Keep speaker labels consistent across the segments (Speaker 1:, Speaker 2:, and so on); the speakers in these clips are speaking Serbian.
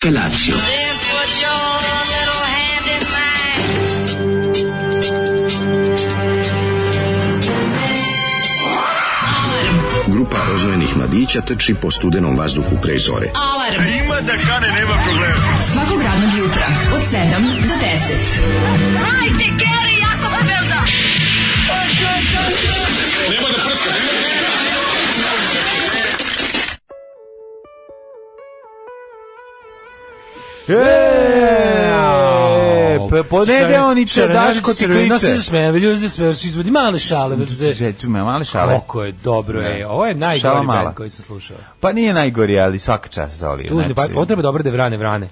Speaker 1: Felatio.
Speaker 2: Grupa rozvojenih mladića teči po studenom vazduhu pre zore.
Speaker 3: Alarm.
Speaker 4: Ima da kane, nema problema.
Speaker 3: Svakog radnog jutra od 7 do 10. Hajde, Geri, ja sam Belda.
Speaker 5: E, pa ponedeoniče, Daško ti
Speaker 6: No se
Speaker 5: klice.
Speaker 6: zasmejem, ljudi se izvodi male šale. brate.
Speaker 5: Žeću me, male šale.
Speaker 6: Kako je dobro, ej. Ovo je
Speaker 5: Šala
Speaker 6: najgori
Speaker 5: mala.
Speaker 6: band koji sam slušao.
Speaker 5: Pa nije najgori, ali svaka čast za Oliju.
Speaker 6: Tužni pa
Speaker 5: znači.
Speaker 6: pat, ovo treba dobro da je vrane, vrane.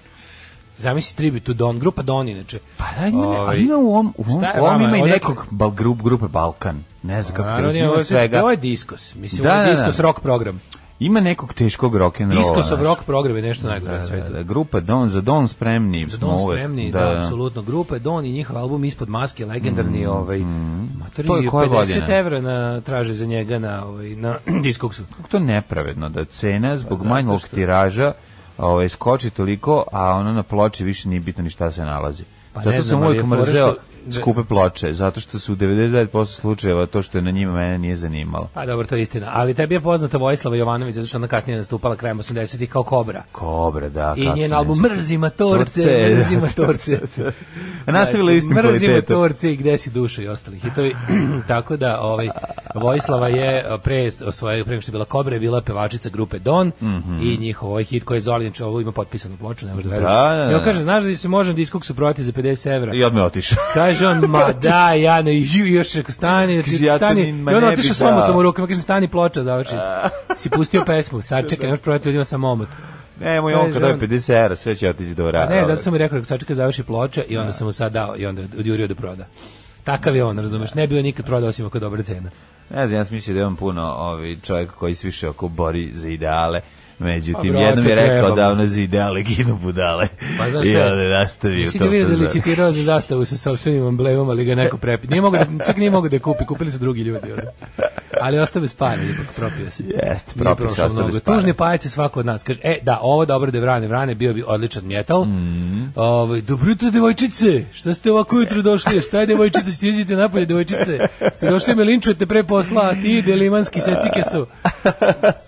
Speaker 6: Zamisli tribute to Don, grupa Don inače.
Speaker 5: Pa da, ima, ne-
Speaker 6: Ovaj,
Speaker 5: ali ima u ovom, u ovom,
Speaker 6: šta je
Speaker 5: u ovom
Speaker 6: vama,
Speaker 5: ima i
Speaker 6: odakle-
Speaker 5: nekog bal, grup, grupe Balkan. Ne znam kako ti
Speaker 6: Naravno,
Speaker 5: razumem
Speaker 6: ovo je-
Speaker 5: svega.
Speaker 6: Ovo je diskos. Mislim,
Speaker 5: Da,
Speaker 6: ovo
Speaker 5: da,
Speaker 6: je
Speaker 5: da.
Speaker 6: diskos rock program.
Speaker 5: Ima nekog teškog rock'n'rolla.
Speaker 6: Diskosov
Speaker 5: znaš.
Speaker 6: rock program je nešto najgore na svetu.
Speaker 5: znači, Da, da, grupa Don, za Don spremni.
Speaker 6: Za
Speaker 5: smo
Speaker 6: Don
Speaker 5: uvek,
Speaker 6: spremni, da, apsolutno. Grupa je Don i njihov album Ispod maske, legendarni, ovaj, matori,
Speaker 5: Mm. To je koja
Speaker 6: 50
Speaker 5: godina?
Speaker 6: evra na, traže za njega na, ovaj, na diskoksu.
Speaker 5: Kako to nepravedno, da cena zbog
Speaker 6: Pa zato
Speaker 5: manjog
Speaker 6: što-
Speaker 5: tiraža ovaj, skoči toliko, a ono na ploči više nije bitno ni šta se nalazi.
Speaker 6: Pa ne
Speaker 5: zato
Speaker 6: znam,
Speaker 5: sam
Speaker 6: ali
Speaker 5: uvijek
Speaker 6: je fora
Speaker 5: mrzeo
Speaker 6: što-
Speaker 5: skupe ploče, zato što su u 99% slučajeva to što je na njima mene nije zanimalo.
Speaker 6: Pa dobro, to je istina. Ali tebi je poznata Vojislava Jovanović, zato što ona kasnije nastupala krajem 80-ih kao Kobra.
Speaker 5: Kobra, da.
Speaker 6: I
Speaker 5: kako
Speaker 6: njen
Speaker 5: se
Speaker 6: album
Speaker 5: ne znam.
Speaker 6: Mrzi matorce,
Speaker 5: Torce,
Speaker 6: mrzi
Speaker 5: da.
Speaker 6: matorce.
Speaker 5: Nastavila
Speaker 6: Znači,
Speaker 5: istim
Speaker 6: Mrzi
Speaker 5: kvalitetom.
Speaker 6: matorce i gde si duša i ostalih. I to je, tako da, ovaj, Vojislava je a, pre, svoje, pre nego što je bila Kobra, je bila pevačica grupe Don
Speaker 5: Mhm.
Speaker 6: i njihov ovaj hit koji je Zoli, znači ovo ima potpisanu ploču, ne možda veruješ.
Speaker 5: Da, da, da.
Speaker 6: I on kaže, znaš da se može diskog suproti za 50 evra?
Speaker 5: I odmah otišao.
Speaker 6: Kaže on, ma da, ja ne, i još rekao, stani,
Speaker 5: Kaže, ja to
Speaker 6: stani,
Speaker 5: ni- ma
Speaker 6: i on
Speaker 5: ne
Speaker 6: otišao
Speaker 5: bih
Speaker 6: s omotom
Speaker 5: dao.
Speaker 6: u rukama, kaže, stani ploča za oči, si pustio pesmu, sad čekaj, još prodati ljudima samo omot.
Speaker 5: Nemoj on Pa
Speaker 6: Kaže
Speaker 5: kada je
Speaker 6: on-
Speaker 5: 50 evra, sve će otići do
Speaker 6: A
Speaker 5: vrata.
Speaker 6: ne, zato sam mi rekao, rekao, sačekaj, završi ploča i onda sam mu sad dao i onda je odjurio da proda. Takav je on, razumeš, ne bi on nikad prodao osim ako je dobra cena.
Speaker 5: Ne znam, ja sam mislio da je on puno ovaj, čovjek koji se više oko bori za ideale. Međutim,
Speaker 6: Pa, brate,
Speaker 5: jednom je rekao
Speaker 6: trebamo.
Speaker 5: da ono za ideale ginu budale.
Speaker 6: Pa znaš
Speaker 5: I
Speaker 6: šta je?
Speaker 5: onda je nastavio
Speaker 6: Nisi
Speaker 5: to.
Speaker 6: ga vidio da je
Speaker 5: pozor.
Speaker 6: licitirao za zastavu sa sopstvenim emblemom, ali ga je neko prepi. Nije mogo da, čak nije mogo da je kupi, kupili su drugi ljudi. ono. Ali ostao bez para, ipak propio se.
Speaker 5: Jeste,
Speaker 6: Nije
Speaker 5: propio se,
Speaker 6: prošlo
Speaker 5: ostao bez
Speaker 6: mnogo.
Speaker 5: para.
Speaker 6: Tužni pajac je svako od nas. Kaže, e, da, ovo dobro da je vrane, vrane, bio bi odličan metal.
Speaker 5: Mhm.
Speaker 6: Ovaj, dobro jutro, devojčice, šta ste ovako jutro došli? Šta je devojčice, stizite napolje, devojčice. Ste došli me linčujete pre posla, a ti delimanski secike su.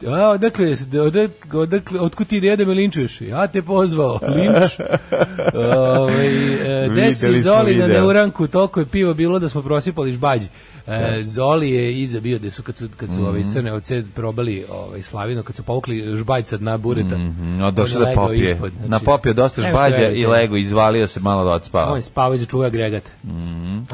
Speaker 6: A, odakle, odakle, odakle, otkud ti ideja da me linčuješ? Ja te pozvao, linč. Ovaj, e,
Speaker 5: Videli
Speaker 6: desi
Speaker 5: smo
Speaker 6: Zoli na
Speaker 5: video.
Speaker 6: Neuranku, toliko je pivo bilo da smo prosipali žbađ. E, Zoli je iza bio da su kad su, kad su ove
Speaker 5: Mhm.
Speaker 6: crne ovce probali ovaj, slavinu, kad su povukli žbađ sad na bureta.
Speaker 5: Mhm, a došao
Speaker 6: on je
Speaker 5: da
Speaker 6: legao
Speaker 5: popije.
Speaker 6: ispod, znači,
Speaker 5: Na popio dosta
Speaker 6: nemaš šta
Speaker 5: žbađa
Speaker 6: verujete.
Speaker 5: i lego, izvalio se malo da odspava.
Speaker 6: On je spavao iza čuva agregat.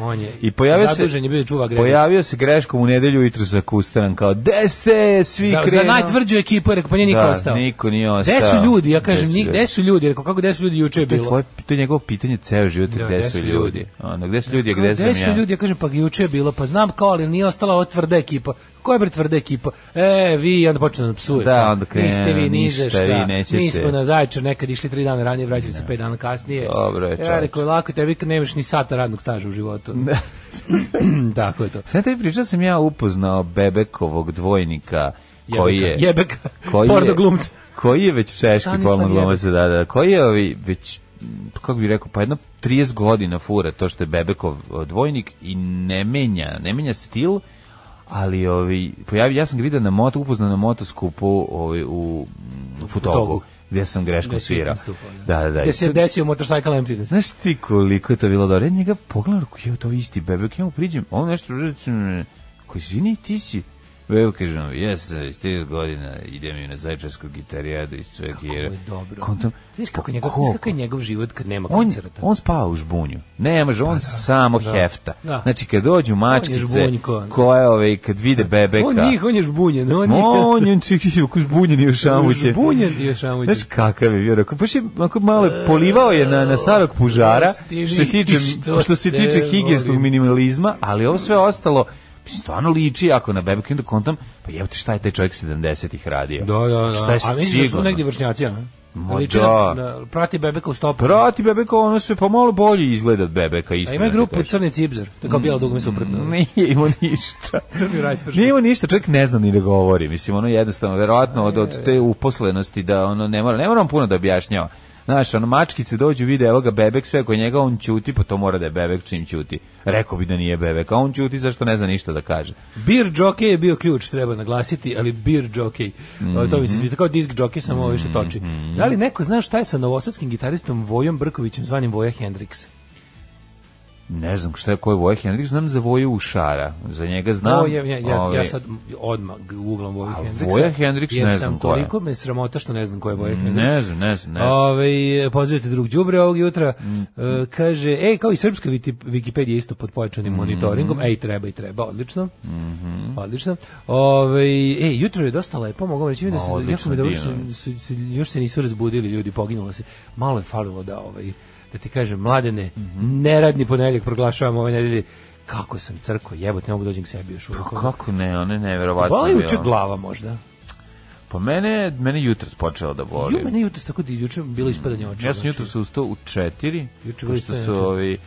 Speaker 6: On je
Speaker 5: Mhm. I pojavio se,
Speaker 6: zadužen je bio da čuva agregat.
Speaker 5: pojavio se greškom u nedelju ujutru za Kustaran, kao, gde ste, svi
Speaker 6: za, za
Speaker 5: krenu.
Speaker 6: najtvrđu ekipu, je rekao, pa nije niko
Speaker 5: Da,
Speaker 6: ostao.
Speaker 5: niko nije
Speaker 6: Gde su
Speaker 5: ostao.
Speaker 6: ljudi? Ja
Speaker 5: Gde
Speaker 6: kažem,
Speaker 5: su
Speaker 6: ni-
Speaker 5: ljudi?
Speaker 6: gde su ljudi? Rekao, kako gde su ljudi? Juče je
Speaker 5: To je,
Speaker 6: bilo.
Speaker 5: tvoje, to je njegovo pitanje ceo život,
Speaker 6: Da,
Speaker 5: gde su ljudi? Ono, gde su ljudi, a
Speaker 6: Kao,
Speaker 5: gde sam ja?
Speaker 6: su ljudi, ja kažem, pa juče je bilo, pa znam kao, ali nije ostala ova tvrda ekipa. Koja je bre tvrda ekipa? E, vi, i onda počne da nam psuje.
Speaker 5: Da,
Speaker 6: Pa,
Speaker 5: onda krene,
Speaker 6: Niste vi ni za
Speaker 5: ništa,
Speaker 6: šta.
Speaker 5: vi nećete.
Speaker 6: Mi smo na Zaječar nekad išli tri dana ranije, vraćali se pet dana kasnije.
Speaker 5: Dobro je,
Speaker 6: Ja
Speaker 5: čoveče.
Speaker 6: rekao, lako tebi kad nemaš ni sata radnog staža u životu. Tako je to.
Speaker 5: Sve tebi pričao sam ja upoznao Bebekovog dvojnika koji je...
Speaker 6: Jebek,
Speaker 5: koji
Speaker 6: porno
Speaker 5: je,
Speaker 6: glumca.
Speaker 5: koji je već češki
Speaker 6: Stanislav
Speaker 5: porno glumac, da, da, koji je ovi već m, kako bih rekao, pa jedno 30 godina fura to što je Bebekov o, dvojnik i ne menja, ne menja stil, ali ovi, pojavi, ja sam ga vidio na moto, upoznao na motoskupu ovi, u, mm, u Futogu,
Speaker 6: Futogu.
Speaker 5: gdje sam greškom
Speaker 6: Gde si
Speaker 5: svirao.
Speaker 6: nastupao,
Speaker 5: Da, da, da.
Speaker 6: Gde se je desio motorcycle emptiness.
Speaker 5: Znaš ti koliko je to bilo dobro? Ja njega pogledam, rekao, jo, to je isti bebek, ja mu priđem, a on nešto, koji izvini, ti si, Bebo kaže, ono, ja sam iz 30 godina, idem i na zajčarsku gitarijadu i sve kjera.
Speaker 6: Ovo je dobro.
Speaker 5: Kontam,
Speaker 6: Znaš kako,
Speaker 5: pa
Speaker 6: njegov,
Speaker 5: koliko?
Speaker 6: znaš kako je njegov život kad nema
Speaker 5: On,
Speaker 6: koncerta?
Speaker 5: on spava u žbunju. Ne može, on samo hefta.
Speaker 6: da.
Speaker 5: Znači, kad dođu mačkice,
Speaker 6: žbunjko.
Speaker 5: koje, ove, kad vide bebeka,
Speaker 6: on njih, on je žbunjen. On, je-
Speaker 5: on je čekaj, ako žbunjen i ošamućen.
Speaker 6: Žbunjen i ošamućen.
Speaker 5: Znaš kakav je bio, rekao, baš je onako malo je polivao je na, na starog pužara,
Speaker 6: Stiži,
Speaker 5: što se tiče,
Speaker 6: što
Speaker 5: što se
Speaker 6: te
Speaker 5: tiče higijenskog
Speaker 6: volim.
Speaker 5: minimalizma, ali ovo sve ostalo, mislim, stvarno liči jako na bebeku, i onda kontam, pa jebote šta je taj čovjek 70-ih radio?
Speaker 6: Da, da, da.
Speaker 5: Šta je
Speaker 6: A mislim da su
Speaker 5: sigurno?
Speaker 6: negdje vršnjaci, a?
Speaker 5: Ma
Speaker 6: Liči
Speaker 5: da.
Speaker 6: na- na- prati bebeka u stopu.
Speaker 5: Prati bebeka, ono sve pa malo bolje izgleda od bebeka,
Speaker 6: A
Speaker 5: iskreno.
Speaker 6: ima
Speaker 5: ti
Speaker 6: grupu
Speaker 5: kažem.
Speaker 6: Crni Cibzer, to je kao bijelo dugme suprotno.
Speaker 5: Nije imao ništa.
Speaker 6: Crni rajsvršnik.
Speaker 5: Nije imao ništa, čovjek ne zna ni da govori. Mislim, ono jednostavno, verovatno od, od te uposlenosti da ono ne mora, ne moram puno da objašnjava. Znaš, ono, mačkice dođu, vide, evo ga bebek, sve oko njega, on ćuti, pa to mora da je bebek čim ćuti. Rekao bi da nije bebek, a on ćuti zašto ne zna ništa da kaže.
Speaker 6: Bir džokej je bio ključ, treba naglasiti, ali bir džokej. O, To mi
Speaker 5: Mhm.
Speaker 6: se sviđa, kao disk džokej, samo ovo više toči. Da li neko zna šta je sa novosadskim gitaristom Vojom Brkovićem, zvanim Voja Hendrix?
Speaker 5: Ne znam šta je koji Voje Henrik, znam za Voju Ušara, za njega znam.
Speaker 6: Ovo je- ja, ja, ja
Speaker 5: ovaj,
Speaker 6: sad odmah uglam Voja
Speaker 5: A
Speaker 6: Hendriksa.
Speaker 5: Voja Hendriks ne
Speaker 6: Jesam,
Speaker 5: znam ko je.
Speaker 6: toliko me sramota što ne znam ko je Voja Hendrix.
Speaker 5: Ne znam, ne znam, ne Mm. znam.
Speaker 6: Ove, pozdravite drug đubre ovog jutra. E, kaže, ej, kao i srpska viti- Wikipedija isto pod pojačanim
Speaker 5: Mhm.
Speaker 6: monitoringom. Ej, treba i treba, odlično. Odlično. Ove, ej, jutro je dosta lepo, mogu vam reći da
Speaker 5: Ma,
Speaker 6: se,
Speaker 5: odlično,
Speaker 6: jako mi dobro
Speaker 5: divno je.
Speaker 6: su- su- su- još se nisu razbudili ljudi, poginulo se. Malo je falilo da ovaj da ti kažem, mladene,
Speaker 5: Mhm.
Speaker 6: neradni ponedjeljak proglašavam ove nedelje. Kako sam crko, jebote, ne mogu dođem k sebi još uvijek.
Speaker 5: Pa kako ne, ono je nevjerovatno.
Speaker 6: Bola je juče
Speaker 5: bilo.
Speaker 6: glava možda.
Speaker 5: ono. Pa mene, mene jutros počelo da boli.
Speaker 6: Ju, mene jutros tako da juče bilo ispadanje očiju.
Speaker 5: Ja sam jutro se ustao u četiri,
Speaker 6: Juče
Speaker 5: pošto
Speaker 6: ustao
Speaker 5: su
Speaker 6: na
Speaker 5: ovi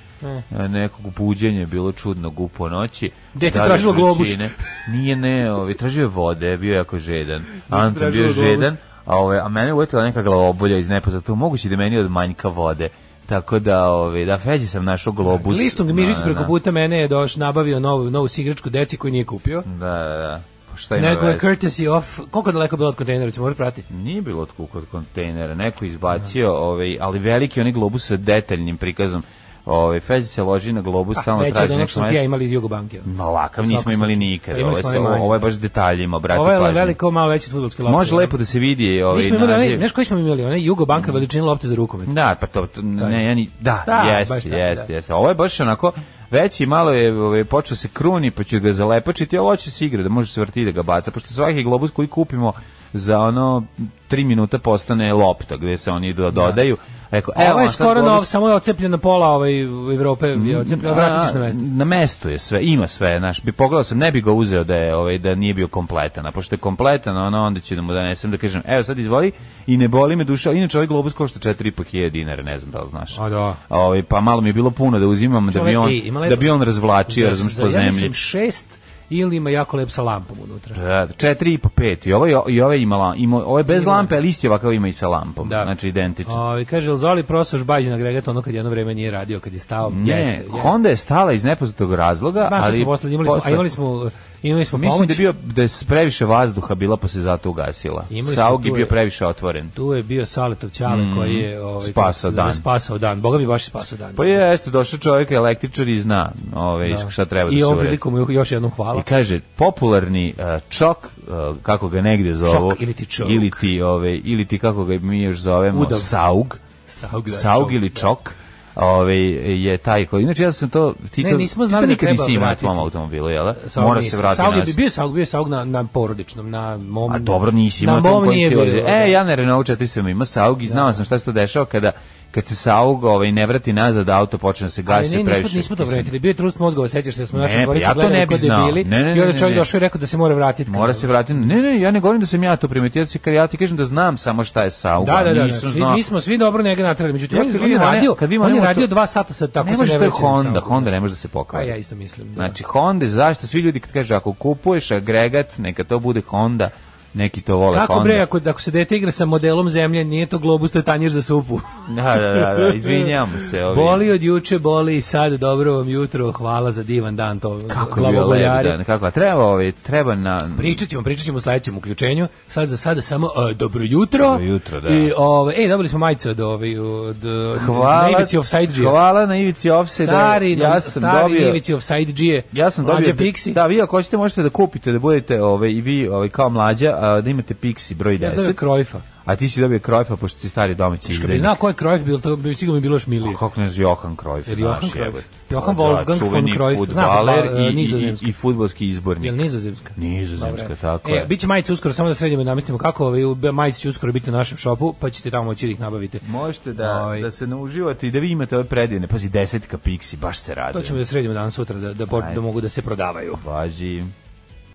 Speaker 5: e, nekog buđenja je bilo čudno gupo noći.
Speaker 6: Dete
Speaker 5: Da li je
Speaker 6: tražilo globus.
Speaker 5: vrućine? Nije ne, ovi, tražio je vode, bio je jako žedan. Anton bio
Speaker 6: tražilo
Speaker 5: je
Speaker 6: globus.
Speaker 5: žedan, a, ove, a mene je uletila neka glavobolja iz nepoznatog, moguće da meni je od manjka vode. Tako da, ove, da feđi sam našao globus.
Speaker 6: Listung Mižić
Speaker 5: Da, da,
Speaker 6: preko
Speaker 5: da.
Speaker 6: puta mene je doš nabavio novu, novu sigračku deci koju nije kupio.
Speaker 5: Da, da, da. Pa šta ima
Speaker 6: Nego je
Speaker 5: veze?
Speaker 6: courtesy off. Koliko je daleko bilo od kontejnera, ćemo morati pratiti.
Speaker 5: Nije bilo otkud kod kontejnera, neko je izbacio, ovaj, ali veliki onaj globus sa detaljnim prikazom. Ovaj Fez se loži na globus, stalno
Speaker 6: Veće Pa, od
Speaker 5: traži
Speaker 6: onog
Speaker 5: neko
Speaker 6: što ti ja
Speaker 5: mesto.
Speaker 6: imali iz Jugobanke.
Speaker 5: Ma ovakav
Speaker 6: U
Speaker 5: nismo
Speaker 6: svakom
Speaker 5: imali
Speaker 6: slučaju.
Speaker 5: nikad.
Speaker 6: Imali
Speaker 5: Ovaj
Speaker 6: smo
Speaker 5: se-
Speaker 6: onaj manji.
Speaker 5: ovo je baš detaljima, brate.
Speaker 6: Ovo je
Speaker 5: pažnje.
Speaker 6: veliko, malo veći od fudbalske lopte. ono.
Speaker 5: Može lepo da se vidi
Speaker 6: Mi
Speaker 5: ovaj
Speaker 6: smo imali, onaj-
Speaker 5: naziv. Mhm.
Speaker 6: znaš koji smo imali? Onaj Jugobanka veličina lopte za rukomet.
Speaker 5: Da, pa to, to- ne, ja ni, da,
Speaker 6: Da, baš
Speaker 5: jeste,
Speaker 6: tako,
Speaker 5: jeste,
Speaker 6: da.
Speaker 5: jeste. Ovo je baš onako veći, malo je ovaj, počeo se kruni, pa ću ga zalepačiti, ali hoće se igra, da može se vrti da ga baca, pošto svaki globus koji kupimo za ono tri minuta postane lopta, gde se oni do, dodaju. Rekao,
Speaker 6: Evo,
Speaker 5: evo,
Speaker 6: ovo je
Speaker 5: a sad Mhm.
Speaker 6: skoro
Speaker 5: globus-
Speaker 6: nov, samo je ocepljen na pola ovaj, Evrope, je ocepljen, vratit ćeš na mesto.
Speaker 5: na mestu je sve, ima sve, znaš, bi pogledao sam, ne bi ga uzeo da je ovaj da nije bio kompletan, a pošto je kompletan, ono onda ću da mu donesem da kažem, evo sad izvoli i ne boli me duša, inače ovaj globus košta 4.500 dinara, ne znam da li znaš.
Speaker 6: A da.
Speaker 5: Ovaj pa malo mi je bilo puno da uzimam da bi
Speaker 6: Čovek,
Speaker 5: on
Speaker 6: ej, ima lepo-
Speaker 5: da bi on razvlačio,
Speaker 6: Za-
Speaker 5: razumeš
Speaker 6: za-
Speaker 5: po
Speaker 6: Ja
Speaker 5: zemlji.
Speaker 6: mislim šest ili ima jako lep sa lampom unutra.
Speaker 5: Da, četiri i po pet. I ovo je, i ovo je ima, lam- ima, ovo je bez lampe, ali isti ovakav ima i sa lampom.
Speaker 6: Da.
Speaker 5: Znači identično.
Speaker 6: Ovaj kaže Zoli prosoš Bađin agregat ono kad jedno vreme nije radio kad je stao.
Speaker 5: ne,
Speaker 6: jeste, jeste.
Speaker 5: Honda je stala iz nepoznatog razloga,
Speaker 6: Znaš šta
Speaker 5: ali
Speaker 6: smo posle, imali smo, a
Speaker 5: posle-
Speaker 6: imali smo, imali smo
Speaker 5: Mislim
Speaker 6: pomoć.
Speaker 5: da je bio da je s- previše vazduha bila pa se zato ugasila.
Speaker 6: Imali smo
Speaker 5: Saug je
Speaker 6: tu
Speaker 5: bio
Speaker 6: je-
Speaker 5: previše otvoren.
Speaker 6: Tu je bio Saletov Ćale koji je ovaj,
Speaker 5: Mm, Spasao
Speaker 6: kako se zove,
Speaker 5: dan.
Speaker 6: Spasao dan. Boga mi baš je spasao dan.
Speaker 5: Pa je, jeste, došao čovjek električar i zna ove, šta treba da
Speaker 6: I
Speaker 5: se
Speaker 6: ovom
Speaker 5: uredi.
Speaker 6: prilikom ju- još jednom hvala.
Speaker 5: I kaže, popularni eh, čok, eh, kako ga negde zovu,
Speaker 6: Čok ili ti čok.
Speaker 5: ili ti, ove, ili ti kako ga mi još zovemo,
Speaker 6: Udav.
Speaker 5: saug,
Speaker 6: Saug, da,
Speaker 5: saug
Speaker 6: čok,
Speaker 5: ili
Speaker 6: da.
Speaker 5: čok, Ove, je taj koji... Inače, ja sam to... Ti
Speaker 6: Ne,
Speaker 5: to,
Speaker 6: nismo
Speaker 5: ti
Speaker 6: znali
Speaker 5: to
Speaker 6: da
Speaker 5: nikad
Speaker 6: treba
Speaker 5: nisi imao na
Speaker 6: vratiti.
Speaker 5: tvom automobilu, jel? da?
Speaker 6: Saug
Speaker 5: Mora
Speaker 6: nisam.
Speaker 5: se vratiti
Speaker 6: Saug je
Speaker 5: na nas.
Speaker 6: bio Saug, bio je Saug na, na porodičnom, na mom.
Speaker 5: A dobro nisi
Speaker 6: na
Speaker 5: imao to
Speaker 6: mom
Speaker 5: koji
Speaker 6: nije
Speaker 5: ste
Speaker 6: bio,
Speaker 5: vozili.
Speaker 6: da.
Speaker 5: E, ja na Renault 4 sam imao Saug i znao sam šta se to dešava kada kad se Saug ovaj, ne vrati nazad, auto počne da se
Speaker 6: Ali
Speaker 5: gasi
Speaker 6: ne, nismo,
Speaker 5: previše.
Speaker 6: nismo to
Speaker 5: Mislim,
Speaker 6: vratili. Bio je trust mozgova, sećaš se, da smo
Speaker 5: Ne,
Speaker 6: naša
Speaker 5: pa
Speaker 6: dvorica
Speaker 5: ja to
Speaker 6: gledali
Speaker 5: ne bi
Speaker 6: kod
Speaker 5: znao.
Speaker 6: debili.
Speaker 5: Ne, ne, ne,
Speaker 6: I onda
Speaker 5: ne,
Speaker 6: čovjek
Speaker 5: ne.
Speaker 6: došao i rekao da se mora vratiti.
Speaker 5: Mora se vratiti. Ne, ne, ja ne govorim da sam ja to primetio, kad ja ti kažem da znam samo šta je Saug.
Speaker 6: Da,
Speaker 5: a
Speaker 6: da, da, da.
Speaker 5: Pa nisam
Speaker 6: Svi,
Speaker 5: znao.
Speaker 6: mi smo svi dobro njega natrali. Međutim,
Speaker 5: Ja
Speaker 6: on,
Speaker 5: kad
Speaker 6: on je
Speaker 5: vidim one-
Speaker 6: radio,
Speaker 5: kad vidim
Speaker 6: on je
Speaker 5: one
Speaker 6: radio
Speaker 5: moto-
Speaker 6: dva sata sa tako
Speaker 5: ne
Speaker 6: se
Speaker 5: može to je
Speaker 6: vraćam
Speaker 5: Honda,
Speaker 6: Saugu.
Speaker 5: Honda ne može da se pokvari.
Speaker 6: Pa ja isto mislim, da.
Speaker 5: Znači Honda, zašto svi ljudi kad kažu ako kupuješ agregat, neka to bude Honda, neki to vole
Speaker 6: Kako
Speaker 5: Honda.
Speaker 6: bre, ako, ako se dete igra sa modelom zemlje, nije to globus, to je tanjir za supu.
Speaker 5: Da, da, da, da, izvinjam se. Ovi.
Speaker 6: Boli od juče, boli i sad, dobro vam jutro, hvala za divan dan to.
Speaker 5: kako je bio lep
Speaker 6: glavoboljari.
Speaker 5: dan, kako, a treba, ovaj, treba na...
Speaker 6: Pričat ćemo, pričat ćemo u sledećem uključenju. Sad za sada samo e, dobro jutro.
Speaker 5: Dobro jutro, da.
Speaker 6: I, ove, ej, dobili smo majice od, ove, od e,
Speaker 5: Hvala,
Speaker 6: na ivici Offside-đija.
Speaker 5: hvala na ivici offside
Speaker 6: Stari,
Speaker 5: ja sam
Speaker 6: stari
Speaker 5: dobio,
Speaker 6: ivici Offside G.
Speaker 5: ja sam dobio,
Speaker 6: Mlađe Pixi.
Speaker 5: da vi ako hoćete možete da kupite, da budete ove, i vi ove, kao mlađa, a, da imate Pixi broj
Speaker 6: Ja sam
Speaker 5: 10,
Speaker 6: dobio Krojfa.
Speaker 5: a ti si dobio Krojfa pošto si stari domaći
Speaker 6: Kad bi
Speaker 5: izdajnik.
Speaker 6: znao ko je Krojf, bil, to bi sigurno mi bilo još milije.
Speaker 5: Kako ne znam, Johan Krojf,
Speaker 6: Jer
Speaker 5: znaš,
Speaker 6: Johan Cruyff.
Speaker 5: jebote.
Speaker 6: Johan
Speaker 5: Da,
Speaker 6: Wolfgang von
Speaker 5: čuveni
Speaker 6: Cruyff.
Speaker 5: fudbaler
Speaker 6: Znate, ba-
Speaker 5: i, i,
Speaker 6: nizozemski.
Speaker 5: i, i fudbalski izbornik.
Speaker 6: Jel nizozemska?
Speaker 5: Nizozemska, tako
Speaker 6: E,
Speaker 5: je.
Speaker 6: biće majice uskoro, samo da sredimo i namestimo kako, ovaj, u- majice će uskoro biti na našem šopu, pa ćete tamo moći da ih nabavite.
Speaker 5: Možete da,
Speaker 6: Ovaj,
Speaker 5: da se nauživate i da vi imate ove predivne. Pazi, desetka Pixi, baš se radi.
Speaker 6: To ćemo da sredimo danas sutra, da, da, po- da mogu da se prodavaju.
Speaker 5: Važi.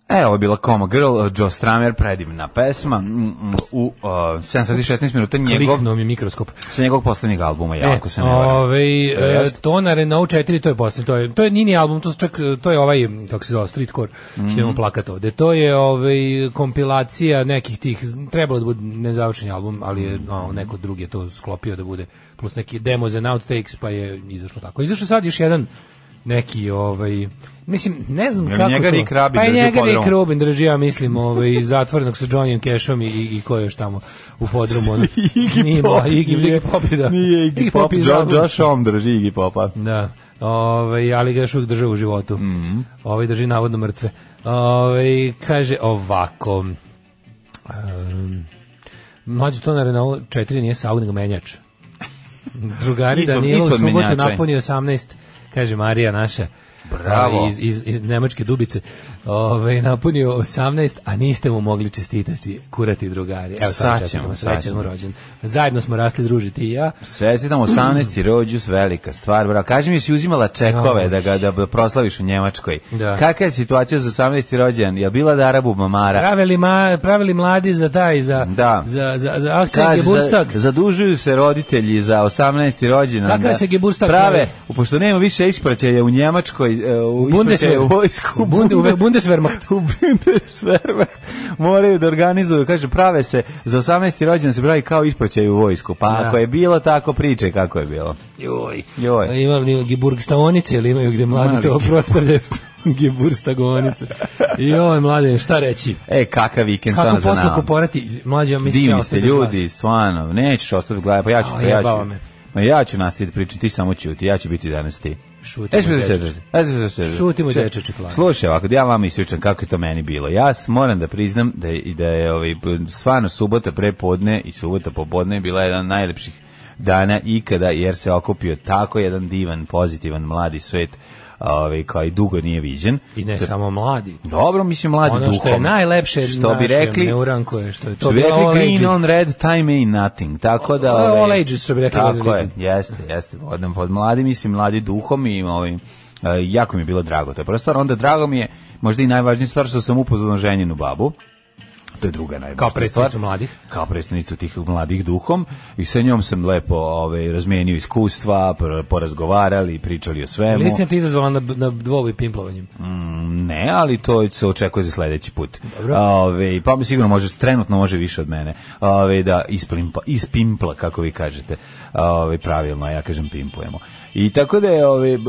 Speaker 5: E, ovo je bila Coma Girl, uh, Joe Stramer, predivna pesma, mm, mm, u uh, 7 sati i 16 minuta njegov,
Speaker 6: Kliknuo mi mikroskop.
Speaker 5: sa njegovog poslednjeg
Speaker 6: E,
Speaker 5: albuma, ja, ako se ne varam.
Speaker 6: ovaj,
Speaker 5: E,
Speaker 6: e,
Speaker 5: jest.
Speaker 6: to na Renault 4, to je posle, to je, to je Nini album, to, su čak, to je ovaj, kako se zove, streetcore,
Speaker 5: Mhm.
Speaker 6: što imamo plakat ovde. To je ovaj, kompilacija nekih tih, trebalo da bude nezavršen album, ali je,
Speaker 5: Mhm.
Speaker 6: o, neko drugi je to sklopio da bude, plus neki demos and outtakes, pa je izašlo tako. Izašao sad još jedan neki ovaj mislim ne znam
Speaker 5: Jel
Speaker 6: kako
Speaker 5: njega
Speaker 6: to.
Speaker 5: Rick Rubin
Speaker 6: pa i
Speaker 5: drži u
Speaker 6: njega Rick
Speaker 5: podrumu?
Speaker 6: Rubin drži ja mislim ovaj zatvorenog sa Johnnyem Cashom i i, i ko je još tamo u podrumu ono, snima Iggy, Iggy Pop da
Speaker 5: Nije Iggy Pop,
Speaker 6: je
Speaker 5: John,
Speaker 6: zabavno.
Speaker 5: Josh Om drži Iggy Popa.
Speaker 6: Da. Ove, ali ga još uvijek drže u životu.
Speaker 5: Mhm.
Speaker 6: Mm Ove drži navodno mrtve. Ove, kaže ovako. Um, mlađe to na Renault 4 nije Saud, nego menjač. Drugari
Speaker 5: Ispod-
Speaker 6: Danilo u
Speaker 5: ispod
Speaker 6: subotu
Speaker 5: menjača je.
Speaker 6: napuni 18, kaže Marija naša.
Speaker 5: Bravo.
Speaker 6: Ove, Iz, iz, iz Nemačke dubice. Ove, napunio 18, a niste mu mogli čestitati, kurati drugari. Evo,
Speaker 5: Sad
Speaker 6: sad
Speaker 5: ćemo,
Speaker 6: čestitamo,
Speaker 5: sad
Speaker 6: srećan mu
Speaker 5: ćemo.
Speaker 6: rođen. Zajedno smo rasli, druži ti i ja.
Speaker 5: Sve si tam 18. rođus, velika stvar, bravo. Kaži mi, si uzimala čekove da ga da proslaviš u Njemačkoj.
Speaker 6: Da.
Speaker 5: Kakva je situacija za 18. rođen? Je bila da Arabu mamara?
Speaker 6: pravili, ma, pravili mladi za taj, za,
Speaker 5: Da.
Speaker 6: za, za, za akcije
Speaker 5: Kaže, za,
Speaker 6: Geburstag.
Speaker 5: zadužuju se roditelji za 18. rođendan.
Speaker 6: Kakav se Geburtstag
Speaker 5: prave,
Speaker 6: pravi?
Speaker 5: pošto nema više ispraćaja u Njemačkoj, e, u ispraćaja u
Speaker 6: Bundeswehr.
Speaker 5: vojsku,
Speaker 6: U Bunde- u Bundeswehrmacht.
Speaker 5: u Bundeswehrmacht, moraju da organizuju, kaže, prave se, za 18. rođendan se pravi kao ispraćaj u vojsku, pa
Speaker 6: Da.
Speaker 5: ako je bilo tako priče, kako je bilo.
Speaker 6: Joj.
Speaker 5: Joj.
Speaker 6: Imali li Geburg stavonice ili imaju gde mladi
Speaker 5: Mali
Speaker 6: to prostavljaju Geburg stavonice. Joj, mlade, šta reći?
Speaker 5: E, kakav vikend
Speaker 6: Kako
Speaker 5: stvarno za
Speaker 6: posle
Speaker 5: nama.
Speaker 6: kuporati? Mlađe, ja mislim
Speaker 5: Divni ste ljudi, stvarno, nećeš ostati gledaj, pa ja ću,
Speaker 6: A,
Speaker 5: pa ja
Speaker 6: jebava
Speaker 5: ću.
Speaker 6: me.
Speaker 5: Ma ja ću nastaviti pričati, ti samo ćuti, ja ću biti danas ti. E,
Speaker 6: Šuti, moj
Speaker 5: smiješ se
Speaker 6: dečko.
Speaker 5: držati. E, smiješ se držati.
Speaker 6: Šuti, moj
Speaker 5: Sve.
Speaker 6: dečače, hvala.
Speaker 5: Slušaj, ovako, da ja vama ispričam kako je to meni bilo. Ja s- moram da priznam da je, i da je ovaj, p- stvarno subota prepodne i subota popodne je bila jedan od najlepših dana ikada, jer se okupio tako jedan divan, pozitivan, mladi svet ovaj, koji dugo nije viđen.
Speaker 6: I ne samo mladi.
Speaker 5: Dobro, mislim, mladi
Speaker 6: Ono
Speaker 5: duhom.
Speaker 6: što je najlepše
Speaker 5: što bi rekli,
Speaker 6: neuranko je što je to
Speaker 5: što bi
Speaker 6: bilo all
Speaker 5: rekli green
Speaker 6: ages.
Speaker 5: on red, time ain't nothing. Tako da...
Speaker 6: O- o-
Speaker 5: ovaj,
Speaker 6: all ages, što bi rekli
Speaker 5: Tako je,
Speaker 6: Elizabeth.
Speaker 5: jeste, jeste. Odem pod mladim, mislim, mladi duhom i ovim... e, jako mi je bilo drago, to je prva stvar. Onda drago mi je, možda i najvažnija stvar, što sam upoznao ženjenu babu. To je druga najvažnija
Speaker 6: Kao predstavnicu
Speaker 5: stvar.
Speaker 6: mladih.
Speaker 5: Kao predstavnicu tih mladih duhom. I sa njom sam lepo ovaj, razmenio iskustva, por- porazgovarali, pričali o svemu.
Speaker 6: Listina te izazvala na, na dvoboj pimplovanjem.
Speaker 5: Ne, ali to se očekuje za sledeći put.
Speaker 6: Dobro.
Speaker 5: Ove, pa mi sigurno može, trenutno može više od mene. Ove, da ispimpla, ispimpla, kako vi kažete. Ove, pravilno, a ja kažem pimplujemo. I tako da je, ove, b-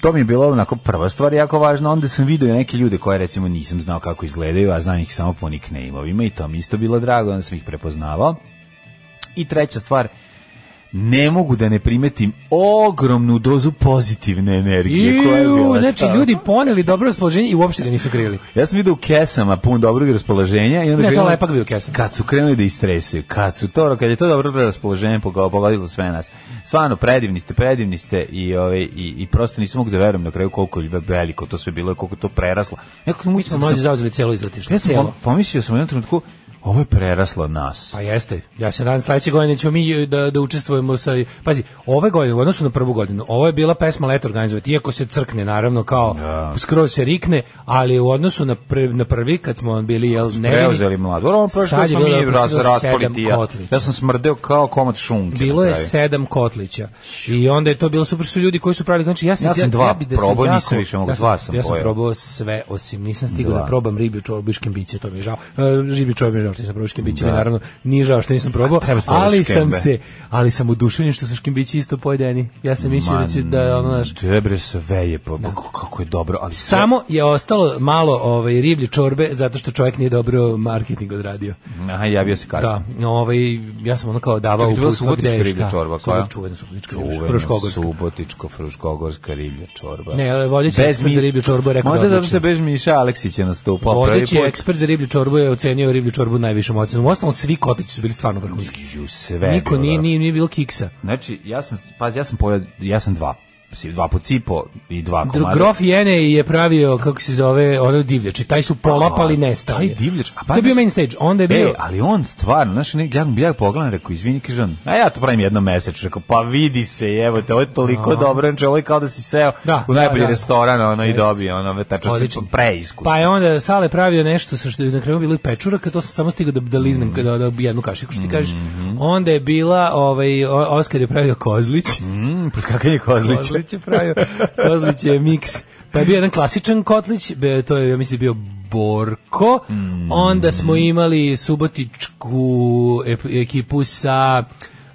Speaker 5: to mi je bilo onako prva stvar jako važna, onda sam vidio neke ljude koje recimo nisam znao kako izgledaju, a znam ih samo po nickname-ovima i to mi isto bilo drago, onda sam ih prepoznavao. I treća stvar, ne mogu da ne primetim ogromnu dozu pozitivne energije koja je
Speaker 6: Iu,
Speaker 5: bila
Speaker 6: znači
Speaker 5: tamo.
Speaker 6: ljudi poneli dobro raspoloženje i uopšte ga nisu krili.
Speaker 5: Ja sam vidio u kesama pun dobrog raspoloženja i onda
Speaker 6: Ne, to
Speaker 5: krenuli-
Speaker 6: lepak bio kesan.
Speaker 5: Kad su krenuli da istresaju, kad su to, kad je to dobro raspoloženje pogo- pogodilo sve nas. Stvarno predivni ste, predivni ste i ovaj i, i prosto nisam mogu da verujem na kraju koliko je veliko to sve bilo i koliko je to preraslo. Nekako
Speaker 6: Mi
Speaker 5: mi
Speaker 6: smo
Speaker 5: sam,
Speaker 6: mlađi
Speaker 5: sam,
Speaker 6: zauzeli cijelo izletište.
Speaker 5: ja sam
Speaker 6: Cijelo.
Speaker 5: pom- pomislio sam u jednom trenutku ovo je preraslo nas.
Speaker 6: Pa jeste. Ja se nadam sledeće godine ćemo mi e, da da učestvujemo sa Pazi, ove godine u odnosu na prvu godinu, ovo je bila pesma leto organizovati, iako se crkne naravno kao skroz se rikne, ali u odnosu na prvi, na prvi kad smo bili jel ne
Speaker 5: Preuzeli mlad. Dobro, ono prošlo
Speaker 6: Sad je
Speaker 5: smo
Speaker 6: bilo
Speaker 5: mi
Speaker 6: da
Speaker 5: ras,
Speaker 6: posebno
Speaker 5: raspali
Speaker 6: sedam
Speaker 5: ti ja.
Speaker 6: kotlića.
Speaker 5: Ja sam smrdeo kao komad šunke.
Speaker 6: Bilo
Speaker 5: na
Speaker 6: je
Speaker 5: kraju.
Speaker 6: sedam kotlića. I onda je to bilo super su ljudi koji su pravili znači ja sam
Speaker 5: Ja sam dva
Speaker 6: bi
Speaker 5: probao,
Speaker 6: jako-
Speaker 5: nisam više mogao,
Speaker 6: ja sam-
Speaker 5: dva sam
Speaker 6: Ja sam
Speaker 5: pojeo.
Speaker 6: probao sve osim nisam stigao
Speaker 5: Dva.
Speaker 6: da probam riblju čorbu i škembiće, to mi je žao. E, riblju čorbu mi je žao što nisam probao škembiće, mi naravno nije žao što nisam probao,
Speaker 5: treba se probati
Speaker 6: ali sam
Speaker 5: škembe.
Speaker 6: se ali sam oduševljen što su škembići isto pojedeni. Ja sam mislio da će da ono znaš,
Speaker 5: Debre sve je, pa, pa kako je dobro. Ali sve-
Speaker 6: Samo je ostalo malo ovaj riblje čorbe zato što čovjek nije dobro marketing odradio.
Speaker 5: Aha, javio se kasno.
Speaker 6: Da, no, ovaj, ja sam ono kao davao
Speaker 5: Čekaj, to je bila
Speaker 6: uputstvo gde
Speaker 5: subotička
Speaker 6: je
Speaker 5: riblja
Speaker 6: šta.
Speaker 5: čorba,
Speaker 6: Subo-
Speaker 5: koja?
Speaker 6: Čuvena subotička riblja čorba,
Speaker 5: Čuvena
Speaker 6: Fruškogorska.
Speaker 5: subotičko fruškogorska riblja čorba.
Speaker 6: Ne, ali vodeći ekspert za riblju čorbu je rekao
Speaker 5: Pa. Možda
Speaker 6: da
Speaker 5: zato što je bez Miša Aleksić je nastupao
Speaker 6: Vodeći
Speaker 5: prvi put.
Speaker 6: ekspert za riblju čorbu je ocenio riblju čorbu najvišom ocenom. Uostalom, svi kotići su bili stvarno vrhunski.
Speaker 5: Ju, sve je
Speaker 6: Niko
Speaker 5: bilo
Speaker 6: nije,
Speaker 5: dobro.
Speaker 6: nije, nije bilo kiksa.
Speaker 5: Znači, ja sam, pazi, ja sam pojao, ja sam dva. si dva put cipo i dva komada.
Speaker 6: Grof Jene je pravio, kako se zove, ono divljač. I taj su polapali nestali.
Speaker 5: Taj divljač. A
Speaker 6: to je bio main stage. Onda je bio...
Speaker 5: E, ali on stvarno, znaš, ne, ja bi ja pogledam, rekao, izvini, kaže on, a ja to pravim jednom mesečno, rekao, pa vidi se, evo te, ovo je toliko dobro, znači, ovo je kao da si seo
Speaker 6: Da,
Speaker 5: u najbolji
Speaker 6: da, da.
Speaker 5: restoran, ono, i
Speaker 6: Jeste.
Speaker 5: dobio, ono, tačno si
Speaker 6: Odličan.
Speaker 5: preiskus.
Speaker 6: Pa je onda Sale pravio nešto sa što je na kraju bilo i pečuraka, to sam samo stigao da, da liznem
Speaker 5: Mhm.
Speaker 6: da, da jednu kašiku, što ti kažeš. Onda je bila, ovaj, O- Oskar je pravio Kozlić.
Speaker 5: Mm, preskakanje Kozlića.
Speaker 6: Kozlić je pravio, Kozlić je miks. Pa je bio jedan klasičan kotlić, be- to je, ja mislim, bio Borko.
Speaker 5: Mm.
Speaker 6: Onda smo imali subotičku ep- ekipu sa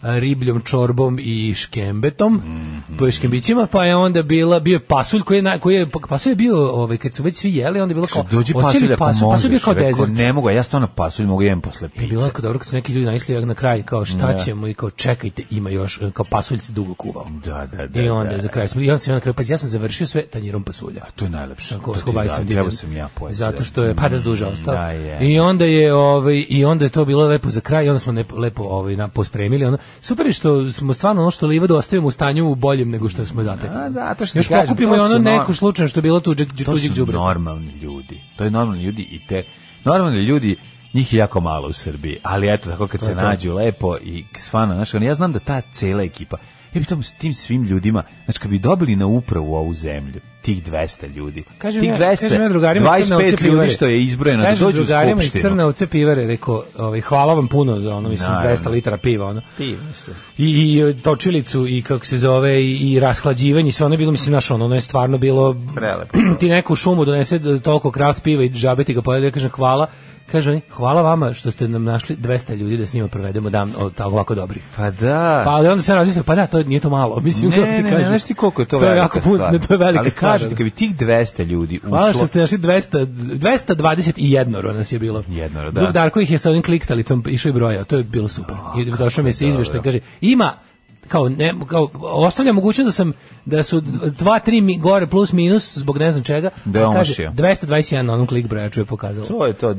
Speaker 6: a, ribljom čorbom i škembetom,
Speaker 5: Mhm.
Speaker 6: po škembićima, pa je onda bila, bio je pasulj koji je, na- koji je pasulj je bio, ovaj, kad su već svi jeli, onda je bilo kao,
Speaker 5: Dođi
Speaker 6: Pa "Hoće li
Speaker 5: pasulj ako možeš.
Speaker 6: pasulj, pasulj je bio kao
Speaker 5: Rekao,
Speaker 6: dezert.
Speaker 5: Ne mogu, ja stvarno pasulj mogu jedem posle
Speaker 6: I bilo je
Speaker 5: pice.
Speaker 6: jako dobro kad su neki ljudi naišli na kraj kao šta ćemo i kao čekajte ima još kao pasulj se dugo kuvao.
Speaker 5: Da, da, da.
Speaker 6: I onda
Speaker 5: da.
Speaker 6: za kraj smo, i onda sam ja na kraju, pa ja sam završio sve tanjirom pasulja.
Speaker 5: To je najlepše.
Speaker 6: Tako,
Speaker 5: To ti
Speaker 6: skobaj
Speaker 5: da,
Speaker 6: sam
Speaker 5: Trebao
Speaker 6: divljan.
Speaker 5: sam ja pojesti.
Speaker 6: Zato što je pada duža ostao.
Speaker 5: Da, je.
Speaker 6: I onda je ovaj i onda je to bilo lepo za kraj, i onda smo lepo, lepo ovaj na pospremili, ono. Super je što smo stvarno ono što livadu ostavimo u stanju boljem nego što smo zatekli.
Speaker 5: A, zato što ti
Speaker 6: Još
Speaker 5: kažem,
Speaker 6: pokupimo
Speaker 5: to
Speaker 6: i ono
Speaker 5: su nor-
Speaker 6: neko slučajno što je bilo tuđeg
Speaker 5: To
Speaker 6: tuđeg
Speaker 5: su
Speaker 6: đubre.
Speaker 5: normalni ljudi. To je normalni ljudi i te... Normalni ljudi, njih je jako malo u Srbiji, ali eto, tako kad se nađu lepo i stvarno, znaš, ono, ja znam da ta cela ekipa, ja bi tom, tim svim ljudima, znači kad bi dobili na upravu ovu zemlju, tih 200 ljudi,
Speaker 6: Kažem
Speaker 5: tih
Speaker 6: ja-
Speaker 5: 200,
Speaker 6: kažem ja drugarima iz Crne Ovce
Speaker 5: 25 ljudi
Speaker 6: pivare.
Speaker 5: što je izbrojeno, da
Speaker 6: Kažem
Speaker 5: dođu u
Speaker 6: drugarima iz
Speaker 5: skupštinu.
Speaker 6: Crne ovce pivare, rekao, ovaj, hvala vam puno za ono, mislim,
Speaker 5: Naravno.
Speaker 6: 200 litara piva, ono.
Speaker 5: Ti, mislim.
Speaker 6: I, i točilicu i kako se zove i, i rashlađivanje i sve ono je bilo mislim naš ono, ono je stvarno bilo
Speaker 5: Prelepo.
Speaker 6: ti neku šumu donese d- toliko kraft piva i džabe ti ga pojede ja kažem hvala kaže oni hvala vama što ste nam našli 200 ljudi da s njima provedemo dan od tako ovako dobrih
Speaker 5: Pa da.
Speaker 6: pa ali onda se razmišljam pa da to je- nije to malo mislim
Speaker 5: ne,
Speaker 6: kako ti
Speaker 5: ne, ne,
Speaker 6: kažem.
Speaker 5: znaš ti koliko je to,
Speaker 6: to je
Speaker 5: velika
Speaker 6: jako puno
Speaker 5: stvar.
Speaker 6: to je velika
Speaker 5: ali
Speaker 6: stvar
Speaker 5: kažete, kad bi tih 200 ljudi ušlo...
Speaker 6: Hvala što ste našli 200, 221 nas je bilo.
Speaker 5: Jednoro, da.
Speaker 6: Drug Darko ih je sa onim kliktalicom išao i brojao, to je bilo super. I došao mi se izveštaj, kaže, ima kao ne kao ostavlja mogućnost da sam da su 2 3 gore plus minus zbog ne znam čega
Speaker 5: Da je
Speaker 6: a
Speaker 5: on
Speaker 6: kaže
Speaker 5: omašio.
Speaker 6: 221 na onom klik brojaču je pokazalo
Speaker 5: To je to,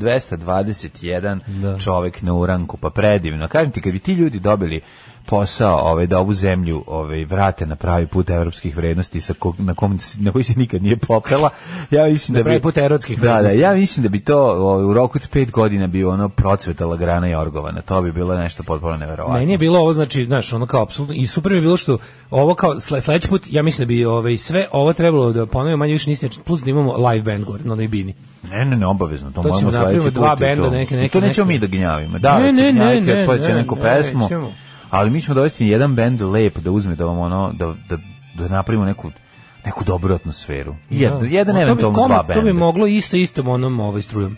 Speaker 5: 221 čovek na uranku, pa predivno. Kažem ti, kad bi ti ljudi dobili posao ovaj, da ovu zemlju ovaj, vrate na pravi put evropskih vrednosti sa ko, na, kom, na koji se nikad nije popela, ja mislim da, bi...
Speaker 6: pravi put erotskih
Speaker 5: da, da,
Speaker 6: vrednosti.
Speaker 5: ja mislim da bi to ovaj, u roku od pet godina bio ono procvetala grana Jorgovana. To bi bilo nešto potpuno neverovatno.
Speaker 6: Meni je bilo ovo znači, znaš, ono kao apsolutno i super mi je bilo što ovo kao sle, sledeći put ja mislim da bi ovaj sve ovo trebalo da ponovimo manje više nisi plus da imamo live band gore na onoj bini.
Speaker 5: Ne, ne, ne, obavezno, to,
Speaker 6: To
Speaker 5: moramo
Speaker 6: ćemo da
Speaker 5: sledeći put.
Speaker 6: napravimo dva
Speaker 5: i to.
Speaker 6: benda, neke-
Speaker 5: I
Speaker 6: neke-
Speaker 5: to nećemo
Speaker 6: neke.
Speaker 5: mi da gnjavimo. Da,
Speaker 6: Ne,
Speaker 5: ne,
Speaker 6: ne,
Speaker 5: ne,
Speaker 6: ne,
Speaker 5: ne,
Speaker 6: ne,
Speaker 5: ne,
Speaker 6: ne,
Speaker 5: neku
Speaker 6: ne,
Speaker 5: pesmu.
Speaker 6: nećemo.
Speaker 5: Ali mi ćemo dovesti jedan bend lep da uzme da vam ono da da da napravimo neku neku dobru atmosferu. Jedan, jedan
Speaker 6: A to bi-
Speaker 5: eventualno
Speaker 6: kome-
Speaker 5: dva
Speaker 6: To bi
Speaker 5: benda.
Speaker 6: moglo isto istom onom ovaj strujom.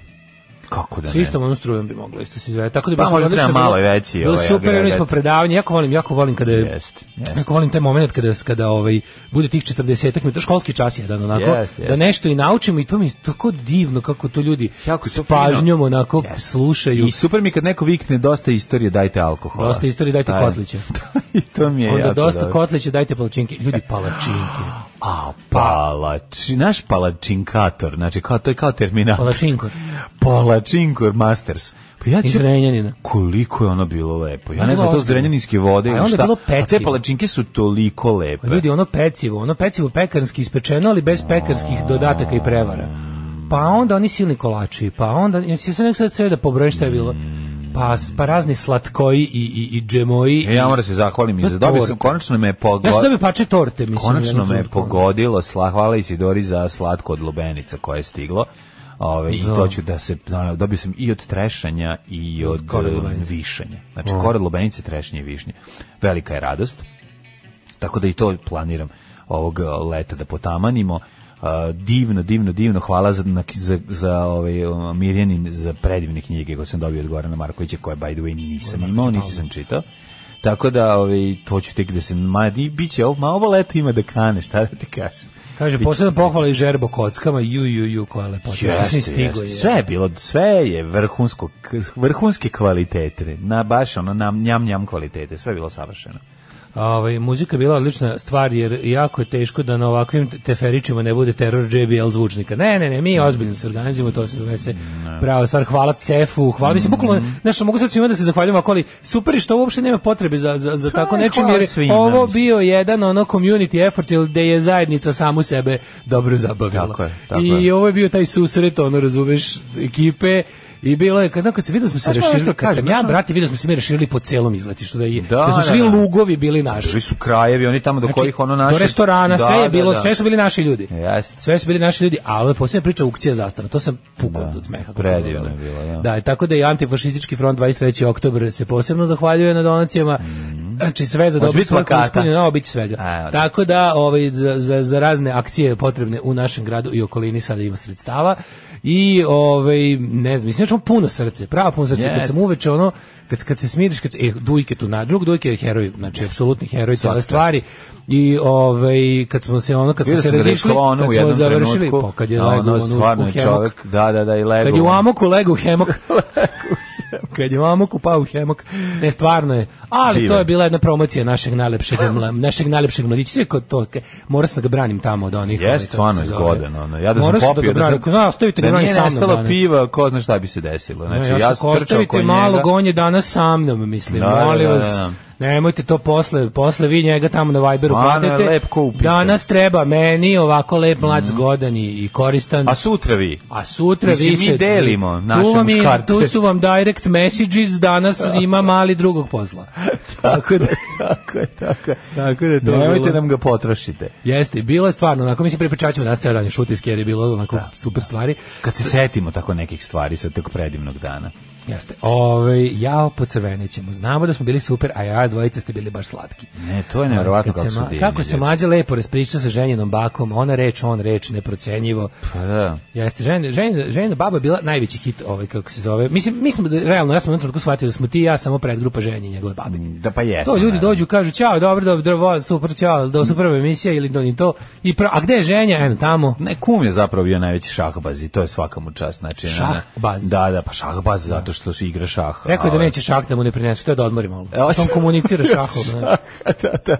Speaker 5: Kako da
Speaker 6: Sa
Speaker 5: ne?
Speaker 6: istom onom strujom bi moglo isto se izvede. Tako da bi
Speaker 5: Pa
Speaker 6: bilo
Speaker 5: možda
Speaker 6: odlično
Speaker 5: treba malo
Speaker 6: bilo-
Speaker 5: veći,
Speaker 6: Bilo
Speaker 5: ovaj,
Speaker 6: super, mi
Speaker 5: agregat.
Speaker 6: smo predavanje, jako volim, jako volim kada je
Speaker 5: Jeste, jeste.
Speaker 6: Jako volim taj moment kada kada ovaj bude tih 40 minuta školski čas jedan onako
Speaker 5: Jeste,
Speaker 6: da
Speaker 5: jeste.
Speaker 6: nešto i naučimo i to mi je tako divno kako to ljudi
Speaker 5: Jako je
Speaker 6: s
Speaker 5: to
Speaker 6: pažnjom
Speaker 5: fino.
Speaker 6: onako
Speaker 5: Jeste.
Speaker 6: slušaju.
Speaker 5: I super mi kad neko vikne dosta istorije, dajte alkohola.
Speaker 6: Dosta istorije, dajte
Speaker 5: Taj-
Speaker 6: kotliće.
Speaker 5: I to mi je
Speaker 6: Onda
Speaker 5: jako
Speaker 6: dosta
Speaker 5: dobro.
Speaker 6: kotlića, dajte palačinke. Ljudi, palačinke.
Speaker 5: A, palači, naš palačinkator, znači kao, to je kao terminator.
Speaker 6: Palačinkor.
Speaker 5: Palačinkor Masters. Pa ja
Speaker 6: Iz
Speaker 5: ću-
Speaker 6: Renjanina.
Speaker 5: koliko je ono bilo lepo. Ja
Speaker 6: Ono
Speaker 5: ne
Speaker 6: je
Speaker 5: znam
Speaker 6: bilo
Speaker 5: to zrenjaninske vode
Speaker 6: A
Speaker 5: ili
Speaker 6: onda je
Speaker 5: šta.
Speaker 6: bilo
Speaker 5: A te
Speaker 6: pecivo.
Speaker 5: palačinke su toliko lepe.
Speaker 6: Ljudi, ono pecivo, ono pecivo pekarski ispečeno, ali bez pekarskih dodataka i prevara. Pa onda oni silni kolači, pa onda, jesi se nek sad sve da pobroje šta je bilo? Pa, s- pa razni slatkoji i, i, i džemoji.
Speaker 5: E,
Speaker 6: i-
Speaker 5: ja moram da se zahvalim i
Speaker 6: To
Speaker 5: za
Speaker 6: je
Speaker 5: dobio sam,
Speaker 6: torta.
Speaker 5: konačno me je
Speaker 6: Ja sam
Speaker 5: pogodilo.
Speaker 6: dobio pače torte, mislim.
Speaker 5: Konačno
Speaker 6: jednom
Speaker 5: me je
Speaker 6: trenutku.
Speaker 5: pogodilo, sla, hvala Isidori za slatko od lubenica koje je stiglo. Ove, I to ću da se, ono, dobio sam i od trešanja i od,
Speaker 6: kore
Speaker 5: e,
Speaker 6: lubenice.
Speaker 5: višanja. Znači, kore lubenice, trešnje i višnje. Velika je radost. Tako da i to planiram ovog e, leta da potamanimo. E, divno, divno, divno. Hvala za, na, za, za ovaj, o, Mirjanin za predivne knjige koje sam dobio od Gorana Markovića, koje, by the way, nisam imao, niti sam čitao. Tako da, ovaj, to ću tek da se, ma, i bit će, ovo, ma, ovo leto ima da kane, šta da ti kažem.
Speaker 6: Kaže,
Speaker 5: Bit će
Speaker 6: posebno pohvala i žerbo kockama, ju, ju, ju, koja lepota.
Speaker 5: Jeste,
Speaker 6: Sve stigo
Speaker 5: jeste.
Speaker 6: je.
Speaker 5: Sve je bilo, sve je vrhunsko, k- vrhunske kvalitete, na baš ono nam njam njam kvalitete, sve je bilo savršeno.
Speaker 6: Ovaj muzika je bila odlična stvar jer jako je teško da na ovakvim teferićima ne bude teror JBL zvučnika. Ne, ne, ne, mi ozbiljno se organizujemo, to se donese prava stvar. Hvala Cefu, hvala mi se bukvalno,
Speaker 5: Mhm.
Speaker 6: znaš, mogu sad svima da se zahvaljujem, ako ali super je što uopšte nema potrebe za, za, za tako
Speaker 5: Pa,
Speaker 6: nečim
Speaker 5: hvala
Speaker 6: jer
Speaker 5: svima,
Speaker 6: ovo
Speaker 5: mislim.
Speaker 6: bio jedan ono community effort ili gde je zajednica samu sebe dobro zabavila.
Speaker 5: Tako je, tako
Speaker 6: I
Speaker 5: je.
Speaker 6: ovo je bio taj susret, ono, razumeš, ekipe i bilo je, kad, kad se vidio smo se
Speaker 5: Znaš ono
Speaker 6: reširili,
Speaker 5: što
Speaker 6: kad sam
Speaker 5: kažem,
Speaker 6: ja,
Speaker 5: znaš ono-
Speaker 6: brate, vidio smo se mi reširili po celom izletištu, da, je,
Speaker 5: Da,
Speaker 6: da su
Speaker 5: da,
Speaker 6: svi
Speaker 5: da.
Speaker 6: lugovi bili naši.
Speaker 5: Živi su krajevi, oni tamo do kojih ono naše...
Speaker 6: Znači, Do restorana,
Speaker 5: Da,
Speaker 6: sve je
Speaker 5: da,
Speaker 6: bilo,
Speaker 5: da. E,
Speaker 6: sve su bili naši ljudi.
Speaker 5: Jeste.
Speaker 6: Sve su bili naši ljudi, a ovo je posebna priča aukcija zastava, to sam pukao
Speaker 5: Da,
Speaker 6: od smeha.
Speaker 5: predivno je bilo, da.
Speaker 6: Da, tako da i antifašistički front 23. oktober se posebno zahvaljuje na donacijama. Znači sve za
Speaker 5: Hoće
Speaker 6: dobro
Speaker 5: Mhm. biti
Speaker 6: svako
Speaker 5: plakata?
Speaker 6: ispunjeno, ovo biće svega.
Speaker 5: A, da.
Speaker 6: Tako da ovaj, za, za, za razne akcije potrebne u našem gradu i okolini sada ima sredstava. I ovaj ne znam, mislim da ćemo puno srce, pravo puno srce kad
Speaker 5: Jest.
Speaker 6: sam uveče ono kad kad se smiriš kad se, e, Dujke tu na drug Dujke je heroj, znači apsolutni heroj cele stvari. I ovaj kad smo se ono kad smo
Speaker 5: Vidio
Speaker 6: se
Speaker 5: sam da je
Speaker 6: razišli,
Speaker 5: ono u
Speaker 6: kad smo
Speaker 5: jednom
Speaker 6: završili,
Speaker 5: trenutku,
Speaker 6: pa kad je
Speaker 5: a
Speaker 6: legao
Speaker 5: ono,
Speaker 6: ono,
Speaker 5: stvarno
Speaker 6: u
Speaker 5: je
Speaker 6: hemok,
Speaker 5: čovjek, da, da, da, i legao. ono.
Speaker 6: Kad je u amoku legao u hemok. kad je u amoku pao u hemok. Ne, stvarno je. Ali to
Speaker 5: Divan.
Speaker 6: je bila jedna promocija našeg najlepšeg, mla- našeg najlepšeg mladića. Sve kod to, ke- morao sam da ga branim tamo od onih.
Speaker 5: Jeste,
Speaker 6: onih, kako
Speaker 5: stvarno
Speaker 6: se
Speaker 5: je
Speaker 6: zove.
Speaker 5: zgodan. Ono. Ja da sam
Speaker 6: Morao sam
Speaker 5: popio,
Speaker 6: da ga branim. Ako zna, ostavite ga
Speaker 5: da
Speaker 6: branim
Speaker 5: nije
Speaker 6: sa mnom
Speaker 5: nestala
Speaker 6: danas.
Speaker 5: piva, ko zna šta bi se desilo. Znači,
Speaker 6: Ne,
Speaker 5: ja, sam
Speaker 6: sam
Speaker 5: trčao
Speaker 6: ostavite
Speaker 5: oko
Speaker 6: malo
Speaker 5: njega.
Speaker 6: gonje danas sa mnom, mislim.
Speaker 5: Da, da,
Speaker 6: Molim
Speaker 5: da,
Speaker 6: vas,
Speaker 5: da.
Speaker 6: nemojte to posle, posle vi njega tamo na Viberu
Speaker 5: Stvarno je
Speaker 6: platite.
Speaker 5: lep ko upisan. Mhm.
Speaker 6: Danas treba meni ovako lep mlad, zgodan i, i koristan.
Speaker 5: A sutra vi?
Speaker 6: A sutra
Speaker 5: Mislim,
Speaker 6: vi
Speaker 5: mi
Speaker 6: se...
Speaker 5: delimo naše
Speaker 6: tu vam je-
Speaker 5: muškarce.
Speaker 6: Tu su vam direct messages, danas ima mali drugog pozla. tako da,
Speaker 5: tako je, tako je.
Speaker 6: tako da je to
Speaker 5: Nemojte
Speaker 6: bilo.
Speaker 5: nam ga potrošite.
Speaker 6: Jeste, bilo je stvarno, onako mi se pripričaćemo da se dan je šutiski jer je bilo onako super stvari.
Speaker 5: Kad se setimo tako nekih stvari sa tog predivnog dana.
Speaker 6: Jeste. Ove, jao, pocrvenećemo. Znamo da smo bili super, a ja dvojica ste bili baš slatki.
Speaker 5: Ne, to je nevjerovatno
Speaker 6: Kad
Speaker 5: kako
Speaker 6: se
Speaker 5: su
Speaker 6: ma-
Speaker 5: divni.
Speaker 6: kako se
Speaker 5: ljudi.
Speaker 6: mlađe lepo raspričao sa ženjenom bakom, ona reč, on reč, neprocenjivo.
Speaker 5: Pa da.
Speaker 6: Jeste, žen, žen, žena baba je bila najveći hit, ovaj, kako se zove. Mislim, mislim da, realno, ja sam u jednom trenutku shvatio da smo ti i ja samo predgrupa ženje njegove babe.
Speaker 5: Da pa jesmo.
Speaker 6: To ljudi
Speaker 5: naravno.
Speaker 6: dođu kažu ćao, dobro, dobro, dobro, super, ćao, do super emisija ili do ni to. I pra, a gde je ženja? Eno tamo.
Speaker 5: Ne, kum je zapravo bio najveći šahbaz i to je svaka mu čast. Znači,
Speaker 6: Šahbaz?
Speaker 5: ona- Da, da, pa šahbaz zato što se igra šah.
Speaker 6: Rekao je da
Speaker 5: ovaj.
Speaker 6: neće šah da mu ne prinesu, to je da odmori malo.
Speaker 5: Evo,
Speaker 6: Što on komunicira šahom, znaš.
Speaker 5: da, da.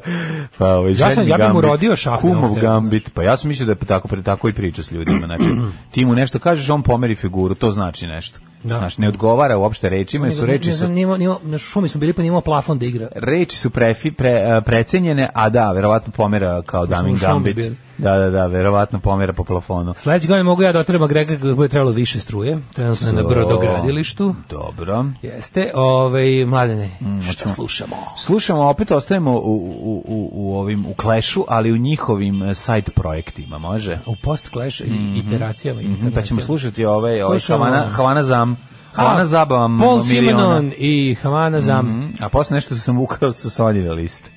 Speaker 5: Pa, ovaj,
Speaker 6: sam-
Speaker 5: ženi
Speaker 6: ja bi mu
Speaker 5: gambit,
Speaker 6: rodio šah, ne,
Speaker 5: Kumov
Speaker 6: ovdje.
Speaker 5: gambit, pa ja sam mislio da je tako, pre tako i priča s ljudima. Znači, ti mu nešto kažeš, on pomeri figuru, to znači nešto.
Speaker 6: Da.
Speaker 5: Znači, ne odgovara uopšte rečima, jer su reči
Speaker 6: Ne
Speaker 5: su
Speaker 6: znam, nije imao- nije imao- na šumi smo bili pa nije imao plafon da igra.
Speaker 5: reči su prefi, pre, e, precenjene, a da, verovatno pomera kao Daming
Speaker 6: u šombi
Speaker 5: Gambit.
Speaker 6: bili.
Speaker 5: Da, da, da, verovatno pomera po plafonu.
Speaker 6: Sledeće godine mogu ja da otrebam Grega kako bude trebalo više struje. Trenutno je na
Speaker 5: So,
Speaker 6: brodogradilištu.
Speaker 5: Dobro.
Speaker 6: Jeste, ovaj, mladene,
Speaker 5: Mm,
Speaker 6: šta slušamo?
Speaker 5: Slušamo, opet ostajemo u, u, u, u ovim, u klešu, ali u njihovim e, side projektima, može?
Speaker 6: U post-clash i iteracijama.
Speaker 5: Mhm. Pa ćemo
Speaker 6: iteracijama.
Speaker 5: slušati ovaj, ovaj
Speaker 6: Mhm. Slušamo.
Speaker 5: Havana, Havana Zam. Havana
Speaker 6: A,
Speaker 5: Zabava
Speaker 6: Paul
Speaker 5: miliona.
Speaker 6: Simonon i Havana Zam.
Speaker 5: Mhm, A posle nešto sam ukrao sa Sonjine liste.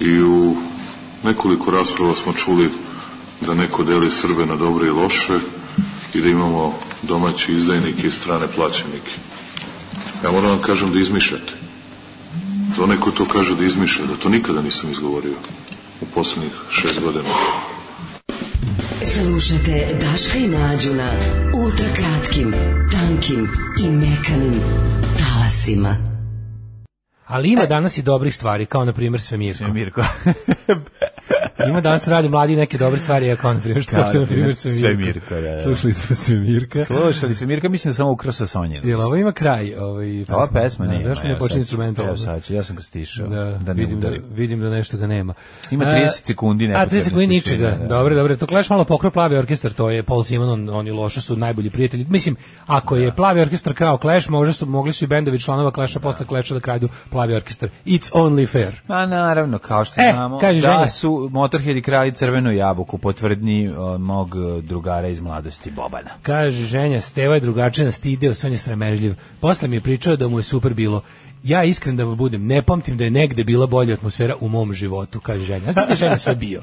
Speaker 1: I u nekoliko rasprava smo čuli da neko deli Srbe na dobre i loše i da imamo domaći izdajnike i strane plaćenike. Ja moram vam kažem da izmišljate. To neko to kaže da izmišlja, da to nikada nisam izgovorio u poslednjih šest godina.
Speaker 3: Slušajte Daška i Mlađu na ultra kratkim, tankim i mekanim talasima.
Speaker 6: Ali ima danas i dobrih stvari, kao na primjer Svemirko.
Speaker 5: Mirko.
Speaker 6: Ima danas radi mladi neke dobre stvari, kao na primjer što
Speaker 5: Kao,
Speaker 6: kao, na primjer Svemirko.
Speaker 5: Svemirko, da, da.
Speaker 6: Slušali smo Svemirka.
Speaker 5: Slušali se Mirka, mislim da sam ukrao sa Sonjine
Speaker 6: Jel ovo ima kraj? Ovaj,
Speaker 5: Ova pesma nije.
Speaker 6: Zašto ne počne instrumentalno?
Speaker 5: Evo sad ću, ja sam ga stišao.
Speaker 6: Da,
Speaker 5: Da, ne
Speaker 6: vidim, da,
Speaker 5: udari.
Speaker 6: vidim da nešto ga nema.
Speaker 5: Ima
Speaker 6: A,
Speaker 5: 30 sekundi
Speaker 6: A 30
Speaker 5: nepotrebne
Speaker 6: sekundi
Speaker 5: tišine,
Speaker 6: ničega.
Speaker 5: da.
Speaker 6: Dobro, dobro. To Clash malo pokro plavi orkestar, to je Paul Simon, on, oni loše su najbolji prijatelji. Mislim, ako je plavi orkestar krao Clash, možda su mogli su i bendovi članova Clasha posle Clasha da kradu plavi orkestar. It's only fair.
Speaker 5: Ma naravno, kao što
Speaker 6: E,
Speaker 5: znamo,
Speaker 6: kaži,
Speaker 5: da
Speaker 6: Ženja.
Speaker 5: su Motorhead i krali crvenu jabuku po tvrdnji e, mog e, drugara iz mladosti Bobana.
Speaker 6: Kaže ženja, Steva je drugačija, stideo se, on je sramežljiv. Posle mi je pričao da mu je super bilo. Ja iskren da vam budem, ne pamtim da je negde bila bolja atmosfera u mom životu, kaže ženja. Znate da je ženja sve bio?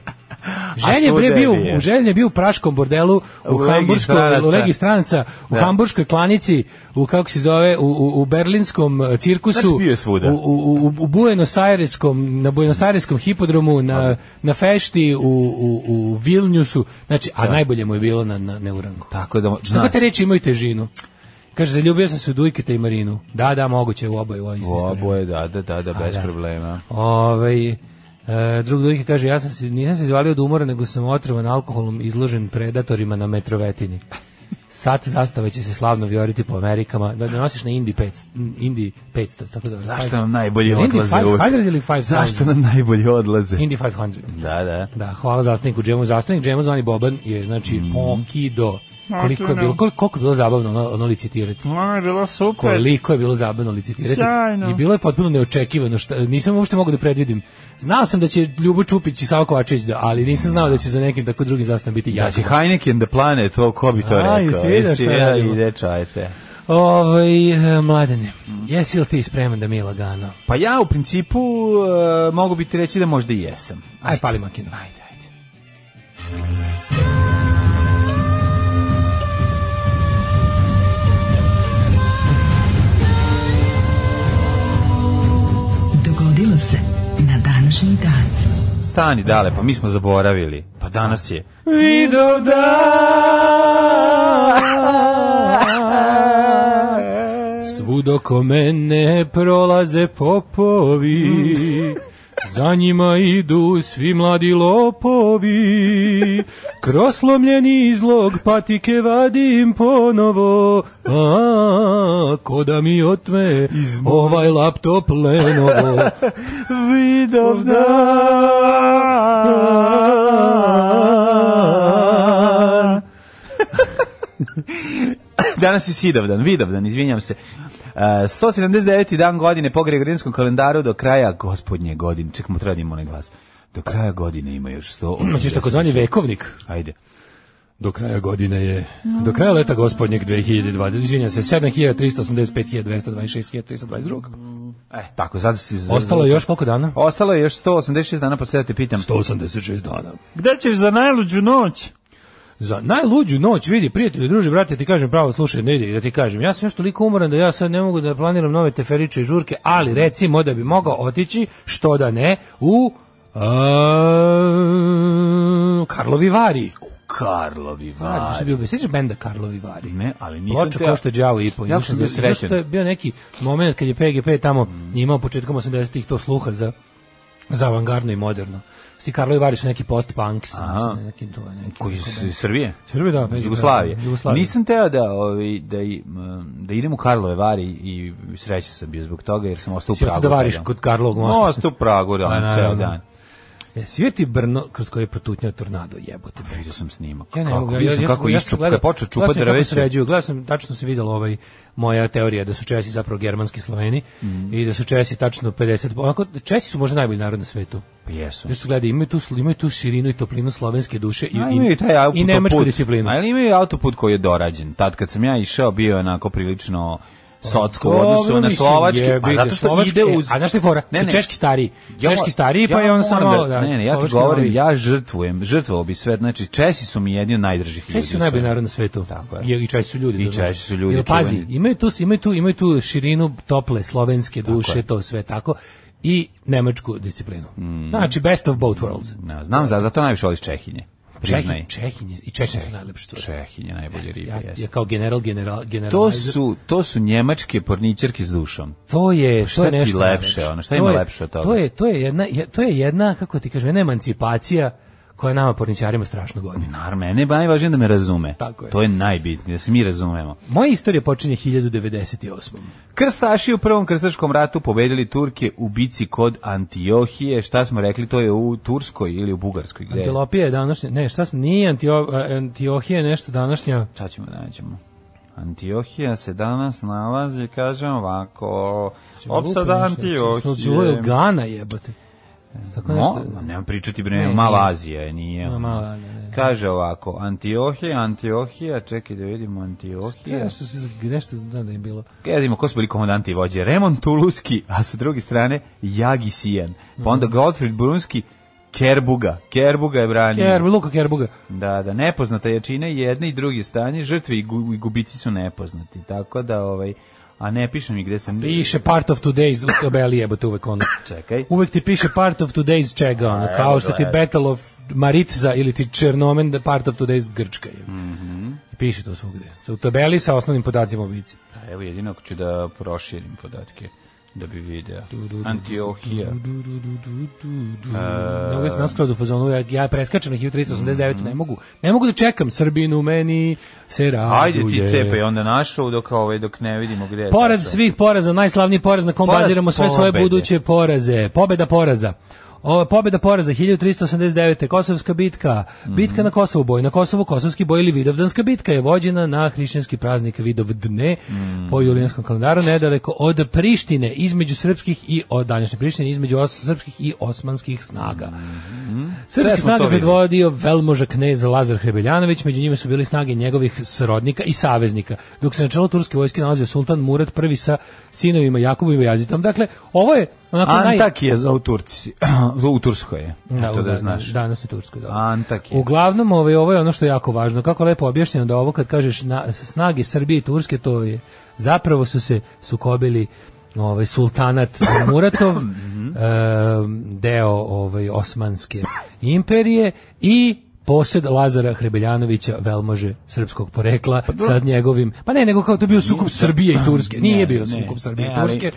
Speaker 6: Ženja je
Speaker 5: svuda
Speaker 6: bre
Speaker 5: je
Speaker 6: bio,
Speaker 5: bio.
Speaker 6: u Ženja je bio u praškom bordelu, u,
Speaker 5: U Legi
Speaker 6: Hamburskoj,
Speaker 5: stranaca.
Speaker 6: u Legi stranca, u
Speaker 5: Da.
Speaker 6: Hamburškoj klanici, u kako se zove, u, u, u berlinskom eh, cirkusu,
Speaker 5: Znači, bio je svuda.
Speaker 6: u, u, u, u Buenos Aireskom, na Buenos Aireskom hipodromu, na, na fešti, u, u, u Vilniusu, znači, a najbolje mu je bilo na, na Neurangu.
Speaker 5: Tako da...
Speaker 6: Što god te reči imaju težinu. Kaže, zaljubio sam se u Dujketa i Marinu. Da, da, moguće u oboje. U ovoj
Speaker 5: U
Speaker 6: istoriji.
Speaker 5: oboje, da, da, da, da, bez
Speaker 6: da.
Speaker 5: problema.
Speaker 6: Ovaj e, drug Dujke kaže, ja sam se, nisam se izvalio od umora, nego sam otrovan alkoholom izložen predatorima na metrovetini. Sat zastave će se slavno vjoriti po Amerikama. Da ne nosiš na Indi 500, Indi 500 tako zove.
Speaker 5: Zašto nam najbolje
Speaker 6: Indi
Speaker 5: odlaze
Speaker 6: 500
Speaker 5: uvek?
Speaker 6: ili 500?
Speaker 5: Zašto nam najbolje odlaze?
Speaker 6: Indi 500.
Speaker 5: Da, da.
Speaker 6: Da, hvala zastavniku Džemu. Zastavnik Džemu zvani Boban je, znači,
Speaker 5: Mhm.
Speaker 6: okido. Koliko je bilo, koliko, koliko je bilo zabavno ono, ono licitirati.
Speaker 7: Ono je bilo super.
Speaker 6: Koliko je bilo zabavno licitirati.
Speaker 7: Sjajno.
Speaker 6: I bilo je potpuno neočekivano. Šta, nisam uopšte mogao da predvidim. Znao sam da će Ljubo Čupić i Savo Kovačević, da, ali nisam znao da će za nekim tako drugim zastavnom biti
Speaker 5: Ja si
Speaker 6: jasno.
Speaker 5: Heineken the Planet, to ko bi to
Speaker 6: A,
Speaker 5: rekao?
Speaker 6: jesi vidio
Speaker 5: Jesi,
Speaker 6: šta
Speaker 5: ja,
Speaker 6: radimo?
Speaker 5: ide čajce.
Speaker 6: Ovaj, e, mladene, jesi li ti spreman da mi lagano?
Speaker 5: Pa ja u principu e, mogu bi ti reći da možda i jesam.
Speaker 6: Aj, pali makinu. Ajde,
Speaker 3: Dogodilo se na današnji dan.
Speaker 5: Stani dale, pa mi smo zaboravili. Pa danas je.
Speaker 6: Vidov da Svud oko mene prolaze popovi Za njima idu svi mladi lopovi Kroz slomljeni izlog patike vadim ponovo A, ko da mi otme ovaj laptop Lenovo
Speaker 5: Vidov dan. Danas je Sidovdan, Vidovdan, izvinjam se. E, 179. dan godine po Gregorijanskom kalendaru do kraja gospodnje godine. Čekamo, treba da imamo onaj glas. Do kraja godine ima još 180.
Speaker 6: Znači takozvani vekovnik
Speaker 5: Ajde.
Speaker 6: Do kraja godine je, do kraja leta gospodnjeg 2020, izvinjam se, 7385.226.322.
Speaker 5: E, tako, sad si...
Speaker 6: Ostalo je još koliko dana?
Speaker 5: Ostalo je još 186 dana, pa sada te pitam.
Speaker 6: 186 dana.
Speaker 7: Gde ćeš za najluđu noć?
Speaker 6: Za najluđu noć, vidi, prijatelji, druže, brate, ti kažem pravo, slušaj, ne ide, da ti kažem, ja sam još toliko umoran da ja sad ne mogu da planiram nove teferiče i žurke, ali recimo da bi mogao otići, što da ne, u... a, Karlovi Vari.
Speaker 5: Karlovi
Speaker 6: Vari,
Speaker 5: Vari.
Speaker 6: što bio, sjećaš benda Karlovi Vari?
Speaker 5: Pa, Ne, ali nisam
Speaker 6: Ploča košta đavo i po.
Speaker 5: Ja sam bio srećen.
Speaker 6: To je bio neki moment kad je PGP tamo imao početkom 80-ih to sluha za za avangardno i moderno. Sti Karlo Ivari su neki post-punk,
Speaker 5: Aha.
Speaker 6: mislim, neki to je neki.
Speaker 5: Koji iz Srbije?
Speaker 6: Srbi da, PGP,
Speaker 5: Jugoslavije.
Speaker 6: Jugoslavije.
Speaker 5: Nisam teo da, ovaj, da, i, m, da idem u Karlove vari i sreća sam bio zbog toga jer sam ostao u
Speaker 6: Si
Speaker 5: Pragu.
Speaker 6: ostao da variš
Speaker 5: tada.
Speaker 6: kod Karlovog mosta.
Speaker 5: Ostao u Pragu, da,
Speaker 6: Pa,
Speaker 5: ono, ceo
Speaker 6: naravno.
Speaker 5: dan.
Speaker 6: Jesi vidio ti Brno kroz koje je protutnjao tornado, jebote. Bog.
Speaker 5: Vidio sam snimak.
Speaker 6: Ja ne mogu,
Speaker 5: kako,
Speaker 6: ja,
Speaker 5: vidio sam
Speaker 6: ja,
Speaker 5: kako
Speaker 6: ja sam
Speaker 5: iščup, kad
Speaker 6: gledao-
Speaker 5: je počeo
Speaker 6: gledao
Speaker 5: čupa
Speaker 6: sam kako
Speaker 5: drveće.
Speaker 6: sređuju, gledao sam, tačno se vidjela ovaj, moja teorija da su Česi zapravo germanski Sloveni
Speaker 5: Mhm.
Speaker 6: i da su Česi tačno 50... Onako, Česi su možda najbolji narod na svetu.
Speaker 5: Pa jesu.
Speaker 6: Zato što gledaj, imaju tu, imaju tu širinu i toplinu slovenske duše i,
Speaker 5: A imaju
Speaker 6: i,
Speaker 5: taj autoput.
Speaker 6: i nemačku disciplinu.
Speaker 5: Ali imaju autoput koji je dorađen. Tad kad sam ja išao bio je onako prilično socko u odnosu
Speaker 6: Pa Dobro,
Speaker 5: na
Speaker 6: mislim,
Speaker 5: slovački, pa
Speaker 6: jebi ga,
Speaker 5: zato što
Speaker 6: slovački,
Speaker 5: ide
Speaker 6: e,
Speaker 5: uz...
Speaker 6: A znaš što je fora?
Speaker 5: Ne,
Speaker 6: Su
Speaker 5: ne.
Speaker 6: češki stariji.
Speaker 5: Ja mo-
Speaker 6: Češki stariji, pa
Speaker 5: ja
Speaker 6: je on samo
Speaker 5: moram
Speaker 6: malo... Da,
Speaker 5: ne, ne, ja ti
Speaker 6: slovački
Speaker 5: govorim,
Speaker 6: novi.
Speaker 5: ja žrtvujem, žrtvovao bi sve, znači Česi su mi jedni od najdržih ljudi.
Speaker 6: Česi su
Speaker 5: u
Speaker 6: najbolji
Speaker 5: svetu.
Speaker 6: narod na svetu.
Speaker 5: Tako je.
Speaker 6: je. I Česi su ljudi.
Speaker 5: I
Speaker 6: da znaš.
Speaker 5: Česi su ljudi,
Speaker 6: Jer, pazi,
Speaker 5: čuveni.
Speaker 6: imaju tu, imaju, tu, imaju tu širinu tople slovenske duše,
Speaker 5: je.
Speaker 6: to sve tako, i nemačku disciplinu.
Speaker 5: Mm.
Speaker 6: Znači, best of both worlds.
Speaker 5: Ne, znam, za, zato najviše voliš Čehinje. Priznaj.
Speaker 6: Čehi, Čehinje, i Češi su najlepši cure.
Speaker 5: Čehinje, najbolje ribe.
Speaker 6: Ja,
Speaker 5: jeste.
Speaker 6: ja kao general, general, general.
Speaker 5: To su, to su njemačke porničarke s dušom.
Speaker 6: To je
Speaker 5: šta
Speaker 6: to je
Speaker 5: ti
Speaker 6: nešto
Speaker 5: lepše,
Speaker 6: najlepše.
Speaker 5: ono, šta
Speaker 6: To
Speaker 5: ima
Speaker 6: je-
Speaker 5: lepše od toga?
Speaker 6: To je to je jedna je- to je jedna kako ti kažem, jedna emancipacija koja nama porničarima strašno godi.
Speaker 5: Naravno, mene je najvažnije da me razume.
Speaker 6: Tako je.
Speaker 5: To je najbitnije, da se mi razumemo.
Speaker 6: Moja istorija počinje 1098.
Speaker 5: Krstaši u prvom krstaškom ratu pobedili Turke u bici kod Antiohije. Šta smo rekli, to je u Turskoj ili u Bugarskoj? Gde? je?
Speaker 6: Antilopija je današnja, ne, šta smo, nije Antio, e, Antiohija je nešto današnja.
Speaker 5: Šta ćemo da nađemo? Antiohija se danas nalazi, kažem ovako,
Speaker 6: Znači,
Speaker 5: opsada
Speaker 6: Čulo
Speaker 5: Antiohije.
Speaker 6: Gana jebote. Tako
Speaker 5: No,
Speaker 6: nešto.
Speaker 5: nemam pričati, bre,
Speaker 6: Ne,
Speaker 5: ne, mala
Speaker 6: nije.
Speaker 5: Azija je, nije.
Speaker 6: Ma,
Speaker 5: ono.
Speaker 6: mala, ne, ne.
Speaker 5: Kaže ovako, Antiohija, Antiohija, čekaj da vidimo Antiohija.
Speaker 6: Nešto se nešto da da je bilo.
Speaker 5: Ja vidimo ko su bili komandanti i vođe. Remon Tuluski, a sa druge strane Jagi Sijan. Pa onda Gottfried Brunski, Kerbuga. Kerbuga je branio.
Speaker 6: Ker, Luka Kerbuga.
Speaker 5: Da, da, nepoznata jačine jedne i drugi stanje, žrtve i gu- i gubici su nepoznati. Tako da, ovaj, a ne piše mi gde sam...
Speaker 6: Piše part of today's u tabeli jebote uvek ono.
Speaker 5: Čekaj.
Speaker 6: Uvek ti piše part of today's čega, ono,
Speaker 5: Mhm.
Speaker 6: kao što ti Battle of Maritza ili ti Černomen da part of today's Grčka je. Piše to svugde. Sa u tabeli sa osnovnim podacima o bici.
Speaker 5: A Evo jedino ako ću da proširim podatke da bi video. Antiohija.
Speaker 6: Mnogo je nas kroz u fazonu, ja, ja preskačem na 1389,
Speaker 8: Mhm.
Speaker 6: ne mogu. Ne mogu da čekam Srbinu, meni se
Speaker 8: Ajde
Speaker 6: raduje.
Speaker 8: ti cepaj onda našu dok, ovaj, dok ne vidimo gde je.
Speaker 6: Poraz
Speaker 8: to.
Speaker 6: svih poraza, najslavniji poraz na kom
Speaker 8: Poraz
Speaker 6: baziramo sve svoje
Speaker 8: pobede.
Speaker 6: buduće poraze. Pobeda poraza. Ova pobeda poraza 1389. Kosovska bitka,
Speaker 8: Mhm.
Speaker 6: bitka na Kosovu, boj na Kosovu, kosovski boj ili Vidovdanska bitka je vođena na hrišćanski praznik Vidovdne
Speaker 8: Mhm.
Speaker 6: po julijanskom kalendaru nedaleko od Prištine između srpskih i od današnje Prištine između os, srpskih i osmanskih snaga.
Speaker 8: Mhm. Sve
Speaker 6: Srpske
Speaker 8: smo to
Speaker 6: snage
Speaker 8: videli.
Speaker 6: predvodio velmoža knez Lazar Hrebeljanović, među njima su bili snage njegovih srodnika i saveznika, dok se na čelu turske vojske nalazio sultan Murad I sa sinovima Jakubom i Jazitom. Dakle, ovo je onako naj...
Speaker 8: Antakija za u Turci. u Turskoj je.
Speaker 6: Da,
Speaker 8: Da, to
Speaker 6: u-
Speaker 8: da znaš.
Speaker 6: Danas u Turskoj, da.
Speaker 8: Antakija.
Speaker 6: Uglavnom, ovaj, ovo je ono što je jako važno. Kako lepo objašnjeno da ovo kad kažeš na, snage Srbije i Turske, to je zapravo su se sukobili ovaj sultanat Muratov eh, deo ovaj osmanske imperije i posjed Lazara Hrebeljanovića velmože srpskog porekla sa njegovim pa ne nego kao to je bio sukob Srbije i Turske nije
Speaker 8: Ne,
Speaker 6: bio
Speaker 8: ne,
Speaker 6: sukob Srbije
Speaker 8: ne,
Speaker 6: i
Speaker 8: ali-
Speaker 6: Turske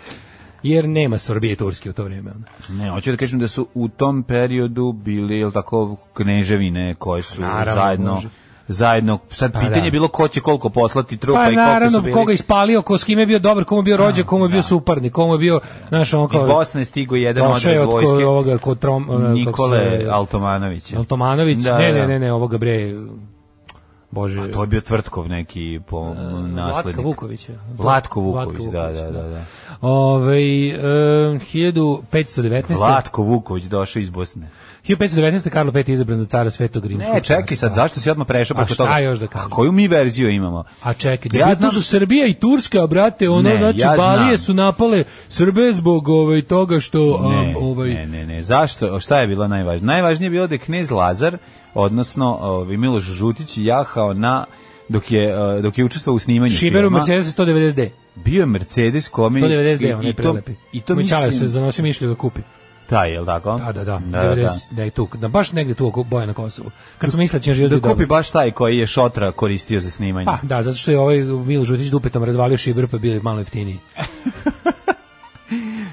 Speaker 6: jer nema Srbije i Turske u to vrijeme ono.
Speaker 5: Ne, hoću da kažem da su u tom periodu bili, jel tako, kneževine koje su
Speaker 6: Pa Naravno,
Speaker 5: zajedno...
Speaker 6: može.
Speaker 5: Zajedno, sad
Speaker 6: Pa
Speaker 5: pitanje
Speaker 6: da.
Speaker 5: je bilo ko će koliko poslati trupa
Speaker 6: Pa
Speaker 5: i koliko
Speaker 6: naravno,
Speaker 5: su bili.
Speaker 6: koga je ispalio, ko s kime je bio dobar, komu je bio rođak, komu je bio suparnik, komu je bio, znaš, ono
Speaker 5: Iz
Speaker 6: kao...
Speaker 5: Bosne stigo jedan
Speaker 6: Došao je
Speaker 5: odred
Speaker 6: od ko-
Speaker 5: vojske.
Speaker 6: ovoga, kod Trom... eh, kako se
Speaker 5: Nikole
Speaker 6: zove,
Speaker 5: Altomanovića.
Speaker 6: Altomanović,
Speaker 5: Da,
Speaker 6: ne,
Speaker 5: da.
Speaker 6: ne, ne, ne, ovoga bre... Bože...
Speaker 5: To je bio Tvrtkov neki po naslednik.
Speaker 6: Vlatka E, Vuković. je.
Speaker 5: Vlatko
Speaker 6: Vlatko
Speaker 5: Vuković, da, da, da. da.
Speaker 6: Ovaj, eh, 1519.
Speaker 5: Vlatko Vuković došao iz Bosne.
Speaker 6: 1519. Karlo V je izabran za cara Svetog Rimskog.
Speaker 5: Ne, čekaj sad,
Speaker 6: carstva.
Speaker 5: zašto si odmah prešao
Speaker 6: A
Speaker 5: preko
Speaker 6: šta
Speaker 5: toga?
Speaker 6: još da kažem?
Speaker 5: A koju mi verziju imamo?
Speaker 6: A čekaj, da
Speaker 5: Ja
Speaker 6: ja
Speaker 5: znam-
Speaker 6: tu su Srbija i Turska, brate, ono,
Speaker 5: Ne,
Speaker 6: znači,
Speaker 5: ja znam.
Speaker 6: Balije su napale Srbe zbog ovaj, toga što... a,
Speaker 5: Ne,
Speaker 6: ovaj,
Speaker 5: ne, ne, ne. Zašto? Šta je bilo najvažnije? Najvažnije je bilo da je knez Lazar, odnosno ovi Miloš Žutić, jahao na dok je eh, dok je učestvovao u snimanju
Speaker 6: Šiberu
Speaker 5: filma.
Speaker 6: Mercedes 190D.
Speaker 5: bio je Mercedes kome
Speaker 6: 190D,
Speaker 5: to-
Speaker 6: onaj ono prelepi.
Speaker 5: i to
Speaker 6: Mićale
Speaker 5: mislim
Speaker 6: se zanosio mišlju da kupi.
Speaker 5: taj je l' tako
Speaker 6: Da, da, da.
Speaker 5: da, da, da.
Speaker 6: 90, da. je tu, da baš negde tu oko boja na Kosovu. Kad smo mislili da će živjeti
Speaker 5: da kupi baš taj koji je šotra koristio za snimanje
Speaker 6: Pa, da, zato što je ovaj Mil Žutić dupetom razvalio Šiber, pa bio je malo jeftiniji.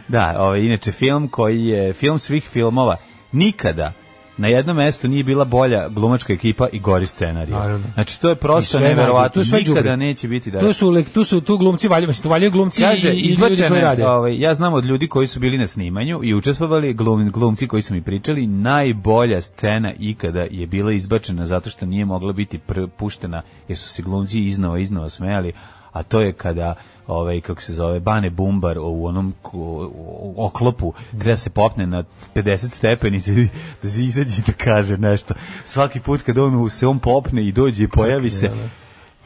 Speaker 5: Da, ovaj, inače film koji je film svih filmova. Nikada na jednom mestu nije bila bolja glumačka ekipa i gori scenarij.
Speaker 6: Naravno.
Speaker 5: Znači to je
Speaker 6: I
Speaker 5: prosto
Speaker 6: sve najbolje.
Speaker 5: neverovatno.
Speaker 6: Tu sve
Speaker 5: Nikada
Speaker 6: đubre.
Speaker 5: neće biti da.
Speaker 6: Tu su, le- tu su tu glumci, valjaju, mislim, tu valjaju glumci
Speaker 5: Kaže,
Speaker 6: i, i ljudi koji
Speaker 5: izbačene,
Speaker 6: rade.
Speaker 5: ovaj, ja znam od ljudi koji su bili na snimanju i učestvovali, glum, glumci koji su mi pričali, najbolja scena ikada je bila izbačena zato što nije mogla biti pr- puštena jer su se glumci iznova, iznova smejali, a to je kada ovaj kako se zove Bane Bumbar u onom ko- u oklopu treba se popne na 50 stepenica i da se izađe i da kaže nešto svaki put kad on se on popne i dođe i pojavi se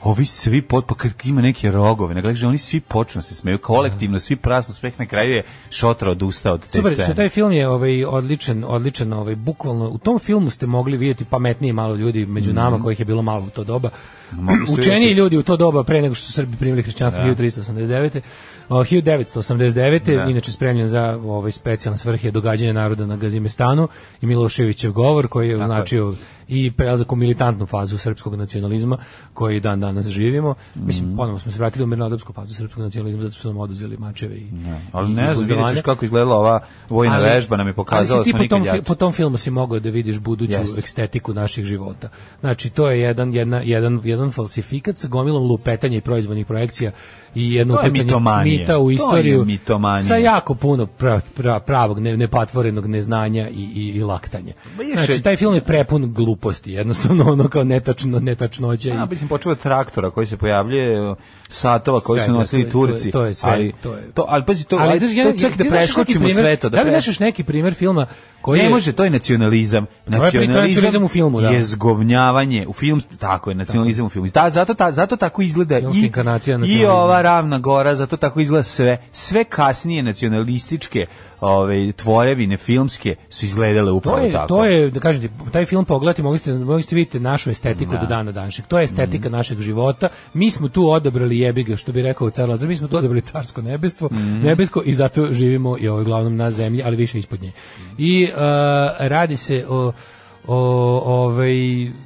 Speaker 5: Ovi svi pot, pa kad ima neke rogove, na gledaš, oni svi počnu da se smeju kolektivno, svi prasno smeh na kraju je Šotra odustao od te
Speaker 6: Super,
Speaker 5: scene.
Speaker 6: što taj film je ovaj odličan, odličan, ovaj bukvalno u tom filmu ste mogli vidjeti pametnije malo ljudi među nama kojih je bilo malo u to doba.
Speaker 5: Mhm. Mogu se
Speaker 6: Učeniji
Speaker 5: vidjeti.
Speaker 6: ljudi u to doba pre nego što su Srbi primili hrišćanstvo 1389. o, 1989.
Speaker 5: Da.
Speaker 6: inače spremljen za ovaj specijalne svrhe događanja naroda na Gazimestanu i Miloševićev govor koji je označio i prelazak u militantnu fazu srpskog nacionalizma koji dan danas živimo.
Speaker 5: Mhm.
Speaker 6: Mislim, ponovo smo se vratili u mirnodopsku fazu srpskog nacionalizma zato što nam oduzeli mačeve i,
Speaker 5: Ali
Speaker 6: i
Speaker 5: ne znam, vidjet
Speaker 6: buzdovanje.
Speaker 5: ćeš kako izgledala ova vojna
Speaker 6: Ali-
Speaker 5: vežba, nam je pokazala
Speaker 6: ali
Speaker 5: da
Speaker 6: si
Speaker 5: smo
Speaker 6: ti
Speaker 5: nikad
Speaker 6: po tom, fi-
Speaker 5: jači.
Speaker 6: po tom filmu si mogao da vidiš buduću
Speaker 5: Jeste.
Speaker 6: estetiku naših života. Znači, to je jedan, jedna, jedan, jedan falsifikat sa gomilom lupetanja i proizvodnih projekcija i jedno
Speaker 5: To je
Speaker 6: uplitanje
Speaker 5: mitomanija.
Speaker 6: mita
Speaker 5: To
Speaker 6: u
Speaker 5: je
Speaker 6: istoriju
Speaker 5: mitomanija.
Speaker 6: sa jako puno pra- pra- pravog, ne, nepatvorenog neznanja i, i, i laktanja.
Speaker 5: Ma je še-
Speaker 6: Znači, taj film je prepun gluposti, jednostavno ono kao netačno, netačnoće. i-
Speaker 5: A, mislim, počeo od traktora koji se pojavljuje, satova koji
Speaker 6: Sve,
Speaker 5: su
Speaker 6: da,
Speaker 5: nosili
Speaker 6: to je-
Speaker 5: Turci.
Speaker 6: to je- to je sve,
Speaker 5: ali,
Speaker 6: to je-
Speaker 5: ali pazi, to,
Speaker 6: ali
Speaker 5: ali,
Speaker 6: znaš,
Speaker 5: to
Speaker 6: jedan-
Speaker 5: ček da
Speaker 6: ti znaš neki
Speaker 5: preskočimo
Speaker 6: primer-
Speaker 5: sve to. Da,
Speaker 6: Da li
Speaker 5: pre-
Speaker 6: znaš još neki primer filma koji
Speaker 5: Ne
Speaker 6: Pa je-
Speaker 5: može, to je nacionalizam.
Speaker 6: je nacionalizam u filmu, da.
Speaker 5: Je zgovnjavanje u film, tako je, nacionalizam u filmu. Da, zato, ta, zato tako izgleda
Speaker 6: Još
Speaker 5: i,
Speaker 6: inkarnacija
Speaker 5: i
Speaker 6: nacionalizma.
Speaker 5: ova ravna gora, zato tako izgleda sve. Sve kasnije nacionalističke ove, tvorevine filmske su izgledale upravo
Speaker 6: To je,
Speaker 5: tako.
Speaker 6: to je, da kažem ti, taj film pogledati, mogli ste, mogli ste vidjeti našu estetiku do dana danšeg. To je estetika
Speaker 5: Mhm.
Speaker 6: našeg života. Mi smo tu odabrali jebiga, što bi rekao car Lazar, mi smo tu odabrali carsko nebestvo,
Speaker 5: Mhm.
Speaker 6: nebesko i zato živimo i ovaj, uglavnom na zemlji, ali više ispod nje. eh, I e, radi se o, o ovaj, uh,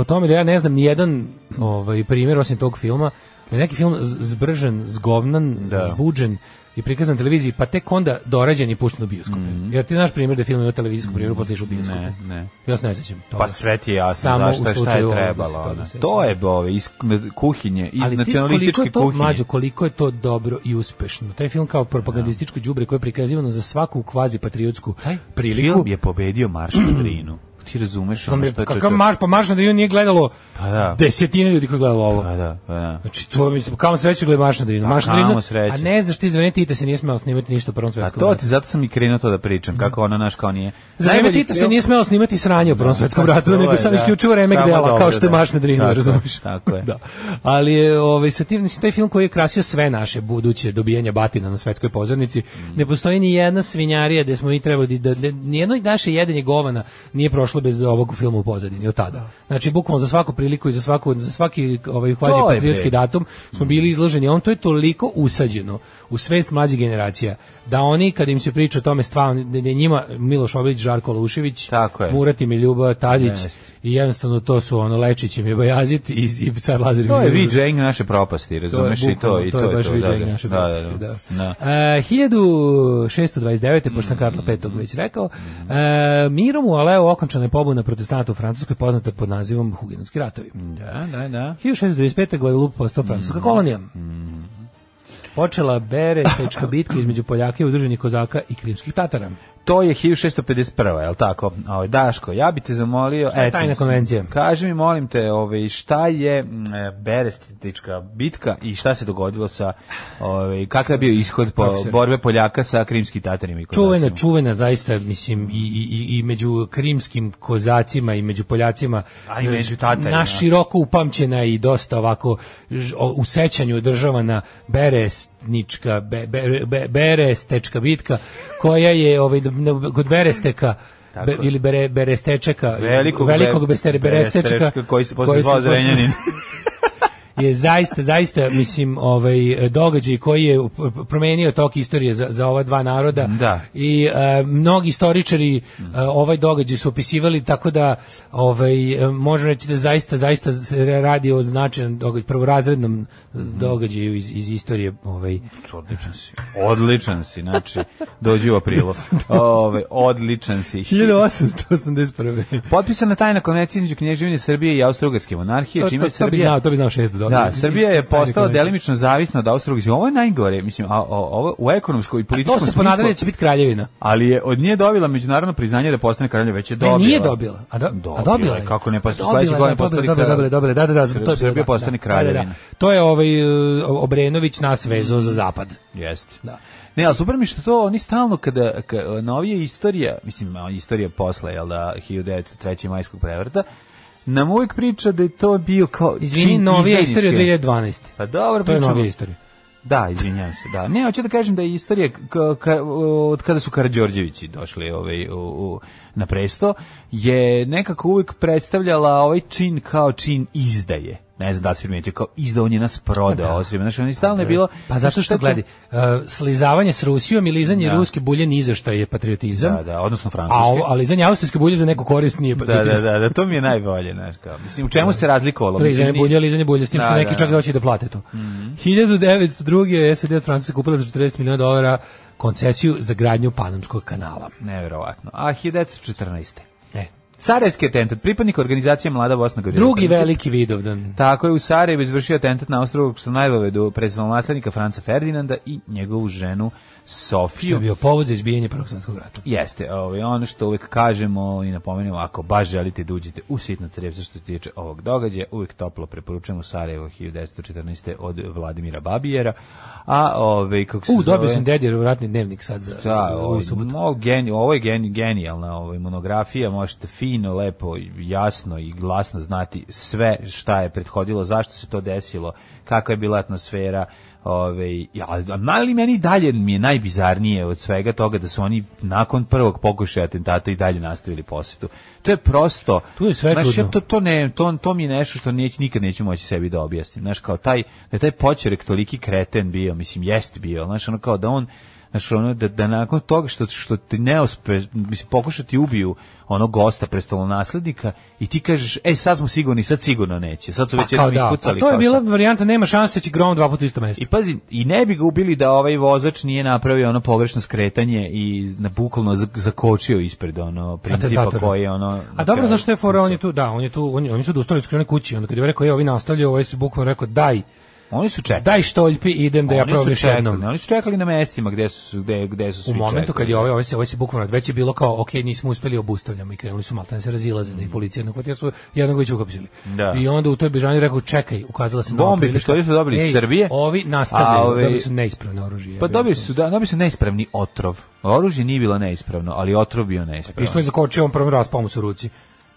Speaker 6: o tome da ja ne znam ni jedan ovaj primjer osim tog filma, da je neki film z- zbržan, zgovnan,
Speaker 5: Da.
Speaker 6: zbuđen i prikazan na televiziji, pa tek onda dorađen i pušten u bioskope. Jer ti znaš primjer da je film ima televizijsku primjeru, posle išao u bioskope.
Speaker 5: Mhm. Mm, Ne, ne.
Speaker 6: Ja se ne sećam toga.
Speaker 5: Pa sve ti je jasno
Speaker 6: Samo
Speaker 5: zašto
Speaker 6: u
Speaker 5: je, šta
Speaker 6: slučaju
Speaker 5: je
Speaker 6: ovoga se
Speaker 5: trebalo.
Speaker 6: toga
Speaker 5: ono.
Speaker 6: sećam.
Speaker 5: To je bove iz kuhinje, iz
Speaker 6: Ali ti koliko
Speaker 5: nacionalističke
Speaker 6: je to,
Speaker 5: kuhinje.
Speaker 6: Mlađo, koliko je to dobro i uspešno. Taj film kao propagandističko đubre koje je prikazivano za svaku kvazi patriotsku priliku.
Speaker 5: Film je pobedio Marš na Drinu. Ti razumeš
Speaker 6: Sam
Speaker 5: ono
Speaker 6: je,
Speaker 5: što je
Speaker 6: kakav
Speaker 5: čovjek-
Speaker 6: marš, pa marš na Drinu nije gledalo
Speaker 5: Pa da.
Speaker 6: desetine ljudi koji je gledalo ovo.
Speaker 5: Pa da, pa da.
Speaker 6: Znači, to mislim, kamo sreće gleda marš na Drinu. Marš na
Speaker 5: Pa kamo
Speaker 6: Drinu,
Speaker 5: sreće.
Speaker 6: a ne znaš ti zvene Tita se nije smelo snimati ništa u Prvom
Speaker 5: A
Speaker 6: svetskom
Speaker 5: to
Speaker 6: ratu.
Speaker 5: ti, zato sam i krenuo to da pričam, kako ona naš kao nije.
Speaker 6: Za vreme
Speaker 5: Najbolji
Speaker 6: Tita se
Speaker 5: film-
Speaker 6: nije smelo snimati sranje u Prvom svetskom
Speaker 5: Tako
Speaker 6: ratu,
Speaker 5: je,
Speaker 6: nego sam
Speaker 5: da.
Speaker 6: isključivo remek
Speaker 5: Samo
Speaker 6: dela, kao
Speaker 5: dobro,
Speaker 6: što je
Speaker 5: da.
Speaker 6: Marš na Drinu,
Speaker 5: Tako je,
Speaker 6: razumiješ?
Speaker 5: tako je.
Speaker 6: Da. Ali je, ovaj, sa tim, mislim, taj film koji je krasio sve naše buduće dobijanja batina na svetskoj pozornici,
Speaker 5: Mm.
Speaker 6: ne postoji ni jedna svinjarija gde smo mi trebali, da, da, ni jedno naše jedenje govana nije prošlo bez ovog filma u pozadini, od tada. Znači, bukvalno za svaku priliku i za, svaku, za svaki ovaj, kvazi
Speaker 5: To je,
Speaker 6: patriotski
Speaker 5: bre.
Speaker 6: datum smo bili izloženi, a on to je toliko usađeno u svest mlađih generacija da oni kad im se priča o tome stvarno da je njima Miloš Obilić, Žarko Lušević,
Speaker 5: Tako je.
Speaker 6: Murat im je Ljuba Tadić
Speaker 5: Jeste.
Speaker 6: i jednostavno to su ono Lečić im je Bajazit i, i car Lazar
Speaker 5: To je
Speaker 6: im Ružić.
Speaker 5: VJ naše propasti,
Speaker 6: To je
Speaker 5: razumeš i to
Speaker 6: bukvalno,
Speaker 5: i
Speaker 6: to
Speaker 5: to.
Speaker 6: je
Speaker 5: i
Speaker 6: baš
Speaker 5: to,
Speaker 6: viđenje
Speaker 5: da, da.
Speaker 6: naše
Speaker 5: Da, da,
Speaker 6: propasti, da.
Speaker 5: da.
Speaker 6: E, 1629. pošto sam Karla Petog
Speaker 5: Mm.
Speaker 6: već rekao, e, mirom u Aleu okončana je pobuna protestanta u Francuskoj poznata pod nazivom Hugenotski ratovi.
Speaker 5: Da, da, da.
Speaker 6: 1625. Guadeloupe postao francuska kolonija. Počela Beretečka bitka između Poljaka i udruženih kozaka i krimskih Tatara.
Speaker 5: To je 1651, je li tako? Ovaj Daško, ja bi te zamolio... Šta
Speaker 6: je tajna konvencija?
Speaker 5: Kaži mi, molim te, ovaj, šta je mm, e, Berestička bitka i šta se dogodilo sa... Ovaj, kakav je bio ishod po,
Speaker 6: Profesor.
Speaker 5: borbe Poljaka sa krimskim tatarima i
Speaker 6: Čuvena,
Speaker 5: Kozacima?
Speaker 6: čuvena zaista, mislim, i, i, i- i među krimskim kozacima i među Poljacima
Speaker 5: A i među Tatarima.
Speaker 6: na široko upamćena i dosta ovako ž- o- u sećanju održavana Berestnička, be, be- be- Berestečka bitka koja je ovaj, na- kod Beresteka
Speaker 5: Tako
Speaker 6: be-
Speaker 5: je.
Speaker 6: ili bere, Berestečeka
Speaker 5: Velikog,
Speaker 6: velikog
Speaker 5: be-
Speaker 6: bestere- Berestečka
Speaker 5: koji se posle zvao
Speaker 6: posle-
Speaker 5: Zrenjanin.
Speaker 6: je zaista zaista mislim ovaj događaj koji je promenio tok istorije za, za ova dva naroda
Speaker 5: Da.
Speaker 6: i e, mnogi istoričari e, ovaj događaj su opisivali tako da ovaj e, možemo reći da zaista zaista se radi o značajnom događaju prvorazrednom događaju iz, iz istorije ovaj
Speaker 5: Odličan si. Odličan si, znači, dođi u aprilu. Ove, odličan si.
Speaker 6: 1881.
Speaker 5: Potpisana tajna konvencija između Knježevine Srbije i Austrougarske monarhije,
Speaker 6: To,
Speaker 5: čime
Speaker 6: to,
Speaker 5: je
Speaker 6: to bi
Speaker 5: Srbija
Speaker 6: znao, to bi znao šest da
Speaker 5: Da, Srbija je postala delimično zavisna od Austrougarske. Ovo je najgore, mislim, a, a- ovo u ekonomskoj i političkom
Speaker 6: To se
Speaker 5: smislu.
Speaker 6: ponadali da će biti kraljevina.
Speaker 5: Ali je od nje dobila međunarodno priznanje da postane kralja, već je
Speaker 6: Ne,
Speaker 5: dobila.
Speaker 6: nije dobila. A, do, a dobila je.
Speaker 5: Kako ne, pa
Speaker 6: Dobila
Speaker 5: sledeće godine
Speaker 6: je, dobila,
Speaker 5: postali
Speaker 6: Dobila,
Speaker 5: kralj.
Speaker 6: dobila, dobila, da, da, da.
Speaker 5: Srbija-
Speaker 6: to je bilo,
Speaker 5: Srbija
Speaker 6: da,
Speaker 5: postane
Speaker 6: da, da, da.
Speaker 5: kraljevina.
Speaker 6: To je ovaj, e, Obrenović nas vezao za zapad.
Speaker 5: Jeste.
Speaker 6: Da.
Speaker 5: Ne, ali super mi je što to, oni stalno kada, ka, novije istorija, mislim, a, istorija posle, jel da, 1903. majskog prevrta, nam uvijek priča da je to bio kao...
Speaker 6: Izvini,
Speaker 5: čin
Speaker 6: novija
Speaker 5: izdajnički.
Speaker 6: istorija 2012.
Speaker 5: Pa dobro,
Speaker 6: To je
Speaker 5: pričamo.
Speaker 6: novija istorija.
Speaker 5: Da, izvinjavam se, da. Ne, hoću da kažem da je istorija k- ka- od kada su Karađorđevići došli ovaj, u, u- na presto, je nekako uvijek predstavljala ovaj čin kao čin izdaje. Ne znam da li si primetio, kao izdao on je nas prodao. Da. Znači, ono stalno je bilo...
Speaker 6: Pa zato što,
Speaker 5: Šta to-
Speaker 6: gledaj, e, slizavanje s Rusijom i lizanje
Speaker 5: Da.
Speaker 6: ruske bulje ni za šta je patriotizam.
Speaker 5: Da, da, odnosno
Speaker 6: A,
Speaker 5: francuske.
Speaker 6: ovo- a lizanje austrijske bulje za neku korist nije
Speaker 5: da,
Speaker 6: patriotizam.
Speaker 5: da, da, da, to mi je najbolje, znaš, kao. Mislim, u čemu se razlikovalo?
Speaker 6: To je
Speaker 5: Mislim,
Speaker 6: lizanje
Speaker 5: nije-
Speaker 6: bulje, lizanje bulje, s tim što
Speaker 5: Da,
Speaker 6: neki
Speaker 5: da,
Speaker 6: čak
Speaker 5: da. Mhm.
Speaker 6: da hoće da plate to. 1902. je SAD od Francuske kupila za 40 miliona dolara koncesiju za gradnju Panamskog kanala.
Speaker 5: Neverovatno. A 1914.
Speaker 6: E.
Speaker 5: Sarajevski atentat, pripadnik organizacije Mlada Bosna Gorila.
Speaker 6: Drugi veliki Vidovdan.
Speaker 5: Tako je u Sarajevu izvršio atentat na ostrovu Sanajlovedu naslednika Franca Ferdinanda i njegovu ženu
Speaker 6: To je
Speaker 5: Sofiju.
Speaker 6: bio povod za izbijanje Prvog svjetskog rata.
Speaker 5: Jeste, ovaj, ono što uvijek kažemo i napomenemo, ako baš želite da uđete u sitno crepce što se tiče ovog događaja, uvijek toplo preporučujemo Sarajevo 1914. od Vladimira Babijera. A, ovaj, kako se
Speaker 6: U, dobio
Speaker 5: zove-
Speaker 6: sam dedijeru ratni dnevnik sad za,
Speaker 5: Da, ovaj,
Speaker 6: za
Speaker 5: ovo,
Speaker 6: ovu subotu.
Speaker 5: ovo, geni, ovo je geni, genijalna ovaj, monografija, možete fino, lepo, jasno i glasno znati sve šta je prethodilo, zašto se to desilo, kakva je bila atmosfera, Ove, ja, ali meni i dalje mi je najbizarnije od svega toga da su oni nakon prvog pokušaja atentata i dalje nastavili posetu. To je prosto...
Speaker 6: Tu je sve
Speaker 5: znaš, ja
Speaker 6: čudno.
Speaker 5: to, to, ne, to, to mi je nešto što neć, nikad neću moći sebi da objasnim. Znaš, kao taj, da je taj počerek toliki kreten bio, mislim, jest bio, znaš, ono kao da on Znaš, ono, da, da nakon toga što, što ti ne uspe, mislim, pokušati ubiju onog gosta prestolonaslednika i ti kažeš, e, sad smo sigurni, sad sigurno neće, sad su već jednom ispucali.
Speaker 6: pa to je
Speaker 5: kao
Speaker 6: bila
Speaker 5: šta.
Speaker 6: varijanta, nema šanse da će grom dva puta u isto mesto.
Speaker 5: I pazi, i ne bi ga ubili da ovaj vozač nije napravio ono pogrešno skretanje i na bukvalno z- zakočio ispred ono principa
Speaker 6: Atentatora.
Speaker 5: koji je ono...
Speaker 6: A
Speaker 5: na
Speaker 6: dobro,
Speaker 5: kraju
Speaker 6: znaš što je fora, on je
Speaker 5: pucao.
Speaker 6: tu, da, on je tu, on, je- oni su doustali skrene kući, onda kad je rekao, je, ovi nastavljaju, ovaj se bukvalno rekao, daj,
Speaker 5: Oni su čekali.
Speaker 6: daj štoljpi, idem da ja
Speaker 5: E. oni su
Speaker 6: probiš jednom.
Speaker 5: čekali, oni su čekali na mestima gde su, gde, gde su svi
Speaker 6: U momentu
Speaker 5: čekali.
Speaker 6: kad je ovaj, ovaj se, ovaj se bukvalno, već je bilo kao, ok, nismo uspeli, obustavljamo i krenuli su maltene se razilaze, da i policija na kvotir su jednog već uhapsili.
Speaker 5: Mm. Da.
Speaker 6: I onda u toj bežani rekao, čekaj, ukazala se nova
Speaker 5: Bombe i
Speaker 6: prilika.
Speaker 5: pištolji su dobili iz
Speaker 6: Ej,
Speaker 5: Srbije,
Speaker 6: Ovi nastavljaju,
Speaker 5: a ovi-
Speaker 6: dobili su neispravno oružje.
Speaker 5: Pa dobili su, da, dobili su neispravni otrov. Oružje nije bilo neispravno, ali otrov bio neispravno.
Speaker 6: Pištolj zakočio, on prvo raspao mu se u ruci.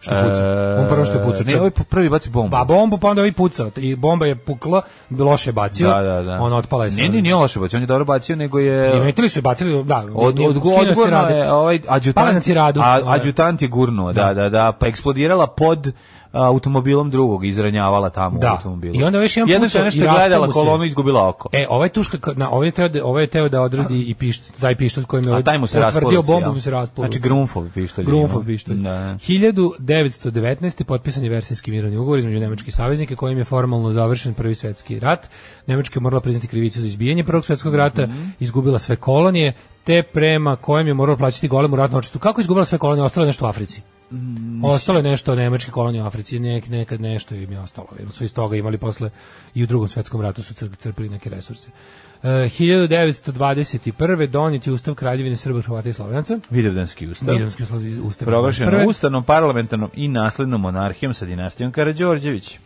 Speaker 6: Što pucao.
Speaker 5: E,
Speaker 6: on prvo što je pucao.
Speaker 5: Ne,
Speaker 6: čak-
Speaker 5: ovaj po- prvi baci bombu.
Speaker 6: Pa bombu, pa onda ovaj pucao. I bomba je pukla, loše je bacio.
Speaker 5: da, da, da.
Speaker 6: Ona otpala je sa-
Speaker 5: Nije, nije, nije loše bacio, on je dobro bacio, nego je...
Speaker 6: Primetili su i bacili, da,
Speaker 5: Od,
Speaker 6: nije-
Speaker 5: od,
Speaker 6: skinuo je
Speaker 5: odgurno
Speaker 6: cirade.
Speaker 5: je ovaj adjutant,
Speaker 6: Pala na ciradu.
Speaker 5: a,
Speaker 6: Ovaj.
Speaker 5: adjutant je gurnuo, da, da, da, pa eksplodirala pod a, automobilom drugog, izranjavala tamo
Speaker 6: Da.
Speaker 5: u automobilu.
Speaker 6: I onda još jedan
Speaker 5: Jedna
Speaker 6: pucao
Speaker 5: žena što
Speaker 6: i
Speaker 5: je
Speaker 6: raspao
Speaker 5: gledala
Speaker 6: mu se.
Speaker 5: kolonu izgubila oko.
Speaker 6: E, ovaj tu što ka- na ovaj je teo da ovaj je teo da odredi i pištolj, taj pištolj kojim je
Speaker 5: a
Speaker 6: ovaj
Speaker 5: taj mu se raspao.
Speaker 6: utvrdio
Speaker 5: ruci,
Speaker 6: bombu,
Speaker 5: jel?
Speaker 6: mu se raspao.
Speaker 5: Znači Grunfov pištolj. je
Speaker 6: Grunfov
Speaker 5: imao.
Speaker 6: pištolj.
Speaker 5: Da.
Speaker 6: 1919. potpisan je Versajski mirovni ugovor između nemačkih saveznika kojim je formalno završen prvi svetski rat. Nemačka je morala priznati krivicu za izbijanje prvog svetskog rata,
Speaker 5: Mhm.
Speaker 6: izgubila sve kolonije, te prema kojem je morala plaćati golemu ratnu odštetu. Kako je izgubila sve kolonije? Ostalo je nešto u Africi.
Speaker 5: Mm,
Speaker 6: Ostalo je nešto nemačke kolonije u Africi, nek, nekad nešto im je ostalo. Jer su iz toga imali posle i u drugom svetskom ratu su cr- crpili neke resurse. E, 1921. donet je Ustav Kraljevine Srba, Hrvata i Slovenaca.
Speaker 5: Vidovdanski ustav.
Speaker 6: Vidovdanski ustav.
Speaker 5: Proglašen
Speaker 6: Prve-
Speaker 5: ustavnom, parlamentarnom i naslednom monarhijom sa dinastijom Karađorđević.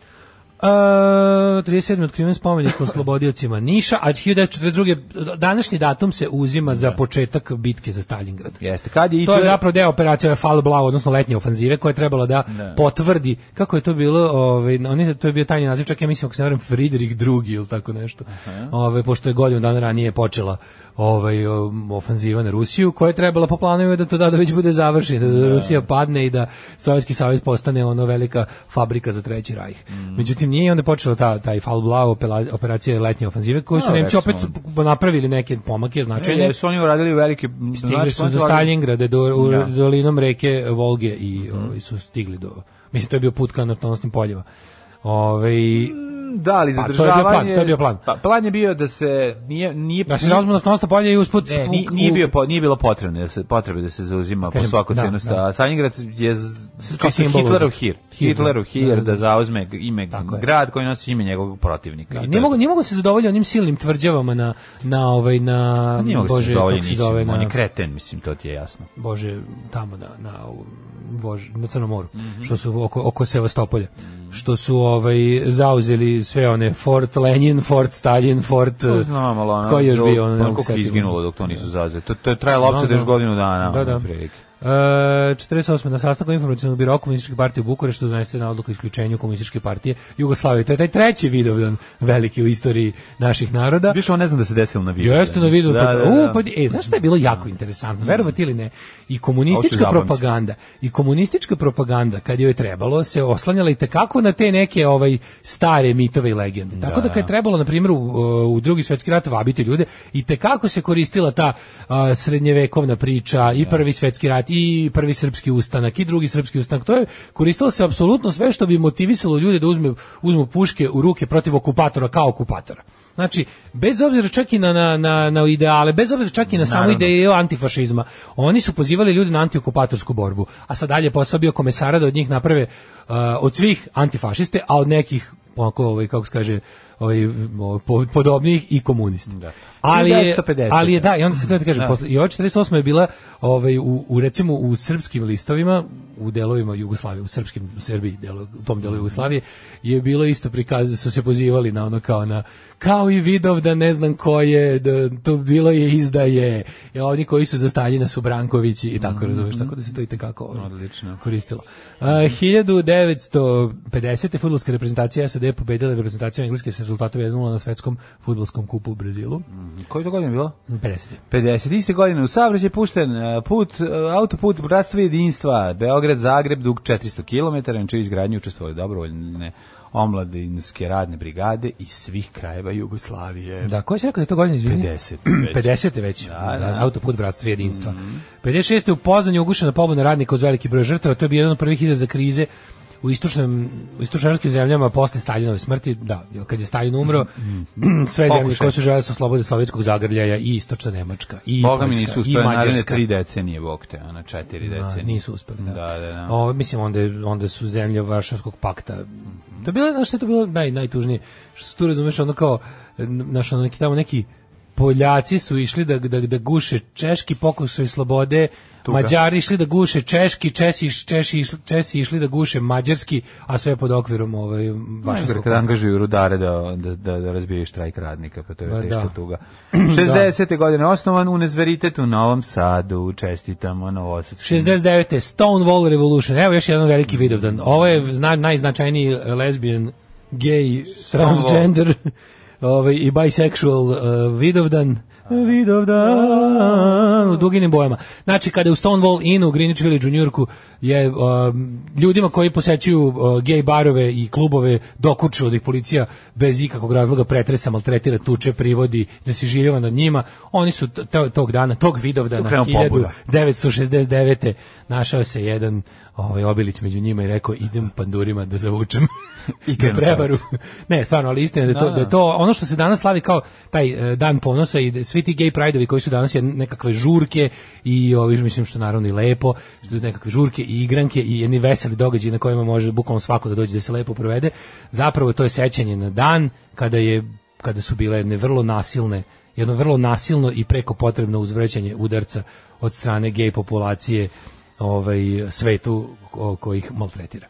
Speaker 6: Uh, 37. otkriven spomenik oslobodiocima Niša, a 1942. današnji datum se uzima za početak bitke za Stalingrad.
Speaker 5: Jeste, kad je i
Speaker 6: to je
Speaker 5: to je-
Speaker 6: zapravo deo operacije Fall Blau, odnosno letnje ofanzive, koja je trebala da potvrdi kako je to bilo, ovaj, oni, to je bio tajni naziv, čak ja mislim, ako se ne varam, Friedrich II ili tako nešto, ovaj, pošto je godinu dana ranije počela ovaj, um, ofanziva na Rusiju, koja je trebala po planovima da to da, već bude završena, da, Rusija padne i da Sovjetski savez postane ono velika fabrika za treći rajh.
Speaker 5: Mm.
Speaker 6: Međutim, nije i onda je počela ta, taj Fall Blau opela- operacija letnje ofanzive, koju su
Speaker 5: A,
Speaker 6: Nemci opet
Speaker 5: recimo. E,
Speaker 6: napravili neke pomake, značajne.
Speaker 5: Jer su oni uradili velike...
Speaker 6: Stigli
Speaker 5: znači,
Speaker 6: su
Speaker 5: oni
Speaker 6: do
Speaker 5: su radili-
Speaker 6: Stalingrada, do, u,
Speaker 5: Da. Mhm.
Speaker 6: dolinom reke Volge i ovaj, su stigli do... Mislim, to je bio put ka naftonosnim poljima. Ovaj, Ove,
Speaker 5: Da, ali
Speaker 6: Pa, to je bio plan,
Speaker 5: zadržavanje...
Speaker 6: to je bio plan.
Speaker 5: Pa, plan je bio da se nije... nije
Speaker 6: da se zauzmu naftonosna polja i usput...
Speaker 5: Ne, nije,
Speaker 6: u-
Speaker 5: nije,
Speaker 6: u-
Speaker 5: bio, po- nije bilo potrebno da se, potrebe da se zauzima po
Speaker 6: Kažem,
Speaker 5: svaku
Speaker 6: da,
Speaker 5: cenu.
Speaker 6: da.
Speaker 5: sta Stalingrad je z- kao
Speaker 6: simbol
Speaker 5: Hitlerov
Speaker 6: uzme.
Speaker 5: hir.
Speaker 6: Hir,
Speaker 5: Hitlerov
Speaker 6: da.
Speaker 5: hir
Speaker 6: Da, da.
Speaker 5: da zauzme ime
Speaker 6: Tako je.
Speaker 5: grad koji nosi ime njegovog protivnika. I
Speaker 6: Da,
Speaker 5: to
Speaker 6: nije,
Speaker 5: je
Speaker 6: mogu, nije mogu se zadovoljiti onim silnim tvrđavama na, na, ovaj, na
Speaker 5: Pa Nije mogu se
Speaker 6: Bože,
Speaker 5: dovolji
Speaker 6: kako se zove,
Speaker 5: ničim, on je
Speaker 6: na,
Speaker 5: kreten, mislim, to ti je jasno.
Speaker 6: Bože, tamo na, na, u- Bože, na Crnom moru,
Speaker 5: Mhm.
Speaker 6: što su oko, oko Sevastopolja, što su ovaj, zauzeli sve one Fort Lenin, Fort Stalin, Fort...
Speaker 5: To znam, ali ono,
Speaker 6: Tko je još bio? Ono, ne mogu
Speaker 5: ono koliko je
Speaker 6: setiti.
Speaker 5: izginulo dok to nisu zauzeli. To, to je trajalo opsada još godinu dana.
Speaker 6: Da, da.
Speaker 5: ono, otprilike.
Speaker 6: E, 48. na sastanku informacionog biroa komunističke partije u Bukureštu donese na odluku o isključenju komunističke partije Jugoslavije. To je taj treći vidovdan veliki u istoriji naših naroda.
Speaker 5: Više on ne znam da se desilo na vidu.
Speaker 6: Jeste na vidu.
Speaker 5: Da,
Speaker 6: kad-
Speaker 5: da,
Speaker 6: U,
Speaker 5: da.
Speaker 6: pa, e, znaš šta je bilo jako interesantno, verovati ili ne, i komunistička
Speaker 5: Hoću zapamtiti.
Speaker 6: propaganda, i komunistička propaganda, kad joj je trebalo, se oslanjala i tekako na te neke ovaj stare mitove i legende. Tako da kad je trebalo, na primjer, u, u drugi svjetski rat vabiti ljude, i tekako se koristila ta a, srednjevekovna priča, i prvi svjetski rat, i prvi srpski ustanak, i drugi srpski ustanak, to je koristilo se apsolutno sve što bi motivisalo ljude da uzme, uzmu puške u ruke protiv okupatora kao okupatora. Znači, bez obzira čak i na, na, na, na ideale, bez obzira čak i na samu ideju antifašizma, oni su pozivali ljudi na antiokupatorsku borbu, a sad dalje posao bio komesara da od njih naprave uh, od svih antifašiste, a od nekih onako, ovaj, kako se kaže, ovaj, o, po- podobnih i komunisti. Ali, je,
Speaker 5: 1950.
Speaker 6: ali je, da, i onda se to kaže, posle, i ova 48. je bila ovaj, u, u, recimo u srpskim listovima, u delovima Jugoslavije, u srpskim u Srbiji, delo, u tom delu Jugoslavije, je bilo isto prikaz, su se pozivali na ono kao na, kao i vidov da ne znam ko je, da, to bilo je izdaje, i oni koji su za Staljina su Brankovići i tako, razumeš, tako da se to i tekako ovaj, koristilo. A, 1950. futbolska reprezentacija SAD je pobedila reprezentaciju Engleske sa rezultatom 1-0 na svetskom futbolskom kupu u Brazilu.
Speaker 5: Koji to godin bilo?
Speaker 6: 50.
Speaker 5: 50. iste godine u Savreć je pušten e, put, e, autoput znači Bratstva i jedinstva, Beograd, Zagreb, dug 400 km, na čiju izgradnju učestvovali dobrovoljne omladinske radne brigade iz svih krajeva Jugoslavije.
Speaker 6: Da, ko si rekao da je to godine, izvini?
Speaker 5: 50 već. Mhm.
Speaker 6: 50. već, da, autoput bratstva i jedinstva. 56. u Poznanju ugušena pobuna radnika uz veliki broj žrtava, to je bio jedan od prvih izraza krize u istočnim u istočnoevropskim zemljama posle Staljinove smrti, da, jer kad je Staljin umro,
Speaker 5: Mhm.
Speaker 6: sve zemlje koje su želele su slobode sovjetskog zagrljaja i istočna Nemačka i
Speaker 5: Boga mi
Speaker 6: Poljska,
Speaker 5: nisu
Speaker 6: i
Speaker 5: uspeli naredne
Speaker 6: Mađarska.
Speaker 5: tri decenije, bog te, ono, četiri decenije.
Speaker 6: nisu uspeli, da.
Speaker 5: Da, da, da.
Speaker 6: O, mislim, onda, je- onda su zemlje Varšavskog pakta. To je bilo, znaš što je to bilo naj, najtužnije? Što su tu, razumeš, ono kao, n- znaš, ono neki tamo neki Poljaci su išli da, da, da guše češki pokušaj slobode, Mađari išli da guše češki, Česi, iš- Češi, išli, Česi išli da guše mađarski, a sve pod okvirom ovaj,
Speaker 5: Mađar
Speaker 6: Varšavskog
Speaker 5: kad
Speaker 6: pakta.
Speaker 5: Pa angažuju rudare da, da, da, da razbijaju štrajk radnika, pa to je
Speaker 6: Ma
Speaker 5: teška
Speaker 6: da.
Speaker 5: tuga. 60. godine osnovan Unezveritet u Novom Sadu, čestitamo Novosadskim.
Speaker 6: 69. Stonewall Revolution. Evo još jedan veliki vidovdan. Ovo je zna, najznačajniji lesbijan, gay, transgender ovaj, i bisexual uh, vidovdan. Vidovdan u duginim bojama. Znači, kada je u Stonewall Inn u Greenwich Village u Njurku je um, ljudima koji posećuju uh, gay barove i klubove dokučilo da ih policija bez ikakvog razloga pretresa, maltretira, tuče, privodi, da se živjeva nad njima. Oni su t- to- tog dana, tog vidovdana,
Speaker 5: Krenula
Speaker 6: hiljadu,
Speaker 5: pobuna.
Speaker 6: 969. našao se jedan ovaj Obilić među njima i rekao idem pandurima da zavučem i da
Speaker 5: krenuo
Speaker 6: prevaru. ne, stvarno, ali istina je da je to, da je to ono što se danas slavi kao taj e, dan ponosa i da svi ti gay prideovi koji su danas jedne- nekakve žurke i ovi mislim što naravno i lepo, što su nekakve žurke i igranke i jedni veseli događaji na kojima može bukvalno svako da dođe da se lepo provede. Zapravo to je sećanje na dan kada je kada su bile jedne vrlo nasilne jedno vrlo nasilno i preko potrebno uzvrećanje udarca od strane gej populacije ovaj, svetu o- koji ih maltretira.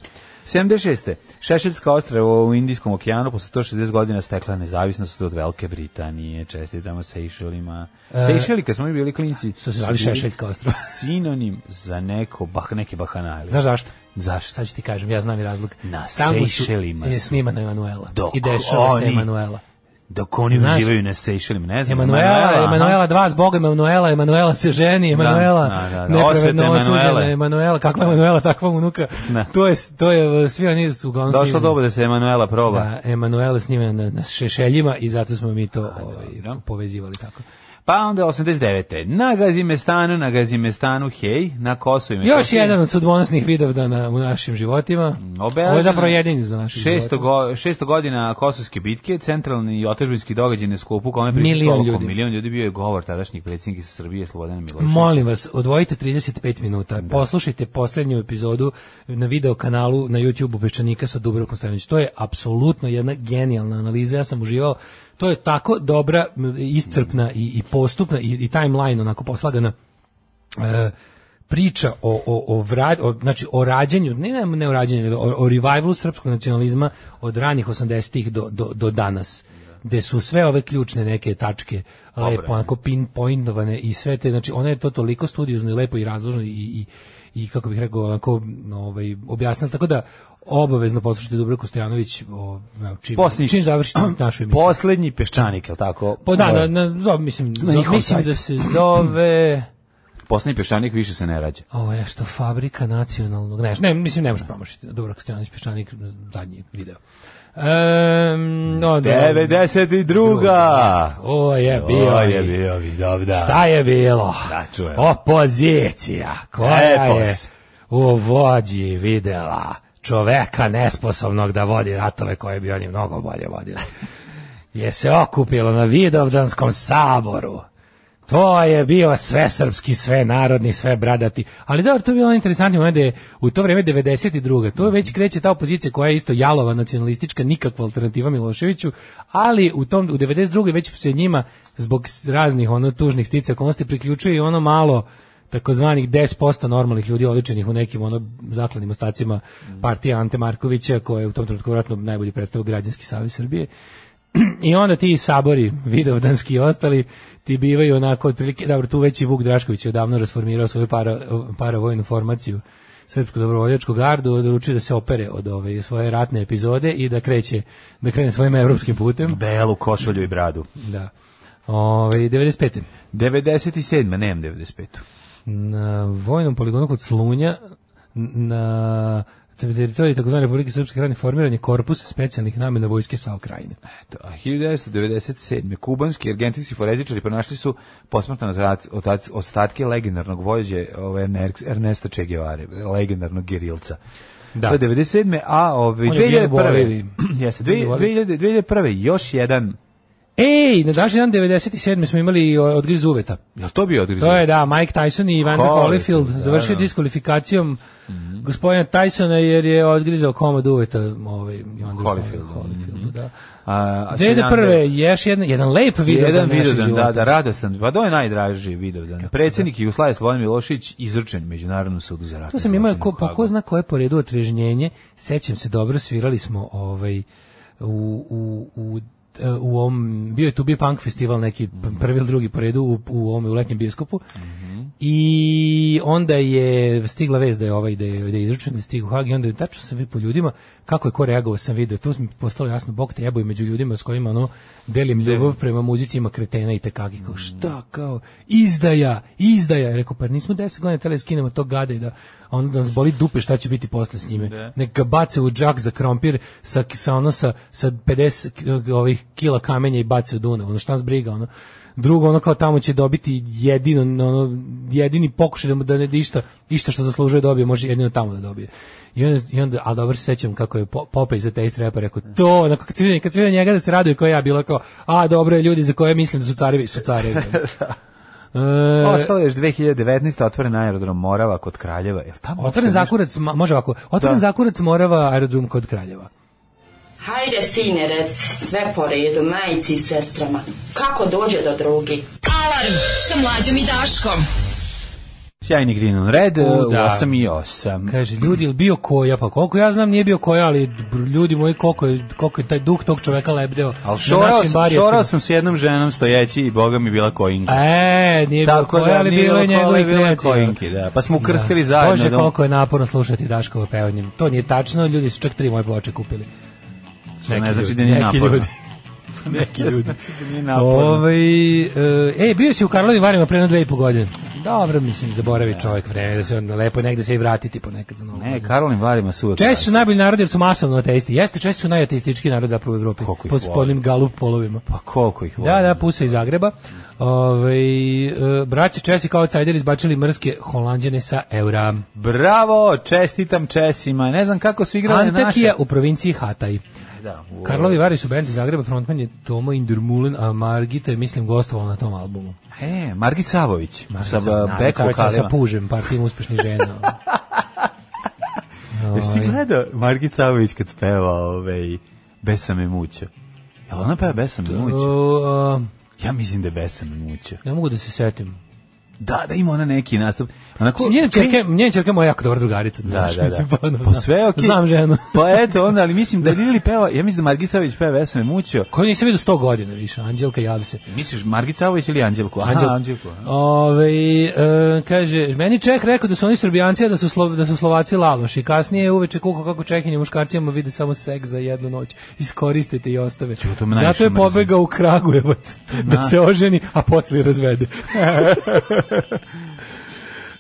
Speaker 5: 76. Šešeljska ostrava u Indijskom okeanu posle 160 godina stekla nezavisnost od Velike Britanije. Čestitamo Sejšelima. Sejšeli, kad smo mi bili klinci,
Speaker 6: Što E, se zvali
Speaker 5: su bili
Speaker 6: Šešeljka ostrava.
Speaker 5: Sinonim za neko, bah, neke bahanale.
Speaker 6: Znaš zašto?
Speaker 5: Zašto?
Speaker 6: Sad ću ti kažem, ja znam i razlog.
Speaker 5: Na
Speaker 6: Tamo su-
Speaker 5: Sejšelima
Speaker 6: je
Speaker 5: su.
Speaker 6: snimana Emanuela.
Speaker 5: Dok
Speaker 6: I dešava se
Speaker 5: oni-
Speaker 6: Emanuela.
Speaker 5: Dok oni
Speaker 6: Znaš?
Speaker 5: uživaju na Sejšelima, ne znam.
Speaker 6: Emanuela,
Speaker 5: aha.
Speaker 6: Emanuela dva zbog Emanuela, Emanuela se ženi,
Speaker 5: da,
Speaker 6: Emanuela,
Speaker 5: da, da.
Speaker 6: nepravedno
Speaker 5: Osveta
Speaker 6: osuđena,
Speaker 5: Emanuele.
Speaker 6: Emanuela, kakva Emanuela, takva unuka.
Speaker 5: Da.
Speaker 6: To je, to je, uh, svi oni su uglavnom
Speaker 5: Došlo
Speaker 6: snimani.
Speaker 5: doba da se Emanuela proba.
Speaker 6: Da, Emanuela snimena na, na šešeljima i zato smo mi to ovaj,
Speaker 5: dobro.
Speaker 6: povezivali tako.
Speaker 5: Pa onda 89. Na Gazimestanu, na Gazimestanu, hej, na Kosovo i
Speaker 6: Još
Speaker 5: Metohiji.
Speaker 6: jedan od sudbonosnih vidovdana u našim životima.
Speaker 5: Obeležen-
Speaker 6: Ovo je zapravo jedini za naših
Speaker 5: Mm, Šesto,
Speaker 6: života.
Speaker 5: go, šesto godina kosovske bitke, centralni i otrebinski događaj na skupu, kome
Speaker 6: Milion
Speaker 5: prisustvo oko
Speaker 6: ljudi.
Speaker 5: milion ljudi bio je govor tadašnjih predsjednika sa Srbije Slobodana Miloševića.
Speaker 6: Molim vas, odvojite 35 minuta. Poslušajte posljednju epizodu na video kanalu na YouTubeu Peščanika sa Dubravkom Stojanović. To je apsolutno jedna genijalna analiza. Ja sam uživao. To je tako dobra, m, iscrpna i, i postupna i, i timeline onako poslagana. e, priča o, o, o, vra, o, znači, o rađenju, ne, ne, ne o rađenju, nego o, o revivalu srpskog nacionalizma od ranih 80-ih do, do, do danas gde su sve ove ključne neke tačke lepo, onako pinpointovane i sve te, znači ona je to toliko studiozno i lepo i razložno i, i, i kako bih rekao, onako ovaj, objasnila, tako da obavezno poslušajte Dubravko Stojanović o, evo, čim,
Speaker 5: Posljednji-
Speaker 6: čim završite našu emisiju.
Speaker 5: Poslednji peščanik, je li tako?
Speaker 6: Pa da,
Speaker 5: Ovo
Speaker 6: na,
Speaker 5: je-
Speaker 6: na, zove- mislim,
Speaker 5: njihovom
Speaker 6: mislim
Speaker 5: sajtu.
Speaker 6: da se zove...
Speaker 5: Poslednji peščanik više se ne rađa.
Speaker 6: Ovo je što fabrika nacionalnog ne, ne mislim ne možeš promašiti. Dubravko Stojanović Peščanik zadnji video. Ehm, no, da.
Speaker 5: 92.
Speaker 6: O je bio.
Speaker 5: Ovo
Speaker 6: i-
Speaker 5: je bio vidovda.
Speaker 6: Šta je bilo?
Speaker 5: Da, čujem. E,
Speaker 6: Opozicija koja je
Speaker 5: Epos.
Speaker 6: u vođi videla čoveka nesposobnog da vodi ratove koje bi oni mnogo bolje vodili. Je se okupilo na Vidovdanskom saboru. To je bio sve srpski, sve narodni, sve bradati. Ali dobro, to je bilo interesantno moment da je u to vrijeme 92. To je već kreće ta opozicija koja je isto jalova nacionalistička, nikakva alternativa Miloševiću, ali u tom u 92. već se njima zbog s- raznih ono tužnih stica okolnosti priključuje i ono malo takozvanih 10% normalnih ljudi oličenih u nekim ono zakladnim ostacima partije Ante Markovića koja je u tom trenutku vjerojatno najbolji predstavio građanski savez Srbije i onda ti sabori vidovdanski i ostali ti bivaju onako otprilike dobro tu već i Vuk Drašković je odavno rasformirao svoju para, paravojnu formaciju Srpsku dobrovoljačku gardu odlučio da se opere od ove svoje ratne epizode i da kreće da krene svojim evropskim putem
Speaker 5: Belu, košulju i bradu.
Speaker 6: da Ove, 95.
Speaker 5: 97. Nemam 95.
Speaker 6: Na vojnom poligonu kod Slunja na teritoriji takozvane Republike Srpske krajine formiran je korpus specijalnih namena vojske SAO krajine.
Speaker 5: Eto, a 1997. kubanski i argentinski forenzičari pronašli su posmrtno otat- otat- ostatke legendarnog vođe ovaj, Erner- Ernesta Che Guevara, legendarnog gerilca.
Speaker 6: Da.
Speaker 5: To je 97. a ovaj,
Speaker 6: On je bio
Speaker 5: 2001.
Speaker 6: u Boliviji.
Speaker 5: Jeste,
Speaker 6: Bio u Boliviji.
Speaker 5: 2000 2001. još jedan,
Speaker 6: Ej, na današnji dan 97. smo imali o, odgriz uveta.
Speaker 5: jel to bio odgriz?
Speaker 6: To je, da, Mike Tyson i Evander
Speaker 5: Holyfield,
Speaker 6: Holyfield
Speaker 5: da,
Speaker 6: završio
Speaker 5: da. Mhm.
Speaker 6: diskvalifikacijom gospodina Tysona jer je odgrizao komad uveta ovaj, Evander
Speaker 5: Holyfieldu.
Speaker 6: Holyfieldu, da.
Speaker 5: mhm. A, a
Speaker 6: 2001. još jedan, jedan lep video
Speaker 5: Jedan
Speaker 6: našeg
Speaker 5: Vidovdan, da,
Speaker 6: života.
Speaker 5: da, radostan. Pa to je najdraži Vidovdan. Predsjednik Jugoslavije Slobodan Milošević izručen Međunarodnom sudu za ratne
Speaker 6: Tu sam imao,
Speaker 5: zločine
Speaker 6: ko,
Speaker 5: u
Speaker 6: pa
Speaker 5: Hagu.
Speaker 6: ko zna koje po redu otrežnjenje, sećam se dobro, svirali smo ovaj, u, u, u e, u ovom, bio je tu bio punk festival neki prvi ili drugi po redu u, u ovom u letnjem bioskopu
Speaker 5: Mhm.
Speaker 6: i onda je stigla vez da je ovaj da je, da je izručen da je stigao u Hag i onda je tačno sam vidio po ljudima kako je ko reagovao sam video tu mi postalo jasno Bog treba i među ljudima s kojima ono delim ljubav prema muzicima kretena i takakih kao šta kao izdaja izdaja rekao pa nismo 10 godina tele skinemo tog gada i da a onda da nas boli dupe šta će biti posle s njime nek ga bace u džak za krompir sa sa ono sa, sa 50 k- ovih kila kamenja i bace u Dunav ono šta nas briga ono drugo ono kao tamo će dobiti jedino ono jedini pokušaj da mu da ne da išta išta što zaslužuje dobije može jedino tamo da dobije i onda, i onda a dobro se sećam kako je Po- Popaj za teist repa pa rekao to ono, onako kad se vidi kad se vidi njega da se raduje kao ja bilo kao a dobro je ljudi za koje mislim da su carevi su carevi E,
Speaker 5: Ostalo je još 2019. otvoren aerodrom Morava kod Kraljeva. Jel tamo
Speaker 6: Otvoren
Speaker 5: ostane
Speaker 6: zakurac, ma- može ovako, otvoren
Speaker 5: Da.
Speaker 6: zakurac Morava, aerodrom kod Kraljeva.
Speaker 9: Hajde, sine, rec, sve po redu, majici i sestrama. Kako dođe do drugi?
Speaker 10: Alarm sa mlađom i Daškom.
Speaker 5: Sjajni Green on Red u,
Speaker 6: da.
Speaker 5: 8 i 8.
Speaker 6: Kaže, ljudi, jel bio koja? Pa koliko ja znam, nije bio koja, ali br- ljudi moji, koliko je, koliko je taj duh tog čoveka lebdeo
Speaker 5: Al
Speaker 6: na
Speaker 5: šorao,
Speaker 6: našim
Speaker 5: sam,
Speaker 6: barijacima.
Speaker 5: šorao sam s jednom ženom stojeći i boga mi bila koinka.
Speaker 6: E, nije bio
Speaker 5: Tako
Speaker 6: koja,
Speaker 5: da
Speaker 6: ali
Speaker 5: nije
Speaker 6: bilo je
Speaker 5: bilo koja,
Speaker 6: njegovih
Speaker 5: bilo je
Speaker 6: kreacija.
Speaker 5: koinki, da. Pa smo ukrstili zajedno,
Speaker 6: Bože,
Speaker 5: da.
Speaker 6: koliko je naporno slušati Daškovo pevanje. To nije tačno, ljudi su čak tri moje ploče kupili.
Speaker 5: ne
Speaker 6: Neki
Speaker 5: znači
Speaker 6: ljudi,
Speaker 5: da nije
Speaker 6: neki
Speaker 5: naporno.
Speaker 6: ljudi.
Speaker 5: Neki ljudi. Znači da nije naporno.
Speaker 6: Ovaj e, ej, bio si u Karlovim Varima pre jedno dve i po godine. Dobro, mislim, zaboravi čovjek vreme da se onda lepo negde se i vratiti ponekad za novo.
Speaker 5: Ne, Karolin Varima su uvek
Speaker 6: Česi su najbolji narod jer su masovno ateisti. Jeste, Česi su najateistički narod zapravo u Evropi.
Speaker 5: Koliko ih
Speaker 6: Po, po
Speaker 5: volim.
Speaker 6: onim galup polovima.
Speaker 5: Pa koliko ih volim.
Speaker 6: Da, da, puse iz Zagreba. Ove, e, braće Česi kao outsider izbačili mrske Holandjane sa eura.
Speaker 5: Bravo, čestitam Česima. Ne znam kako su igrali na naše.
Speaker 6: Antakija u provinciji Hataj.
Speaker 5: Da, u-
Speaker 6: Karlovi Vari su bend iz Zagreba, frontman je Tomo Indurmulen, a Margita je, mislim, gostovala na tom albumu.
Speaker 5: E, Margit Savović. sa e,
Speaker 6: Margica,
Speaker 5: ba-
Speaker 6: da,
Speaker 5: back
Speaker 6: kao sam Sa
Speaker 5: vokalima.
Speaker 6: pužem, partijom uspešnih žena. ono.
Speaker 5: Jesi ti
Speaker 6: Ovaj.
Speaker 5: gledao Margit Savović kad peva ovaj, Besame mućo? Jel ona peva Besame mućo?
Speaker 6: O, a,
Speaker 5: Ja mislim da je Besame mućo.
Speaker 6: ne mogu da se setim.
Speaker 5: Da, da ima ona neki nastup. Onako,
Speaker 6: Mislim, Njena
Speaker 5: klin-
Speaker 6: čerka, je- njena čerka je moja jako dobra drugarica.
Speaker 5: Da,
Speaker 6: znaš,
Speaker 5: da, da.
Speaker 6: mislim, pa ono,
Speaker 5: Pa
Speaker 6: znam-
Speaker 5: sve je okej.
Speaker 6: Znam ženu.
Speaker 5: Pa eto, onda, ali mislim da je Lili peva, ja mislim da Margit Savović peva Vesame Mućo.
Speaker 6: Koju nisam vidio sto godina više, Anđelka javi se.
Speaker 5: Misliš Margit Savović ili Anđelku? Aha,
Speaker 6: Anđelku.
Speaker 5: Anđelku. aha.
Speaker 6: Ove, e, kaže, meni Čeh rekao da su oni Srbijanci, a da su, Slo, da su Slovaci laloši. Kasnije je uveče kukao kako Čehinje muškarcima vide samo seks za jednu noć. Iskoristite i ostave.
Speaker 5: to me najviše
Speaker 6: Zato je
Speaker 5: mrzim.
Speaker 6: pobegao u Kragujevac da se oženi, a poslije razvede.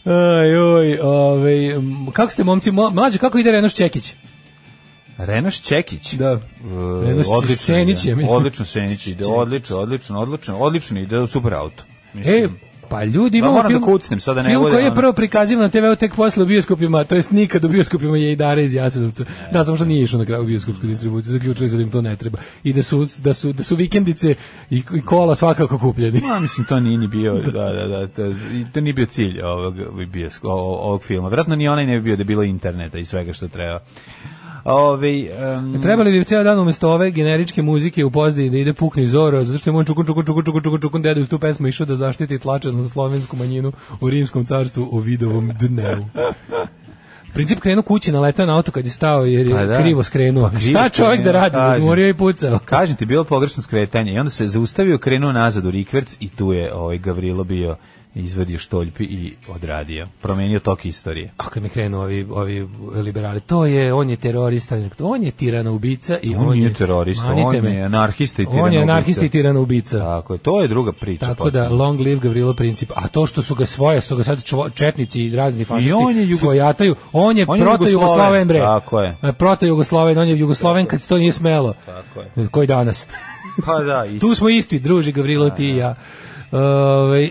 Speaker 6: Aj, oj, ovaj, m, kako ste momci, mo- mlađe, kako ide Renoš Čekić?
Speaker 5: Renoš Čekić.
Speaker 6: Da.
Speaker 5: E,
Speaker 6: Renoš
Speaker 5: odlično
Speaker 6: Senić
Speaker 5: ide.
Speaker 6: je, mislim.
Speaker 5: Odlično Senić ide, odlično, odlično, odlično, odlično ide, super auto. Mislim,
Speaker 6: E, pa ljudi,
Speaker 5: Da,
Speaker 6: imamo
Speaker 5: moram da
Speaker 6: film,
Speaker 5: kucnem, sad da ne
Speaker 6: film
Speaker 5: bude
Speaker 6: koji je
Speaker 5: ono-
Speaker 6: prvo prikazivan na TV-u tek posle u bioskopima, to jest nikad u bioskopima je i Dara iz Jasenovca. Da, samo što nije išao na kraju u bioskopsku distribuciju, zaključili su da im to ne treba. I da su, da su, da su vikendice i, i kola svakako kupljeni.
Speaker 5: Ma, mislim, to nije ni bio, da, da, da, to, i to nije bio cilj ovog, biosk- o- ovog filma. Vratno ni onaj ne bi bio da je bilo interneta i svega što treba. Ove, em,
Speaker 6: Trebali bi cijel dan umjesto ove generičke muzike u pozdi da ide pukni zoro, zato što je moj čukun, čukun, čukun, čukun, čukun, čukun, dedu iz tu pesmu išao da zaštiti tlačenu slovensku manjinu u rimskom carstvu o vidovom dnevu. Princip krenuo kući, naletao na auto kad je stao jer je
Speaker 5: Pa da.
Speaker 6: krivo
Speaker 5: Pa
Speaker 6: skrenuo.
Speaker 5: krivo
Speaker 6: Šta čovjek da
Speaker 5: skrenuo,
Speaker 6: radi?
Speaker 5: kažem.
Speaker 6: Zamorio je i pucao.
Speaker 5: Kažem ti, bilo pogrešno skretanje i onda se zaustavio, krenuo nazad u Rikverc i tu je ovaj Gavrilo bio izvadio štoljpi i odradio. Promenio tok istorije.
Speaker 6: A kad mi krenu ovi, ovi liberali, to je, on je terorista, on je tirana ubica i
Speaker 5: On,
Speaker 6: on,
Speaker 5: nije terorista, on
Speaker 6: manite me.
Speaker 5: je anarhista i tirano
Speaker 6: On je anarhist i tirana ubica.
Speaker 5: Tako je, to je druga priča.
Speaker 6: Tako da,
Speaker 5: potpuno.
Speaker 6: long live Gavrilo Princip. A to što su ga svoje, što ga sad čvo- četnici i razni fašisti
Speaker 5: I on je Jugos-
Speaker 6: svojataju, on je,
Speaker 5: On je
Speaker 6: proto-Jugosloven, bre.
Speaker 5: Tako je.
Speaker 6: E, Proto-Jugosloven, on je Jugosloven kad se to nije smelo.
Speaker 5: Tako je.
Speaker 6: E, Koji danas?
Speaker 5: Pa da, isto.
Speaker 6: Tu smo isti, druži Gavrilo, ti i ja. Ovaj,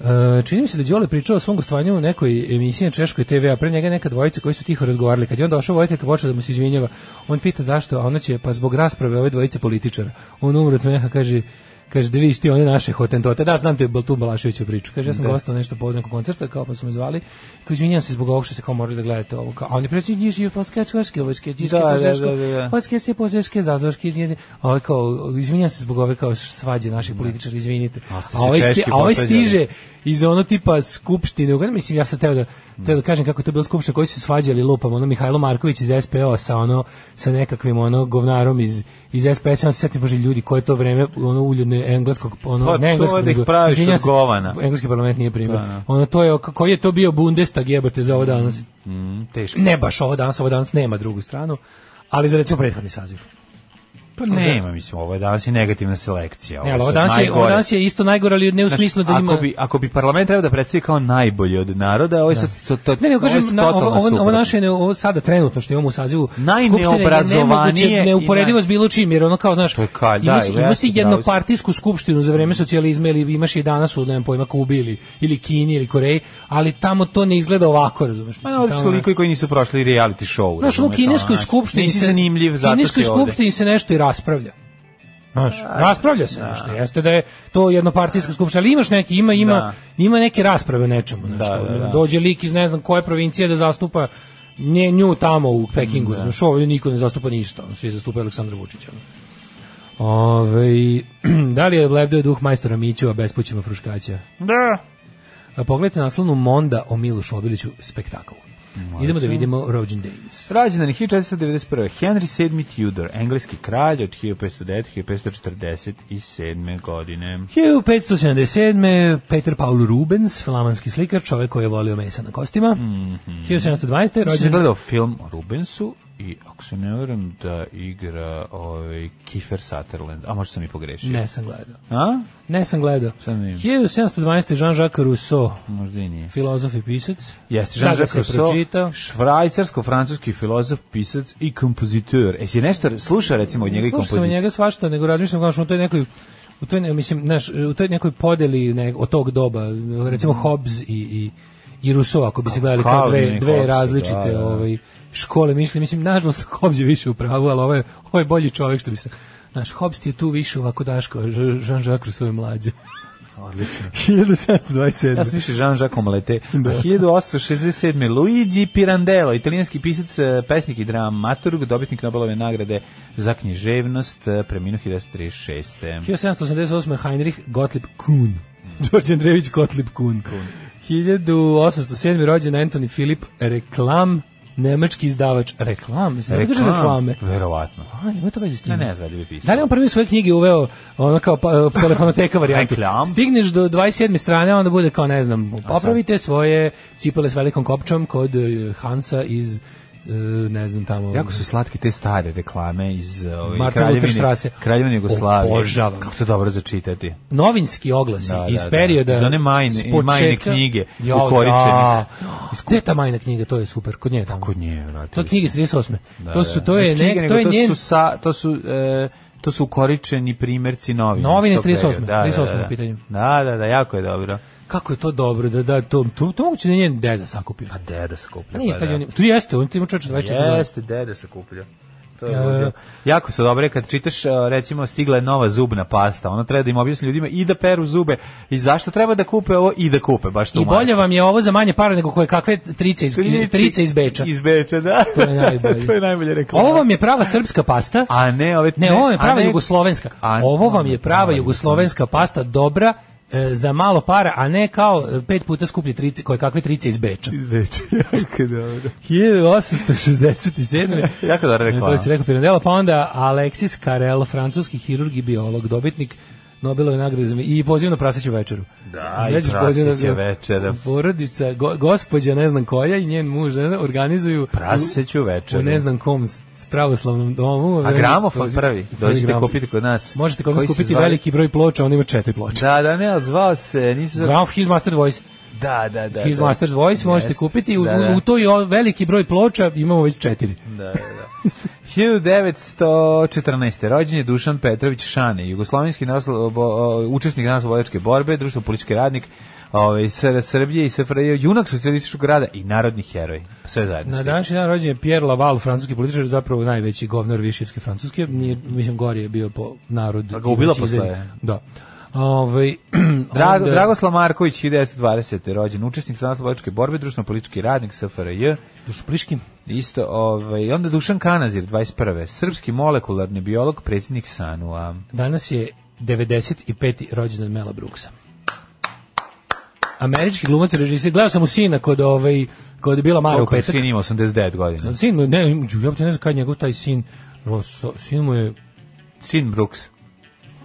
Speaker 6: E, čini mi se da je Đole pričao o svom gostovanju u nekoj emisiji na Češkoj TV, a pre njega neka dvojica koji su tiho razgovarali. Kad je on došao, vojitelj počeo da mu se izvinjava. On pita zašto, a ona će, pa zbog rasprave ove dvojice političara. On umre od smeha, kaže, kaže da vidiš ti one naše hotentote. Da, znam te tu Balaševiću priču. Kaže, ja sam gostao nešto povodom nekog koncerta, kao pa su me zvali. Kao, izvinjam se zbog ovog što ste kao morali da gledate ovo. Kao, a on je preći njih živ, poskač, vaške, vaške, džiške,
Speaker 5: Da, da,
Speaker 6: požeško,
Speaker 5: da, da, da.
Speaker 6: poskač se, požeške, zazorške, izvinjam se. A ovaj kao, izvinjam se zbog ove kao svađe naših političara, izvinite.
Speaker 5: A ste
Speaker 6: A
Speaker 5: Pa, se
Speaker 6: ovaj, sti,
Speaker 5: češki
Speaker 6: a ovaj
Speaker 5: posvađali.
Speaker 6: stiže iz ono tipa skupštine, uglavnom, mislim ja sam teo da, teo da kažem kako je to bilo skupština koji su se svađali lupam, ono Mihajlo Marković iz SPO sa ono, sa nekakvim ono govnarom iz, iz SPS, on se setim, bože ljudi, koje je to vreme, ono uljudne engleskog, ono,
Speaker 5: Pa,
Speaker 6: ne
Speaker 5: to
Speaker 6: engleskog,
Speaker 5: da ih
Speaker 6: nego-
Speaker 5: praviš
Speaker 6: izvinjam
Speaker 5: od
Speaker 6: se,
Speaker 5: govana.
Speaker 6: Engleski parlament nije primjer.
Speaker 5: Pa, da.
Speaker 6: Ono, to je, koji je to bio Bundestag jebote za ovo danas?
Speaker 5: Mm, teško.
Speaker 6: Ne baš ovo danas, ovo danas nema drugu stranu, ali za recimo prethodni saziv.
Speaker 5: Pa nema, mislim, ovo je danas i negativna selekcija.
Speaker 6: Ne,
Speaker 5: je
Speaker 6: ali ovo
Speaker 5: sad
Speaker 6: danas, je, ovo
Speaker 5: najgore.
Speaker 6: danas je isto najgore, ali ne u
Speaker 5: Znaš,
Speaker 6: smislu da ima...
Speaker 5: Ako bi, ako bi parlament trebao da predstavi kao najbolji od naroda, ovo je sad... To, to,
Speaker 6: Ne, ne,
Speaker 5: ovo je
Speaker 6: kažem, na, ovo,
Speaker 5: totalno
Speaker 6: ovo, ovo
Speaker 5: suprotno.
Speaker 6: naše, ne, ovo sada trenutno što imamo u sazivu,
Speaker 5: Najneobrazovanije
Speaker 6: skupštine je nemoguće,
Speaker 5: i
Speaker 6: neuporedivo
Speaker 5: naj-
Speaker 6: s bilo čim, jer ono kao, znaš,
Speaker 5: To je kalj,
Speaker 6: ima,
Speaker 5: da,
Speaker 6: si,
Speaker 5: i
Speaker 6: ima si
Speaker 5: jeste, pravo si.
Speaker 6: jednopartijsku skupštinu za vreme socijalizma ili imaš je danas u, nemam pojma, Kubi ili, ili Kini ili Koreji, ali tamo to ne izgleda ovako, razumeš?
Speaker 5: Pa
Speaker 6: mislim,
Speaker 5: ovdje su
Speaker 6: tamo-
Speaker 5: likovi koji nisu prošli reality show.
Speaker 6: Znaš, ono, u
Speaker 5: razumeš,
Speaker 6: kineskoj
Speaker 5: ono,
Speaker 6: skupštini
Speaker 5: Nisi
Speaker 6: se,
Speaker 5: zanimljiv, zato
Speaker 6: kineskoj
Speaker 5: si ovde.
Speaker 6: skupštini se nešto i raspravlja. Znaš, raspravlja se nešto. Jeste da je to jednopartijska skupština, ali imaš neki, ima, ima,
Speaker 5: Da.
Speaker 6: ima neke rasprave o nečemu. Znaš,
Speaker 5: Da, da, da.
Speaker 6: Dođe lik iz ne znam koje provincije da zastupa nje, nju tamo u Pekingu. Znaš, ovdje niko ne zastupa ništa. Ono, svi zastupaju Aleksandra Vučića. ono. Ovaj, da li je lebdeo duh majstora Mićeva bespućima fruškaća?
Speaker 11: Da.
Speaker 6: A Pogledajte naslovnu Monda o Milošu Obiliću spektakl. Idemo da vidimo Rođen Days.
Speaker 5: Rađen je 1491. Henry VII Tudor, engleski kralj od 1509. 1547. godine.
Speaker 6: 1577. Peter Paul Rubens, flamanski slikar, čovek koji je volio mesa na kostima. 1720.
Speaker 5: Mhm. Mislim da sam
Speaker 6: rođen
Speaker 5: gledao film o Rubensu i ako se ne verujem da igra ovaj, Kiefer Sutherland, a možda sam i pogrešio.
Speaker 6: Ne sam gledao.
Speaker 5: A?
Speaker 6: Ne sam gledao.
Speaker 5: Sad ne.
Speaker 6: 1712. Jean-Jacques Rousseau,
Speaker 5: Možda i nije.
Speaker 6: filozof i pisac.
Speaker 5: Jeste,
Speaker 6: Da ga
Speaker 5: Jean-Jacques
Speaker 6: se
Speaker 5: Rousseau,
Speaker 6: pročita.
Speaker 5: švajcarsko-francuski filozof, pisac i kompozitor. E si nešto slušao recimo od njega i
Speaker 6: Slušao sam od
Speaker 5: kompozicije?
Speaker 6: njega svašta, nego razmišljam kao što u toj nekoj u toj ne- mislim, znaš, u toj nekoj podeli ne, od tog doba, recimo Hobbes i i i Rousseau, ako bi se gledali kao
Speaker 5: Mm. Calvin
Speaker 6: dve,
Speaker 5: i
Speaker 6: dve
Speaker 5: Hobbes,
Speaker 6: različite
Speaker 5: da, da.
Speaker 6: ovaj škole misli, mislim nažalost Hobbes je više u pravu, ali ovo je, ovo je bolji čovjek što bi se Naš Hobbes ti je tu više ovako daško, Jean-Jacques Rousseau je mlađe.
Speaker 5: Odlično.
Speaker 6: 1727.
Speaker 5: Ja sam više Jean-Jacques Omelete. A 1867. Luigi Pirandello, italijanski pisac, eh, pesnik i dramaturg, dobitnik Nobelove nagrade za književnost, eh, preminuo 1936.
Speaker 6: 1788. Heinrich Gottlieb Kuhn. Đorđe Andrejević Gottlieb Kuhn. 1807. rođen Anthony Filip Reklam, nemački izdavač Reklam. Znači, reklam. Kaže reklame.
Speaker 5: Verovatno.
Speaker 6: A, ima to veze s tim.
Speaker 5: Ne, ne znam da bi pisao.
Speaker 6: Da li on prvi u svoje knjige uveo ono kao pa, telefonoteka varijantu?
Speaker 5: Reklam.
Speaker 6: Stigneš do 27. strane, onda bude kao ne znam, popravite svoje cipele s velikom kopčom kod eh, Hansa iz eh, ne znam tamo.
Speaker 5: Jako su slatke te stare reklame iz eh, ove,
Speaker 6: Martin Luther Strasse.
Speaker 5: kraljevine, kraljevine Jugoslavije.
Speaker 6: Obožavam.
Speaker 5: Kako to dobro začitati.
Speaker 6: novinski oglasi
Speaker 5: Da, da,
Speaker 6: iz
Speaker 5: da.
Speaker 6: perioda
Speaker 5: Iz one majne-
Speaker 6: s početka-
Speaker 5: majne knjige,
Speaker 6: Jo,
Speaker 5: ukoričene.
Speaker 6: da. Gde je ta majna knjiga, to je super, kod nje je tamo.
Speaker 5: Kod nje, vrati.
Speaker 6: To je knjige iz 38.
Speaker 5: Da,
Speaker 6: to su
Speaker 5: da.
Speaker 6: to je
Speaker 5: Nisu knjige,
Speaker 6: ne,
Speaker 5: nego
Speaker 6: to je njen
Speaker 5: Su sa, to su, e, to su ukoričeni primjerci novina.
Speaker 6: Novine
Speaker 5: iz
Speaker 6: iz
Speaker 5: tog perioda.
Speaker 6: 38., 38. u pitanju.
Speaker 5: Da, da, da, jako je dobro.
Speaker 6: kako je to dobro da da to to, to moguće da je njen deda sakupio.
Speaker 5: A deda se kuplja.
Speaker 6: Nije taj on, tu jeste, on ti ima čoveče 24 godine.
Speaker 5: pa Jeste, deda se kuplja. To je ludilo. jako su dobre kad čitaš e, recimo stigla je nova zubna pasta ona treba da im objasni ljudima i da peru zube i zašto treba da kupe ovo i da kupe baš tu
Speaker 6: I bolje
Speaker 5: marku.
Speaker 6: vam je ovo za manje para nego koje kakve trice iz trice iz Beča.
Speaker 5: iz Beča da
Speaker 6: To je najbolje.
Speaker 5: to je najbolje reklama
Speaker 6: Ovo vam je prava srpska pasta.
Speaker 5: a ne ove
Speaker 6: Ne, ovo je
Speaker 5: a
Speaker 6: prava
Speaker 5: ne-
Speaker 6: jugoslovenska.
Speaker 5: A-
Speaker 6: Ovo vam je prava
Speaker 5: a,
Speaker 6: jugoslovenska pasta, dobra, e, za malo para, a ne kao e, pet puta skuplje trice, koje kakve trice iz Beča.
Speaker 5: iz Beča jako dobro
Speaker 6: 1867.
Speaker 5: Jako dobra reklama.
Speaker 6: To si rekao Pirandello, pa onda Alexis Carrel, francuski hirurg i biolog, dobitnik Nobelove nagrade za mir i poziv na praseću večeru.
Speaker 5: Da, i
Speaker 6: Sećaš
Speaker 5: praseća
Speaker 6: poziv na-
Speaker 5: večera.
Speaker 6: Porodica, go, gospođa ne znam koja i njen muž ne znam, organizuju
Speaker 5: Praseću
Speaker 6: u, u
Speaker 5: večeru.
Speaker 6: ne znam kom s s pravoslavnom domu. Znači,
Speaker 5: A gramofon
Speaker 6: Poziv-
Speaker 5: prvi, dođite
Speaker 6: gramofon.
Speaker 5: kupiti kod nas.
Speaker 6: Možete kod nas
Speaker 5: Koji se
Speaker 6: kupiti
Speaker 5: zvali-
Speaker 6: veliki broj ploča, on ima četiri ploče.
Speaker 5: Da, da, ne, ali zvao se, nisi zvao...
Speaker 6: Gramf, his master voice.
Speaker 5: Da, da, da.
Speaker 6: His
Speaker 5: da.
Speaker 6: Master's Voice možete
Speaker 5: Jest.
Speaker 6: kupiti u,
Speaker 5: Da, da.
Speaker 6: u toj o- veliki broj ploča imamo već četiri.
Speaker 5: Da, da, da. 1914. rođen je Dušan Petrović Šane, jugoslovenski naslo, bo, o, učesnik naslobodačke borbe, društvo politički radnik ove, Sr Srbije i SFRJ, junak socijalističkog rada i narodni heroj. Sve zajedno.
Speaker 6: Na
Speaker 5: svi.
Speaker 6: današnji dan rođen je Pierre Laval, francuski političar, zapravo najveći govnar Višivske Francuske. Nije, mislim, gori je bio po narod.
Speaker 5: Pa ga ubila
Speaker 6: i veći
Speaker 5: posle.
Speaker 6: izdaj- Da. Ove,
Speaker 5: Dra,
Speaker 6: onda-
Speaker 5: Dragoslav Marković, 1920. rođen, učesnik naslobodačke borbe, društvo politički radnik SFRJ,
Speaker 6: Dušopliški.
Speaker 5: isto, ovaj, i onda Dušan Kanazir, 21. Srpski molekularni biolog, predsjednik Sanua.
Speaker 6: Danas je 95. rođendan Mela Brooksa. Američki glumac i režisir. Gledao sam u sina kod, ovaj, kod je bila Mara u
Speaker 5: Koliko je
Speaker 6: petak.
Speaker 5: sin ima 89 godina?
Speaker 6: Sin mu, ne, ja ti ne znam kada je njegov taj sin, o, so- sin mu je
Speaker 5: Sin Brooks.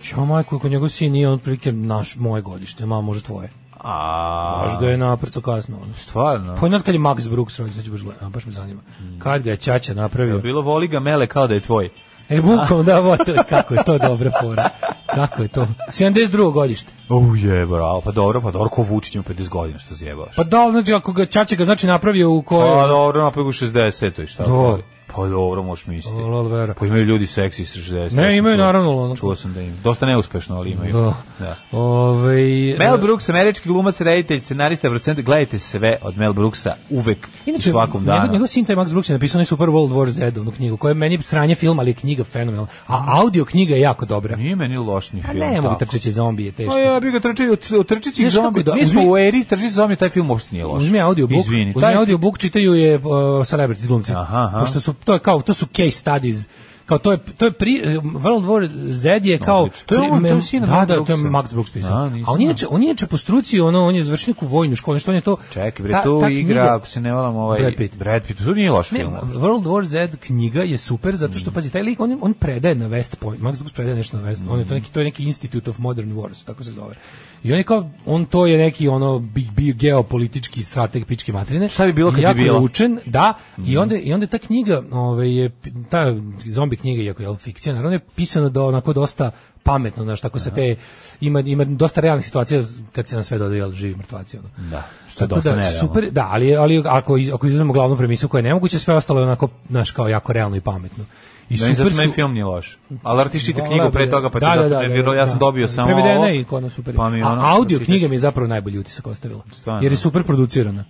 Speaker 6: Ćao majko, ako njegov sin nije on prilike naš, moje godište, malo može tvoje.
Speaker 5: A,
Speaker 6: Baš ga je naprco kasno. ono.
Speaker 5: stvarno.
Speaker 6: Pa i nas kad je Max Brooks rođen, sad ću baš gledati, a, baš me zanima.
Speaker 5: Mm.
Speaker 6: Kad ga je Ćaća napravio?
Speaker 5: Bilo voli ga mele kao da je tvoj.
Speaker 6: E, bukom, da, ovo, to, kako je to dobra fora. Kako je to? 72. godište.
Speaker 5: U je, bravo, pa dobro, pa dobro, ko Vučić ima 50 godina, što zjebaš.
Speaker 6: Pa da, znači, ako ga Ćaća ga znači napravio u
Speaker 5: Pa
Speaker 6: kojoj...
Speaker 5: dobro, napravio ga u 60 i šta?
Speaker 6: Do.
Speaker 5: Pa dobro, možeš misliti.
Speaker 6: O, lol, vera.
Speaker 5: Pa imaju ljudi seksi sa 60.
Speaker 6: Ne,
Speaker 5: ja sam
Speaker 6: imaju,
Speaker 5: čuo.
Speaker 6: naravno, ono.
Speaker 5: Čuo sam da imaju. Dosta neuspešno, ali imaju.
Speaker 6: Da.
Speaker 5: Da.
Speaker 6: Ovaj,
Speaker 5: Mel Brooks, američki glumac, reditelj, scenarista, producent, gledajte sve od Mel Brooksa uvek Inače,
Speaker 6: Inače,
Speaker 5: svakom
Speaker 6: njegov-
Speaker 5: danu.
Speaker 6: Njegov sin taj Max Brooks je napisao onaj Super World War Z, onu knjigu, koja je meni sranje film, ali je knjiga fenomenalna. A audio knjiga je jako dobra.
Speaker 5: Nije meni loš ni
Speaker 6: A
Speaker 5: film.
Speaker 6: ne, mogu
Speaker 5: tako.
Speaker 6: trčeći zombije, teško.
Speaker 5: Pa ja bih ga trčio od trčićih
Speaker 6: Znaš kako
Speaker 5: zombi.
Speaker 6: da-
Speaker 5: Mi smo
Speaker 6: uzmi-
Speaker 5: u eri trčićih zombi, taj film uopšte nije loš.
Speaker 6: Uzmi audiobook,
Speaker 5: Izvini,
Speaker 6: uzmi
Speaker 5: taj-
Speaker 6: audiobook, čitaju je uh, celebrity glumci.
Speaker 5: Aha, aha.
Speaker 6: Pošto su to je kao to su case studies. Kao to je to je pri, uh, World War Z je kao
Speaker 5: Odlično. To je ovo, to je sina
Speaker 6: da,
Speaker 5: Max
Speaker 6: da, to je
Speaker 5: Brooksa.
Speaker 6: Max Brooks pisao.
Speaker 5: Da,
Speaker 6: A,
Speaker 5: nisam
Speaker 6: on je inače on je inače po struci ono on je završnik u vojnu školu, što on je to.
Speaker 5: Čekaj, bre,
Speaker 6: ta-
Speaker 5: tu
Speaker 6: ta
Speaker 5: igra,
Speaker 6: knjiga-
Speaker 5: ako se ne valam, ovaj...
Speaker 6: Brad Pitt.
Speaker 5: Brad Pitt, to nije loš
Speaker 6: Ne,
Speaker 5: film. Mm. uopšte.
Speaker 6: World War Z knjiga je super zato što pazi taj lik on on predaje na West Point. Max Brooks predaje nešto na West. On je
Speaker 5: Mm.
Speaker 6: to neki to je neki Institute of Modern Wars, tako se zove. I on je kao on to je neki ono big big geopolitički strateg pičke materine.
Speaker 5: Šta bi bilo kad
Speaker 6: I
Speaker 5: bi
Speaker 6: jako je
Speaker 5: bilo? Mm.
Speaker 6: učen, da. I onda i onda ta knjiga, ovaj je ta zombi knjiga iako je jel, fikcija, naravno je pisana da onako dosta pametno, znaš, tako se te ima ima dosta realnih situacija kad se na sve dodaju jel, živi mrtvaci ono.
Speaker 5: Da, što je
Speaker 6: Tako
Speaker 5: dosta
Speaker 6: da,
Speaker 5: nerealno.
Speaker 6: Super, da, ali, ali ako, iz- ako izuzmemo glavnu premisu koja je nemoguća, sve ostalo je onako, znaš, kao jako realno i pametno. I
Speaker 5: Meni zato
Speaker 6: su-
Speaker 5: meni film nije loš. Ali arti čita
Speaker 6: Voleo
Speaker 5: knjigu
Speaker 6: bi
Speaker 5: pre toga, pa ti zato ne vjerujem, ja sam dobio samo ovo.
Speaker 6: Prevedena je i kod nas super.
Speaker 5: Pa mi ono,
Speaker 6: A audio
Speaker 5: pročitaš.
Speaker 6: knjiga mi je zapravo najbolji utisak ostavila.
Speaker 5: Stvarno.
Speaker 6: Jer je super producirana.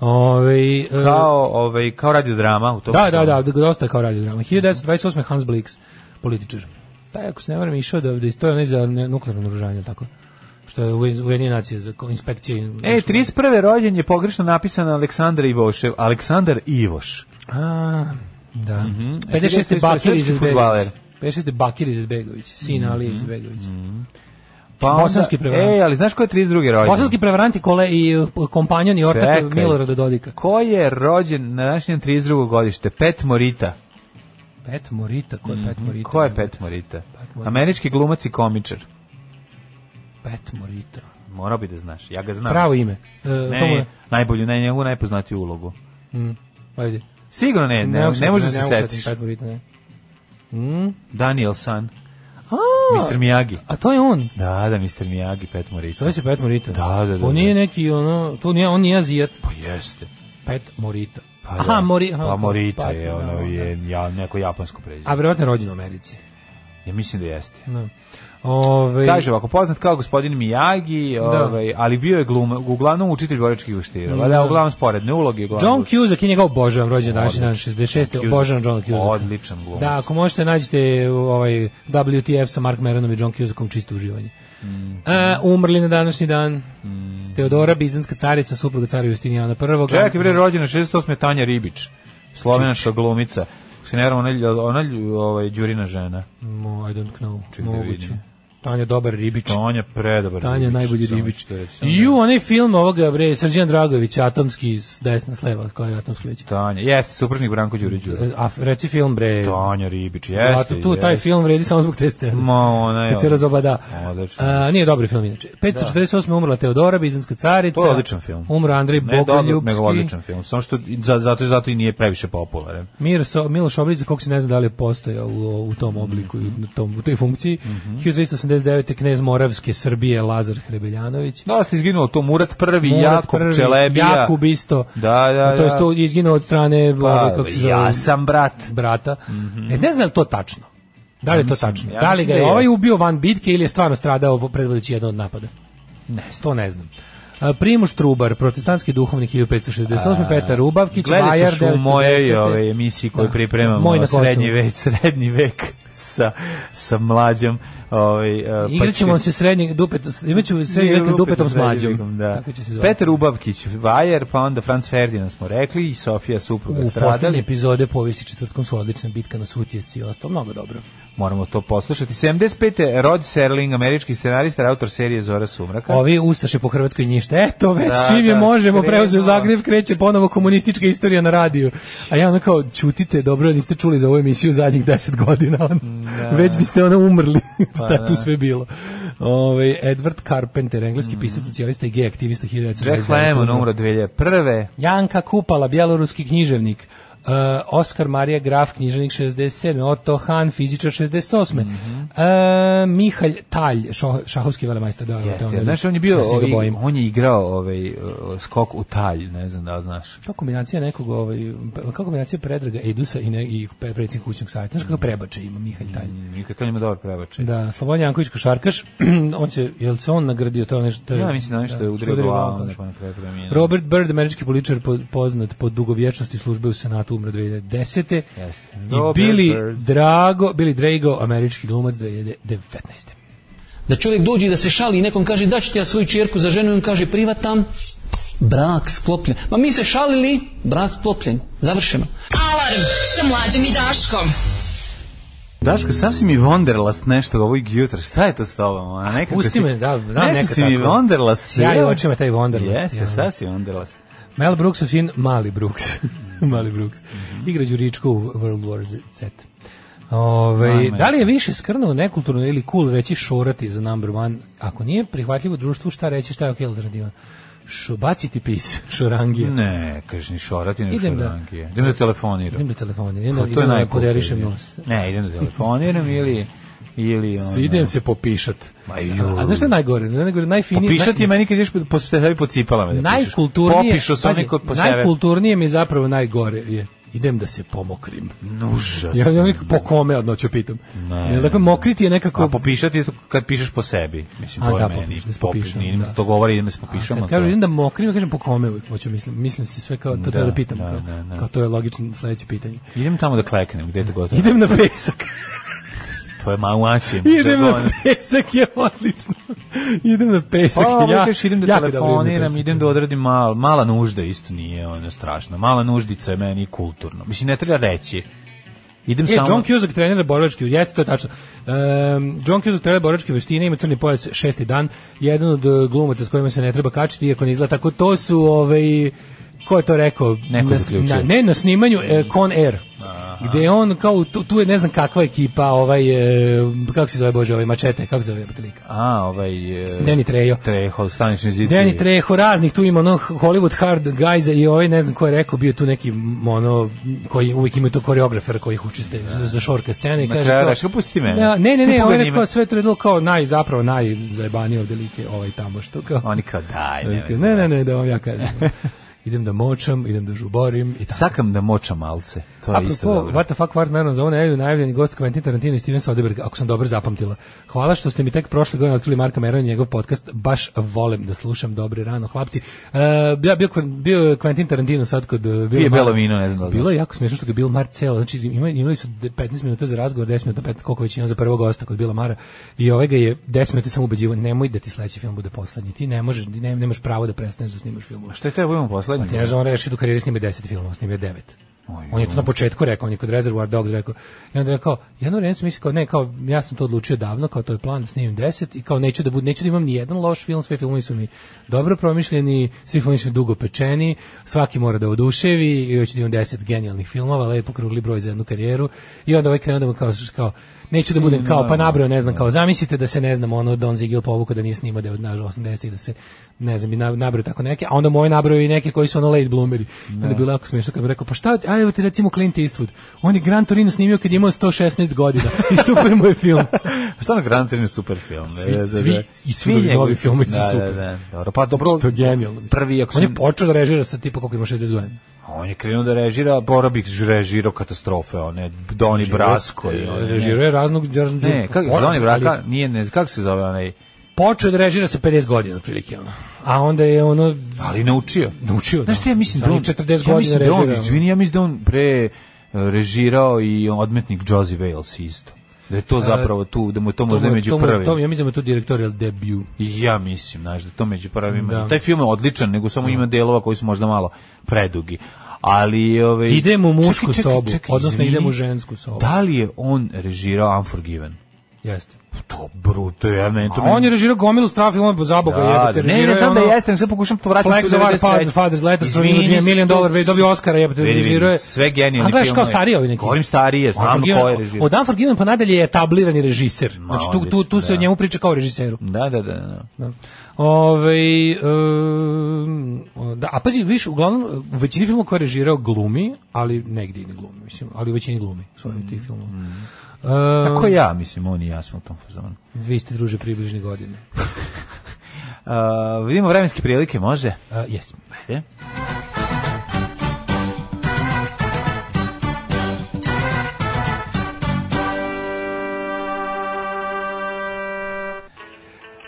Speaker 6: Ove, e,
Speaker 5: Kao, ovaj, kao radiodrama. U tom
Speaker 6: da, da,
Speaker 5: filmu.
Speaker 6: da, dosta je kao radiodrama. 1928. Hans Blix, političar. Taj, ako se ne varam, je išao da, da to je onaj za ne- nuklearno naružanje, jel tako? što je Ujedinjene nacije za ko- inspekcije.
Speaker 5: E, 31. rođen je pogrešno napisan Aleksandar Ivošev. Aleksandar Ivoš.
Speaker 6: A, da. Mm
Speaker 5: E,
Speaker 6: 56.
Speaker 5: 56.
Speaker 6: Bakir
Speaker 5: srpski fudbaler.
Speaker 6: Izetbegović. 56. Bakir Izetbegović, sin Alije Izetbegović.
Speaker 5: Mhm. Pa onda-
Speaker 6: Bosanski prevarant.
Speaker 5: E, ali znaš ko je 32. rođen?
Speaker 6: Bosanski prevarant i, kole, i uh, kompanjon i ortak
Speaker 5: Čekaj.
Speaker 6: Milorada Dodika.
Speaker 5: Ko je rođen na današnjem 32. godište? Pet Morita.
Speaker 6: Pet Morita, ko je Pet Morita?
Speaker 5: Mhm. Ko je Pet Morita?
Speaker 6: Morita.
Speaker 5: Američki glumac i komičar.
Speaker 6: Pet Morita.
Speaker 5: Morao bi da znaš. Ja ga znam.
Speaker 6: Pravo ime. E, to mu
Speaker 5: Ne,
Speaker 6: je- Mm.
Speaker 5: najbolju, ne, njegovu najpoznatiju ulogu.
Speaker 6: Ajde.
Speaker 5: Sigurno ne, ne,
Speaker 6: mogu
Speaker 5: ne, može da
Speaker 6: ne
Speaker 5: se
Speaker 6: mogu
Speaker 5: setiš.
Speaker 6: Pet Morita, ne.
Speaker 5: Daniel San,
Speaker 6: A,
Speaker 5: Mr. Miyagi.
Speaker 6: a to je on.
Speaker 5: Da, da, Mr. Miyagi, Pet Morita.
Speaker 6: Zove se Pet Morita.
Speaker 5: Da, da, da,
Speaker 6: On nije
Speaker 5: da.
Speaker 6: neki, ono, to nije, on nije Azijat.
Speaker 5: Pa jeste.
Speaker 6: Pet Morita.
Speaker 5: Pa
Speaker 6: aha,
Speaker 5: da.
Speaker 6: Mori, aha,
Speaker 5: pa
Speaker 6: ko-
Speaker 5: Morita
Speaker 6: pa-
Speaker 5: je, ono,
Speaker 6: da,
Speaker 5: je ja, neko japansko prezime.
Speaker 6: A verovatno je rođen u Americi.
Speaker 5: Ja mislim da jeste.
Speaker 6: Da. Ove,
Speaker 5: Kaže ovako, poznat kao gospodin Miyagi, ovaj, ali bio je gluma, uglavnom učitelj boričkih veštira. Da.
Speaker 6: Da.
Speaker 5: uglavnom sporedne uloge. Uglavnom
Speaker 6: John Cusack je njega obožavam, rođen današnji dan 66. Obožavam John Cusack.
Speaker 5: Odličan glumac.
Speaker 6: Da, ako možete nađite ovaj WTF sa Mark Meronom i John Cusackom čisto uživanje.
Speaker 5: Mhm.
Speaker 6: E, umrli na današnji dan Teodora, bizanska carica, supruga cara Justinijana I.
Speaker 5: Čekaj, bre, rođena 68. je Tanja Ribić, slovenačka glumica. Ako se ne varam, ona, ona, ona ovaj, Đurina žena.
Speaker 6: Mo, I don't know,
Speaker 5: da
Speaker 6: moguće.
Speaker 5: vidim.
Speaker 6: Tanja dobar ribič.
Speaker 5: Tanja predobar.
Speaker 6: Tanja
Speaker 5: ribič,
Speaker 6: najbolji
Speaker 5: samo
Speaker 6: ribič.
Speaker 5: ću to reći, samo
Speaker 6: I u onaj film ovoga, bre, Srđan Dragović, atomski, s desna s leva, koji je atomski već. E,
Speaker 5: Tanja, jeste, supružnik Branko Đurić.
Speaker 6: A f- reci film, bre.
Speaker 5: Tanja Ribić,
Speaker 6: Zato
Speaker 5: jeste.
Speaker 6: tu taj
Speaker 5: jeste.
Speaker 6: film vredi samo zbog te scene.
Speaker 5: Ma, ona je... ono,
Speaker 6: Kad se razobada.
Speaker 5: Odlično.
Speaker 6: A, nije dobri film inače. 548. umrla Teodora, Bizanska carica.
Speaker 5: To je odličan film.
Speaker 6: Umro Andrej
Speaker 5: Ne dobro, nego
Speaker 6: Bogoljubski.
Speaker 5: odličan film. Samo što za- zato zato i nije previše popularan.
Speaker 6: Mir so, Miloš Obrić, za kog se ne zna da li je postojao u, u tom obliku, i u, tom, u toj funkciji.
Speaker 5: Mhm.
Speaker 6: 1289. knez Moravske Srbije Lazar Hrebeljanović.
Speaker 5: Da, ste izginulo to Murat prvi,
Speaker 6: Murat
Speaker 5: Jakub
Speaker 6: prvi,
Speaker 5: Čelebija.
Speaker 6: Jakub isto.
Speaker 5: Da, da,
Speaker 6: To je
Speaker 5: da.
Speaker 6: to izginuo od strane
Speaker 5: Pa,
Speaker 6: ovaj, kako se zove,
Speaker 5: ja sam brat.
Speaker 6: brata. E, ne znam je li to tačno. Da li je to tačno?
Speaker 5: Mhm. ja
Speaker 6: da li
Speaker 5: mislim
Speaker 6: ga je
Speaker 5: da
Speaker 6: ovaj
Speaker 5: jest.
Speaker 6: ubio van bitke ili je stvarno stradao predvodeći jedan od napada? Ne, to ne znam. A, Primuš Trubar, protestantski duhovnik 1568, Petar Rubavkić,
Speaker 5: Gledat
Speaker 6: Vajar
Speaker 5: ćeš u mojoj
Speaker 6: 990..
Speaker 5: ove, emisiji koju
Speaker 6: Da.
Speaker 5: pripremamo ovaj,
Speaker 6: Moj na Kosovu.
Speaker 5: srednji vek, srednji vek sa, sa mlađom. Ovaj, e, pa
Speaker 6: Igraćemo
Speaker 5: ćete-
Speaker 6: se srednjeg dupet, imaćemo srednji vek s dupetom s mlađom.
Speaker 5: Da.
Speaker 6: Tako će se zvati.
Speaker 5: Petar Ubavkić, Vajer, pa onda Franz Ferdinand smo rekli i Sofija supruga
Speaker 6: U poslednje
Speaker 5: stradali.
Speaker 6: epizode povijesti četvrtkom su odlična bitka na Sutjesci i ostalo, mnogo dobro.
Speaker 5: Moramo to poslušati. 75. Rod Serling, američki scenarista, autor serije Zora Sumraka.
Speaker 6: Ovi ustaše po Hrvatskoj ništa. Eto, već
Speaker 5: Da,
Speaker 6: čim je
Speaker 5: da, ono.
Speaker 6: možemo,
Speaker 5: krenuo.
Speaker 6: preuzeo Zagreb, kreće ponovo komunistička istorija na radiju. A ja ono kao, čutite, dobro, niste čuli za ovu emisiju zadnjih deset godina. ono. Već biste ono umrli.
Speaker 5: Pa
Speaker 6: Šta tu sve bilo. Ove, Edward Carpenter, engleski pisac, socijalista i gej aktivista 1929.
Speaker 5: Jack Lemmon, umro 2001.
Speaker 6: Janka Kupala, bjeloruski književnik. Uh, Oskar Marija Graf, književnik 67. Otto Han, fizičar 68.
Speaker 5: Mhm.
Speaker 6: uh, Mihalj Talj, šo, šahovski velemajstor. Da, da,
Speaker 5: Jeste,
Speaker 6: da,
Speaker 5: znaš, on je bio, ovaj,
Speaker 6: ja se ga bojim.
Speaker 5: on je igrao ovaj, uh, skok u talj, ne znam da li znaš.
Speaker 6: Kako kombinacija nekog ovaj kako kombinacija Predraga Edusa i ne, i pre- predsjednik kućnog savjeta.
Speaker 5: Mhm.
Speaker 6: Znaš kako prebače ima Mihalj Talj.
Speaker 5: Nikad to njima dobar prebačaj.
Speaker 6: Da, Slobodan Janković košarkaš, on se jel se on nagradio to je nešto to je-
Speaker 5: Ja mislim da nešto je udario glavom,
Speaker 6: pa
Speaker 5: neko na kraju preminuo.
Speaker 6: Robert Byrd, američki političar po- poznat po dugovječnosti službe u Senatu, umro 2010.
Speaker 5: Jeste.
Speaker 6: I
Speaker 5: Robert
Speaker 6: Billy
Speaker 5: Byrd.
Speaker 6: Drago, Billy Drago, američki glumac 2019.
Speaker 12: Da čovjek dođe i da se šali i nekom kaže da ću ti ja svoju čerku za ženu i on kaže privatan, brak sklopljen. Ma mi se šalili, brak sklopljen, završeno.
Speaker 13: Alarm sa mlađom i Daškom.
Speaker 5: Daško, sam si mi Wonderlast nešto ovog jutra. Šta je to s tobom? A nekako
Speaker 6: Ah, Pusti
Speaker 5: si-
Speaker 6: me, da, znam
Speaker 5: Nešto
Speaker 6: neka
Speaker 5: si mi
Speaker 6: tako.
Speaker 5: Wonderlast.
Speaker 6: Ja i
Speaker 5: jel?
Speaker 6: očima taj Wonderlust,
Speaker 5: Jeste,
Speaker 6: ja.
Speaker 5: sad si Wonderlast.
Speaker 6: Mel Brooks u fin Mali Brooks. Mali Brooks.
Speaker 5: Mhm.
Speaker 6: Igra Đuričko u World War Z. Ove,
Speaker 5: Ajme.
Speaker 6: da li je više skrnuo nekulturno ili cool reći šorati za number one? Ako nije prihvatljivo društvu, šta reći, šta je ok alternativa? Šo, baciti pis, šorangije.
Speaker 5: Ne, kažeš ni šorati, ni
Speaker 6: Idem da-
Speaker 5: šoranke. Idem da telefoniram.
Speaker 6: Idem da telefoniram,
Speaker 5: Pa,
Speaker 6: idem,
Speaker 5: to je
Speaker 6: idem da
Speaker 5: najkulturnije.
Speaker 6: poderišem nos.
Speaker 5: Ne, idem da telefoniram ili... ili ono,
Speaker 6: Idem se popišat.
Speaker 5: Ma
Speaker 6: A, a znaš šta je najgore? Najgore, najfinije,
Speaker 5: Popišati je meni kad ideš po, po sebi po cipalama. Da pišeš.
Speaker 6: najkulturnije,
Speaker 5: Popišu se
Speaker 6: pazi,
Speaker 5: oni kod po sebe.
Speaker 6: najkulturnije mi je zapravo najgore je idem da se pomokrim.
Speaker 5: Užas.
Speaker 6: Ja ja uvijek po kome odnoću pitam.
Speaker 5: Ne.
Speaker 6: Jel dakle mokriti je
Speaker 5: A
Speaker 6: nekako
Speaker 5: popišati je to kad pišeš po sebi. Mislim,
Speaker 6: A,
Speaker 5: to je
Speaker 6: da,
Speaker 5: meni.
Speaker 6: popiš, da se
Speaker 5: Popiš,
Speaker 6: popišem,
Speaker 5: nije mi
Speaker 6: da.
Speaker 5: to govori, idem da se
Speaker 6: A
Speaker 5: popišem.
Speaker 6: kad
Speaker 5: ali
Speaker 6: kažu
Speaker 5: to-
Speaker 6: idem da mokrim, ja kažem po kome uvijek hoću mislim, mislim se sve kao to treba da pitam
Speaker 5: da,
Speaker 6: kao,
Speaker 5: da, da.
Speaker 6: kao to je logično sledeće pitanje.
Speaker 5: Idem tamo da kleknem, gde je to gotovo.
Speaker 6: Idem na pesak.
Speaker 5: To je malo način.
Speaker 6: idem na pesak je odlično. idem na pesak.
Speaker 5: Pa, ja,
Speaker 6: ja
Speaker 5: kažeš, idem da
Speaker 6: jako dobro na
Speaker 5: telefoniram,
Speaker 6: pesak.
Speaker 5: idem da odradim mal, mala nužda, isto nije ono strašno. Mala nuždica je meni kulturno. Mislim, ne treba reći. Idem
Speaker 6: E,
Speaker 5: samo...
Speaker 6: John Cusack trenira borilačke, jeste to je tačno. Um, John Cusack trenira borilačke veštine, ima crni pojas šesti dan, jedan od e, glumaca s kojima se ne treba kačiti, iako ne izgleda tako, to su, ovaj, ko je to rekao?
Speaker 5: Neko
Speaker 6: Na-
Speaker 5: zaključio.
Speaker 6: na- ne, na snimanju e, Con Air. Gde je on kao tu, tu je ne znam kakva ekipa ovaj e, kako se zove bože ovaj mačete kako se zove jebote lik
Speaker 5: A, ovaj... E,
Speaker 6: Danny Trejo.
Speaker 5: Trejo, stanični zid.
Speaker 6: Danny Trejo raznih tu ima ono Hollywood hard guys i ovaj ne znam ko je rekao bio je tu neki m, ono koji uvijek imaju to koreografer koji ih učiste za, za šorka scene i
Speaker 5: Na
Speaker 6: kaže
Speaker 5: kraju
Speaker 6: kao-
Speaker 5: rekao, pusti mene.
Speaker 6: Da, ne, ne,
Speaker 5: Pusti
Speaker 6: ne, on je
Speaker 5: mene,
Speaker 6: rekao
Speaker 5: ima-
Speaker 6: sve to je bilo kao naj zapravo najzajebaniji ovde like ovaj tamo što kao.
Speaker 5: Oni kao, daj,
Speaker 6: Ovaj
Speaker 5: ne,
Speaker 6: kao, ne, ne, ne, da vam ja kažem. idem da močam, idem da žuborim i tako.
Speaker 5: Sakam da močam malce. To je isto
Speaker 6: Apropo,
Speaker 5: dobro.
Speaker 6: what the fuck, Ward Meron za ovu nedelju najavljeni gost Quentin Tarantino i Steven Soderbergh, ako sam dobro zapamtila. Hvala što ste mi tek prošle godine otkrili Marka Merona i njegov podcast, baš volim da slušam dobre rano, hlapci. E, ja bio, bio je Quentin Tarantino sad kod uh,
Speaker 5: Pije
Speaker 6: Bila
Speaker 5: belo
Speaker 6: Mara.
Speaker 5: vino, ne znam da li znaš.
Speaker 6: Bilo je jako smiješno što ga je Bill Maher ceo, znači ima, imali su de- 15 minuta za razgovor, 10 minuta, pet, koliko već imam za prvog gosta kod Bila Mara i ovaj ga je 10 minuta sam ubeđivo, nemoj da ti sledeći film bude poslednji, ti ne možeš, ti ne, nemaš pravo da prestaneš da snimaš film. Pa
Speaker 5: Šta je teo budemo poslednji?
Speaker 6: Ti ne znam, on reši da u karijeri snima 10 filmova, snima 9. On je to na početku rekao, on je kod Reservoir Dogs rekao. I onda je rekao, jedno vreme sam mislio kao, ne, kao, ja sam to odlučio davno, kao to je plan, snimim 10 i kao neću da budem, neću da imam ni jedan loš film, sve filmovi su mi dobro promišljeni, svi filmovi su mi dugo pečeni, svaki mora da oduševi i hoću da imam 10 genijalnih filmova, lepo krugli broj za jednu karijeru i onda ovaj krenuo da mu kao, kao, neću da budem kao, pa nabrao, ne znam, kao, zamislite da se, ne znam, ono, Don Zigil povuka da nije snimao da je od naš 80 da se, ne znam, i na- nabrao tako neke, a onda moj nabrao i neke koji su ono late bloomeri. I Onda je bilo jako smiješno kad bi rekao, pa šta, a evo ti recimo Clint Eastwood, on je Gran Torino snimio kad je imao 116 godina i super mu je film.
Speaker 5: Samo Gran Torino je super film. Svi,
Speaker 6: svi- i svi ovi novi filmovi su super.
Speaker 5: Da, da, dobro. Pa dobro,
Speaker 6: to je genijalno. mislim.
Speaker 5: Prvi, ako
Speaker 6: on
Speaker 5: se-
Speaker 6: je počeo da režira sa tipa koliko ima 60 godina.
Speaker 5: on je krenuo da režira, Bora bih režirao katastrofe, one, Doni Brasko. i one, ne.
Speaker 6: Režirao je raznog
Speaker 5: Ne, kako se Doni Braka, nije, ne, kako se zove onaj,
Speaker 6: Počeo je da režira sa 50 godina otprilike ono. A onda je ono
Speaker 5: ali naučio.
Speaker 6: Naučio,
Speaker 5: Znaš
Speaker 6: da.
Speaker 5: šta ja mislim da
Speaker 6: Ali
Speaker 5: on,
Speaker 6: 40
Speaker 5: ja mislim da
Speaker 6: godina
Speaker 5: on,
Speaker 6: režira.
Speaker 5: izvini, ja mislim da on pre e, režirao i odmetnik Josie Wales isto. Da je to zapravo tu, da mu je to možda
Speaker 6: mu je-
Speaker 5: među
Speaker 6: mu je-
Speaker 5: prvim.
Speaker 6: to mu- ja mislim da mu je to direktorial debut.
Speaker 5: I Ja mislim, znaš, da je to među prvima.
Speaker 6: Da.
Speaker 5: Taj film je odličan, nego samo ima delova koji su možda malo predugi. Ali, ovaj, ove,
Speaker 6: Idem u mušku sobu, odnosno
Speaker 5: izvini,
Speaker 6: idem u žensku sobu.
Speaker 5: Da li je on režirao Unforgiven?
Speaker 6: Jeste.
Speaker 5: To bruto, ja meni to...
Speaker 6: A on je režirao gomilu straha filmova za Boga,
Speaker 5: Da,
Speaker 6: jebote.
Speaker 5: da, ne,
Speaker 6: režirao
Speaker 5: ne
Speaker 6: je
Speaker 5: znam da
Speaker 6: ono-
Speaker 5: jeste, nego sad pokušam to vratiti
Speaker 6: Flags
Speaker 5: u
Speaker 6: of Our
Speaker 5: 93..
Speaker 6: Father, Father's Letters,
Speaker 5: Izvini,
Speaker 6: Izvini, je Million
Speaker 5: sto-
Speaker 6: Dollar, već dobio Oscara, jebote,
Speaker 5: Vidi, vidi,
Speaker 6: režirao je.
Speaker 5: sve genijalni
Speaker 6: A gledaš kao
Speaker 5: filmovi.
Speaker 6: stariji ovi neki.
Speaker 5: Govorim starije, znam
Speaker 6: Unforgiven-
Speaker 5: ko je režirao.
Speaker 6: Od Unforgiven pa nadalje je etablirani režiser. Znači tu, tu, tu se
Speaker 5: da.
Speaker 6: o njemu priča kao režiseru.
Speaker 5: Da, da, da, da.
Speaker 6: Da. Ovaj, em, da, a pazi, viš, uglavnom, u većini filmova koje je režirao glumi, ali negdje i ne glumi, mislim, ali u većini glumi svojim tih filmova.
Speaker 5: Mm.
Speaker 6: Em,
Speaker 5: Tako ja, mislim, on i ja smo u tom fazonu.
Speaker 6: Vi ste, druže, približne godine.
Speaker 5: A, vidimo vremenske prilike, može?
Speaker 6: Uh, yes.
Speaker 5: Ajde.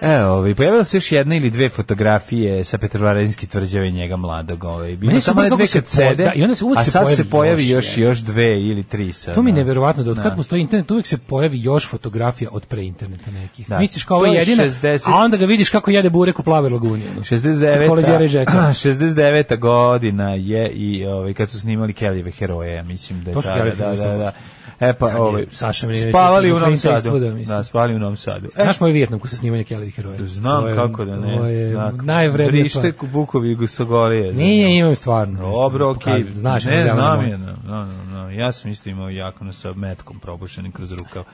Speaker 5: Evo, ovaj, pojavila se još jedna ili dve fotografije sa Petrovaradinske tvrđave i njega mladog. Ovaj. Bilo
Speaker 6: Meni
Speaker 5: je
Speaker 6: su
Speaker 5: samo one
Speaker 6: kako
Speaker 5: dve
Speaker 6: se
Speaker 5: kad
Speaker 6: po-
Speaker 5: sede,
Speaker 6: da, i onda se uvek
Speaker 5: a
Speaker 6: se
Speaker 5: sad
Speaker 6: pojavi
Speaker 5: se pojavi
Speaker 6: još
Speaker 5: još,
Speaker 6: jedna.
Speaker 5: još dve ili tri. Sad,
Speaker 6: To mi je
Speaker 5: da.
Speaker 6: neverovatno da od
Speaker 5: Da.
Speaker 6: kad postoji internet uvek se pojavi još fotografija od pre interneta nekih.
Speaker 5: Da.
Speaker 6: Misliš kao
Speaker 5: To
Speaker 6: ovo je
Speaker 5: je
Speaker 6: jedina,
Speaker 5: 60.
Speaker 6: a onda ga vidiš kako jede burek u plavoj laguni. ono. Od koleđera i
Speaker 5: 69.
Speaker 6: Jacka.
Speaker 5: 69. godina je i ovaj kad su snimali Kellyve heroje, ja mislim da je
Speaker 6: To su
Speaker 5: ta-
Speaker 6: Kellyjeve
Speaker 5: da, da,
Speaker 6: heroje.
Speaker 5: da. E pa
Speaker 6: je
Speaker 5: ovaj
Speaker 6: Saša Milinović
Speaker 5: spavali
Speaker 6: i
Speaker 5: u Novom
Speaker 6: Clint
Speaker 5: Sadu.
Speaker 6: Eastwooda, mislim.
Speaker 5: Da, spavali u Novom Sadu. E,
Speaker 6: Znaš moj Vijetnam ko se snimanje Kelly heroja.
Speaker 5: znam
Speaker 6: To je-
Speaker 5: kako da ne.
Speaker 6: To je
Speaker 5: Da,
Speaker 6: najvrednija stvar.
Speaker 5: Brište Vukovi Gusogorije.
Speaker 6: Nije, imam stvarno.
Speaker 5: Dobro, okej.
Speaker 6: Pokazujem, Znaš,
Speaker 5: ne
Speaker 6: zeleno
Speaker 5: znam
Speaker 6: moje.
Speaker 5: je. No, no, no, no. Ja sam isto imao jaknu sa metkom probušenim kroz rukav.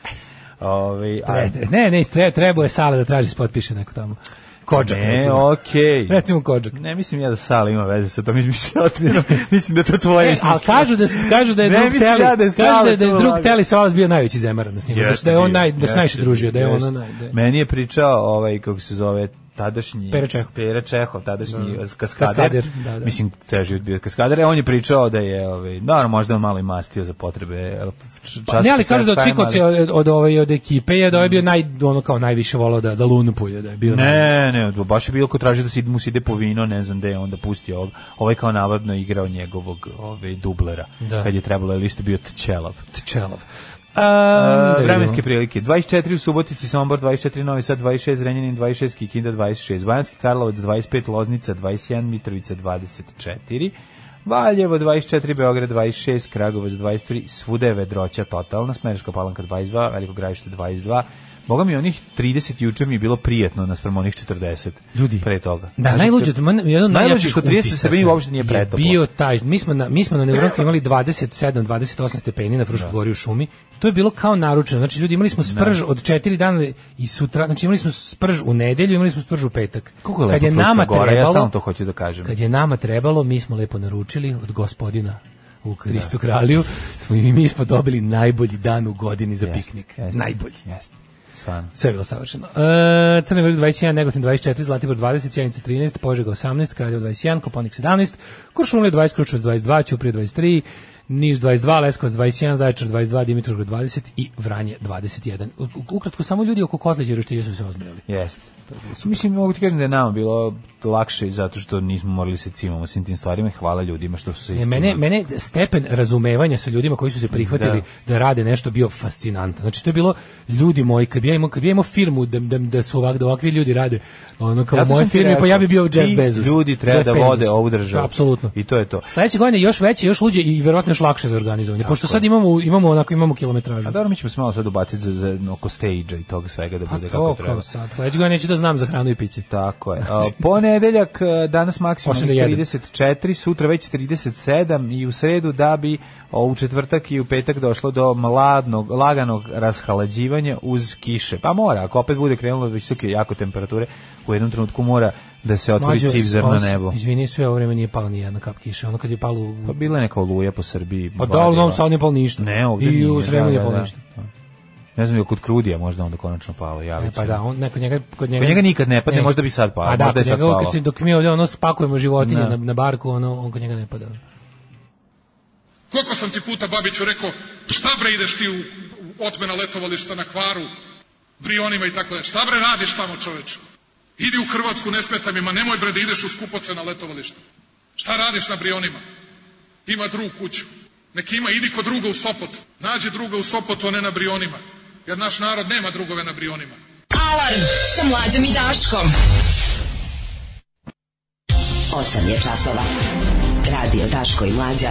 Speaker 5: Ovaj, a-
Speaker 6: Tre- Ne, ne, tre, trebao je sale da traži se potpiše neko tamo. Kođak,
Speaker 5: Ne,
Speaker 6: recimo.
Speaker 5: okej.
Speaker 6: Recimo Kođak.
Speaker 5: Ne mislim ja da Sala ima veze sa tom izmišljotinom. mislim da je to tvoje
Speaker 6: E, ali
Speaker 5: izmišljotina.
Speaker 6: kažu da s- kažu da je
Speaker 5: Ne
Speaker 6: drug
Speaker 5: mislim
Speaker 6: Teli,
Speaker 5: ja da je
Speaker 6: kažu da je, da je
Speaker 5: Sale to
Speaker 6: drug
Speaker 5: lagao.
Speaker 6: Teli sa vas bio najveći zemaran na snimanju, znači da
Speaker 5: Jeste
Speaker 6: se- da je on
Speaker 5: bio,
Speaker 6: naj da se
Speaker 5: jeste,
Speaker 6: najviše družio, da je
Speaker 5: jeste.
Speaker 6: ono naj da je-
Speaker 5: Meni je pričao ovaj kako se zove tadašnji
Speaker 6: Pere Čehov.
Speaker 5: Pere Čehov, tadašnji
Speaker 6: Da.
Speaker 5: kaskader.
Speaker 6: Kaskader, da, da.
Speaker 5: Mislim ceo život bio kaskader, e, on je pričao da je ovaj naravno možda je malo i mastio za potrebe. e, č-
Speaker 6: Pa ne, ali
Speaker 5: časopisa
Speaker 6: kažu da od svih
Speaker 5: Time, ali-
Speaker 6: od, od, od, ove, od ekipe je da je bio naj, ono kao najviše volao da, da lunupuje, da je bio naj-
Speaker 5: Ne, ne, do- baš je bilo ko traži da se id- mu se ide po vino, ne znam da je onda pustio ovog. Ovaj kao navodno igrao njegovog ovaj, dublera,
Speaker 6: Da.
Speaker 5: kad je trebalo, je listo bio tčelav.
Speaker 6: Tčelov.
Speaker 5: E,
Speaker 6: Um,
Speaker 5: vremenske prilike. 24 u Subotici, Sombor 24, Novi Sad 26, Renjanin 26, Kikinda 26, Banjski Karlovac 25, Loznica 21, Mitrovica 24, Valjevo 24, Beograd 26, Kragovac 23, svuda je vedroća totalna, Smederska palanka 22, Veliko gravište 22, Boga mi onih 30 juče mi je bilo prijatno naspram onih 40.
Speaker 6: Ljudi.
Speaker 5: Pre toga.
Speaker 6: Da,
Speaker 5: Kažem
Speaker 6: najluđe,
Speaker 5: ti-
Speaker 6: man, jedan od
Speaker 5: najluđe
Speaker 6: najjačih
Speaker 5: što 30 se meni
Speaker 6: utisaka
Speaker 5: uopšte nije
Speaker 6: je
Speaker 5: pretoplo.
Speaker 6: Bio taj, mi smo na, mi smo na Neuronku imali 27, 28 stepeni na Fruškoj gori u šumi. To je bilo kao naručeno. Znači ljudi imali smo sprž od 4 dana i sutra, znači imali smo sprž u nedelju, imali smo sprž u petak.
Speaker 5: Koliko je lepo Fruška gora, ja stalno to hoću da kažem.
Speaker 6: Kad je nama trebalo, mi smo lepo naručili od gospodina u Kristu kralju. Smo, I mi smo dobili najbolji dan u godini za piknik.
Speaker 5: jeste.
Speaker 6: najbolji.
Speaker 5: Jeste. Stvarno.
Speaker 6: Sve je bilo savršeno. E, Crna Gora 21, Negotin 24, Zlatibor 20, Sjenica 13, Požega 18, Kraljevo 21, Koponik 17, Kuršumlija 20, Kručevac 22, Ćuprije 23, Niš 22, Leskovac 21, Zaječar 22, Dimitrovgrad 20 i Vranje 21. U- u- Ukratko, samo ljudi oko Kotlića i Roštilja su se ozbiljali.
Speaker 5: Jeste. Mislim, mogu ti kažem da je nama bilo lakše zato što nismo morali se cimamo svim tim stvarima i hvala ljudima što su se
Speaker 6: E,
Speaker 5: istimali.
Speaker 6: mene, mene stepen razumevanja sa ljudima koji su se prihvatili da, rade nešto bio fascinantan. Znači to je bilo ljudi moji kad bi ja imao kad bi ja imao firmu da da da su ovak da ovakvi ljudi rade ono kao
Speaker 5: Zato
Speaker 6: moje
Speaker 5: sam ti
Speaker 6: firme pa ja bi bio
Speaker 5: rekao,
Speaker 6: Jeff
Speaker 5: ti
Speaker 6: Bezos.
Speaker 5: ljudi treba
Speaker 6: Jeff
Speaker 5: da
Speaker 6: Bezos.
Speaker 5: vode ovu državu.
Speaker 6: Apsolutno.
Speaker 5: I to je to.
Speaker 6: Sledeće godine još veće, još luđe i verovatno još lakše za organizovanje. Pošto sad imamo imamo onako imamo kilometražu.
Speaker 5: A dobro, mi ćemo se malo sad ubaciti za, za oko stage-a i toga svega da
Speaker 6: Pa
Speaker 5: bude
Speaker 6: to
Speaker 5: kako treba.
Speaker 6: kao sad. Sledećeg godine neću da znam za hranu i piće.
Speaker 5: Tako je. A, Ponedeljak, e, danas
Speaker 6: Počnem da
Speaker 5: maksimalno
Speaker 6: jedem.
Speaker 5: 34, sutra već 37 i u sredu da bi o, u četvrtak i u petak došlo do mladnog, laganog rashlađivanja uz kiše. Pa mora, ako opet bude krenulo visoke jako temperature, u jednom trenutku mora da se otvori
Speaker 6: Mlađo,
Speaker 5: civzarno
Speaker 6: os-
Speaker 5: nebo.
Speaker 6: Izvini, sve ovo vreme nije pala ni jedna kap kiše. Ono kad je palo u...
Speaker 5: Pa bila je neka oluja po Srbiji.
Speaker 6: Pa da,
Speaker 5: vadila.
Speaker 6: ali u Novom Sadu nije palo ništa.
Speaker 5: Ne, ovde
Speaker 6: I u
Speaker 5: nije,
Speaker 6: Sremu
Speaker 5: da,
Speaker 6: nije
Speaker 5: da,
Speaker 6: palo
Speaker 5: da.
Speaker 6: ništa.
Speaker 5: Ne znam je li kod Krudija možda onda konačno palo,
Speaker 6: E,
Speaker 5: javit
Speaker 6: pa
Speaker 5: će.
Speaker 6: da, on, ne, kod njega, kod njega,
Speaker 5: Kod njega nikad ne padne, možda bi sad palo,
Speaker 6: A da,
Speaker 5: možda je
Speaker 6: kod
Speaker 5: sad
Speaker 6: njega,
Speaker 5: palo.
Speaker 6: kad se, dok mi ovdje ono spakujemo životinje
Speaker 5: Da.
Speaker 6: na, na barku, ono, on kod njega ne pada.
Speaker 12: Koliko sam ti puta, Babiću, rekao, šta bre ideš ti u, u otmena letovališta na kvaru, brionima i tako dalje. Šta bre radiš tamo, čoveče? Idi u Hrvatsku, ne smeta mi, ma nemoj bre da ideš u skupoce na letovališta. Šta radiš na brionima? Ima drug kuću. Nek ima, idi kod druga u Sopot. Nađi druga u Sopotu, a ne na brionima. Jer naš narod nema drugove na brionima.
Speaker 3: Alarm sa mlađom i Daškom. 8 je časova. Radio Daško i Mlađa.